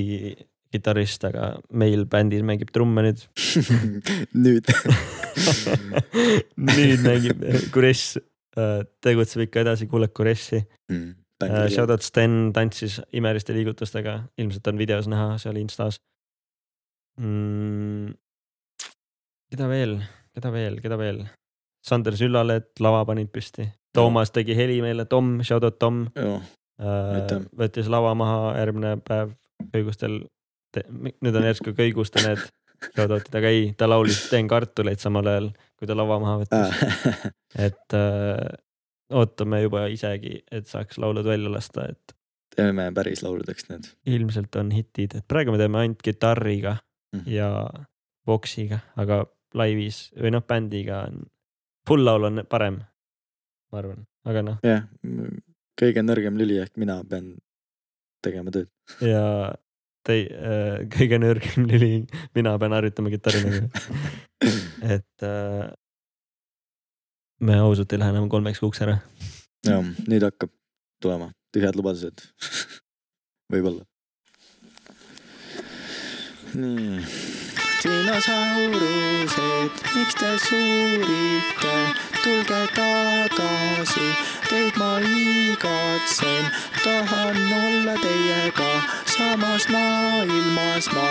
Speaker 6: kitarrist , aga meil bändis mängib trumme nüüd .
Speaker 2: nüüd
Speaker 6: nüüd mängib
Speaker 3: äh,
Speaker 6: Kuress , äh, tegutseb ikka edasi , kuuleb Kuressi .
Speaker 2: mm, .
Speaker 3: äh,
Speaker 6: Äh, Shout out Sten tantsis imeliste liigutustega , ilmselt on videos näha seal Instas mm, . keda veel , keda veel , keda veel ? Sander Süllalet lava panid püsti ,
Speaker 3: Toomas tegi heli meile , Tom , shout out Tom
Speaker 4: jah ,
Speaker 3: äh,
Speaker 4: Aitäh. .
Speaker 3: võttis lava maha , järgmine päev köigustel , nüüd on järsku
Speaker 6: Äh,
Speaker 3: köiguste need shout out'id , aga ei , ta laulis Teen kartuleid samal ajal , kui ta lava maha võttis , et äh, ootame juba isegi , et saaks laulud välja lasta , et
Speaker 4: teeme päris lauludeks need
Speaker 3: ilmselt on hitid , et praegu me teeme ainult kitarriga
Speaker 4: Mhm.
Speaker 3: ja voksiga , aga laivis või noh , bändiga on , full laul on parem , ma arvan , aga noh ,
Speaker 4: jah , kõige nõrgem lüli ehk mina pean tegema tööd .
Speaker 3: ja tei- , kõige nõrgem lüli , mina pean harjutama kitarri , et äh, me ausalt ei lähe enam kolmeks kuuks ära .
Speaker 4: jah , nüüd hakkab tulema tühjad lubadused . võib-olla . nii . dinosaurused , miks te suurite , tulge tagasi , teid ma igatsen , tahan olla teiega samas maailmas ma ,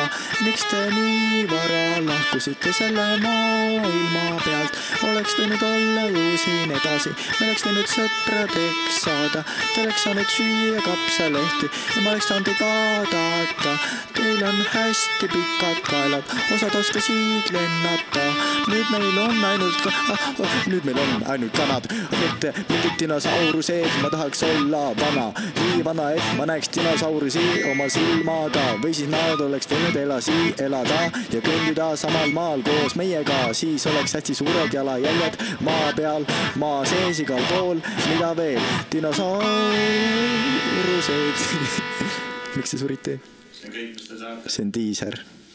Speaker 4: miks te nii vara lahkusite selle maailma pealt , oleks võinud olla ju siin edasi , me oleks võinud sõpradeks saada , te oleks saanud süüa kapsalehti ja ma oleks saanud teid vaadata . Teil on hästi pikad kaelad , osad oskasid lennata , nüüd meil on ainult ka- ah, , oh, nüüd meil on ainult kanad , mitte mingid dinosaurused , ma tahaks olla vana , nii vana , et ma näeks dinosaurusi oma silmaga või siis nad oleks võinud elasi elada ja kõndida samal maal koos meiega , siis oleks hästi suured jalajäljed maa peal , maa sees igal pool , mida veel , dinosaurused . miks te surite ? see on diiser .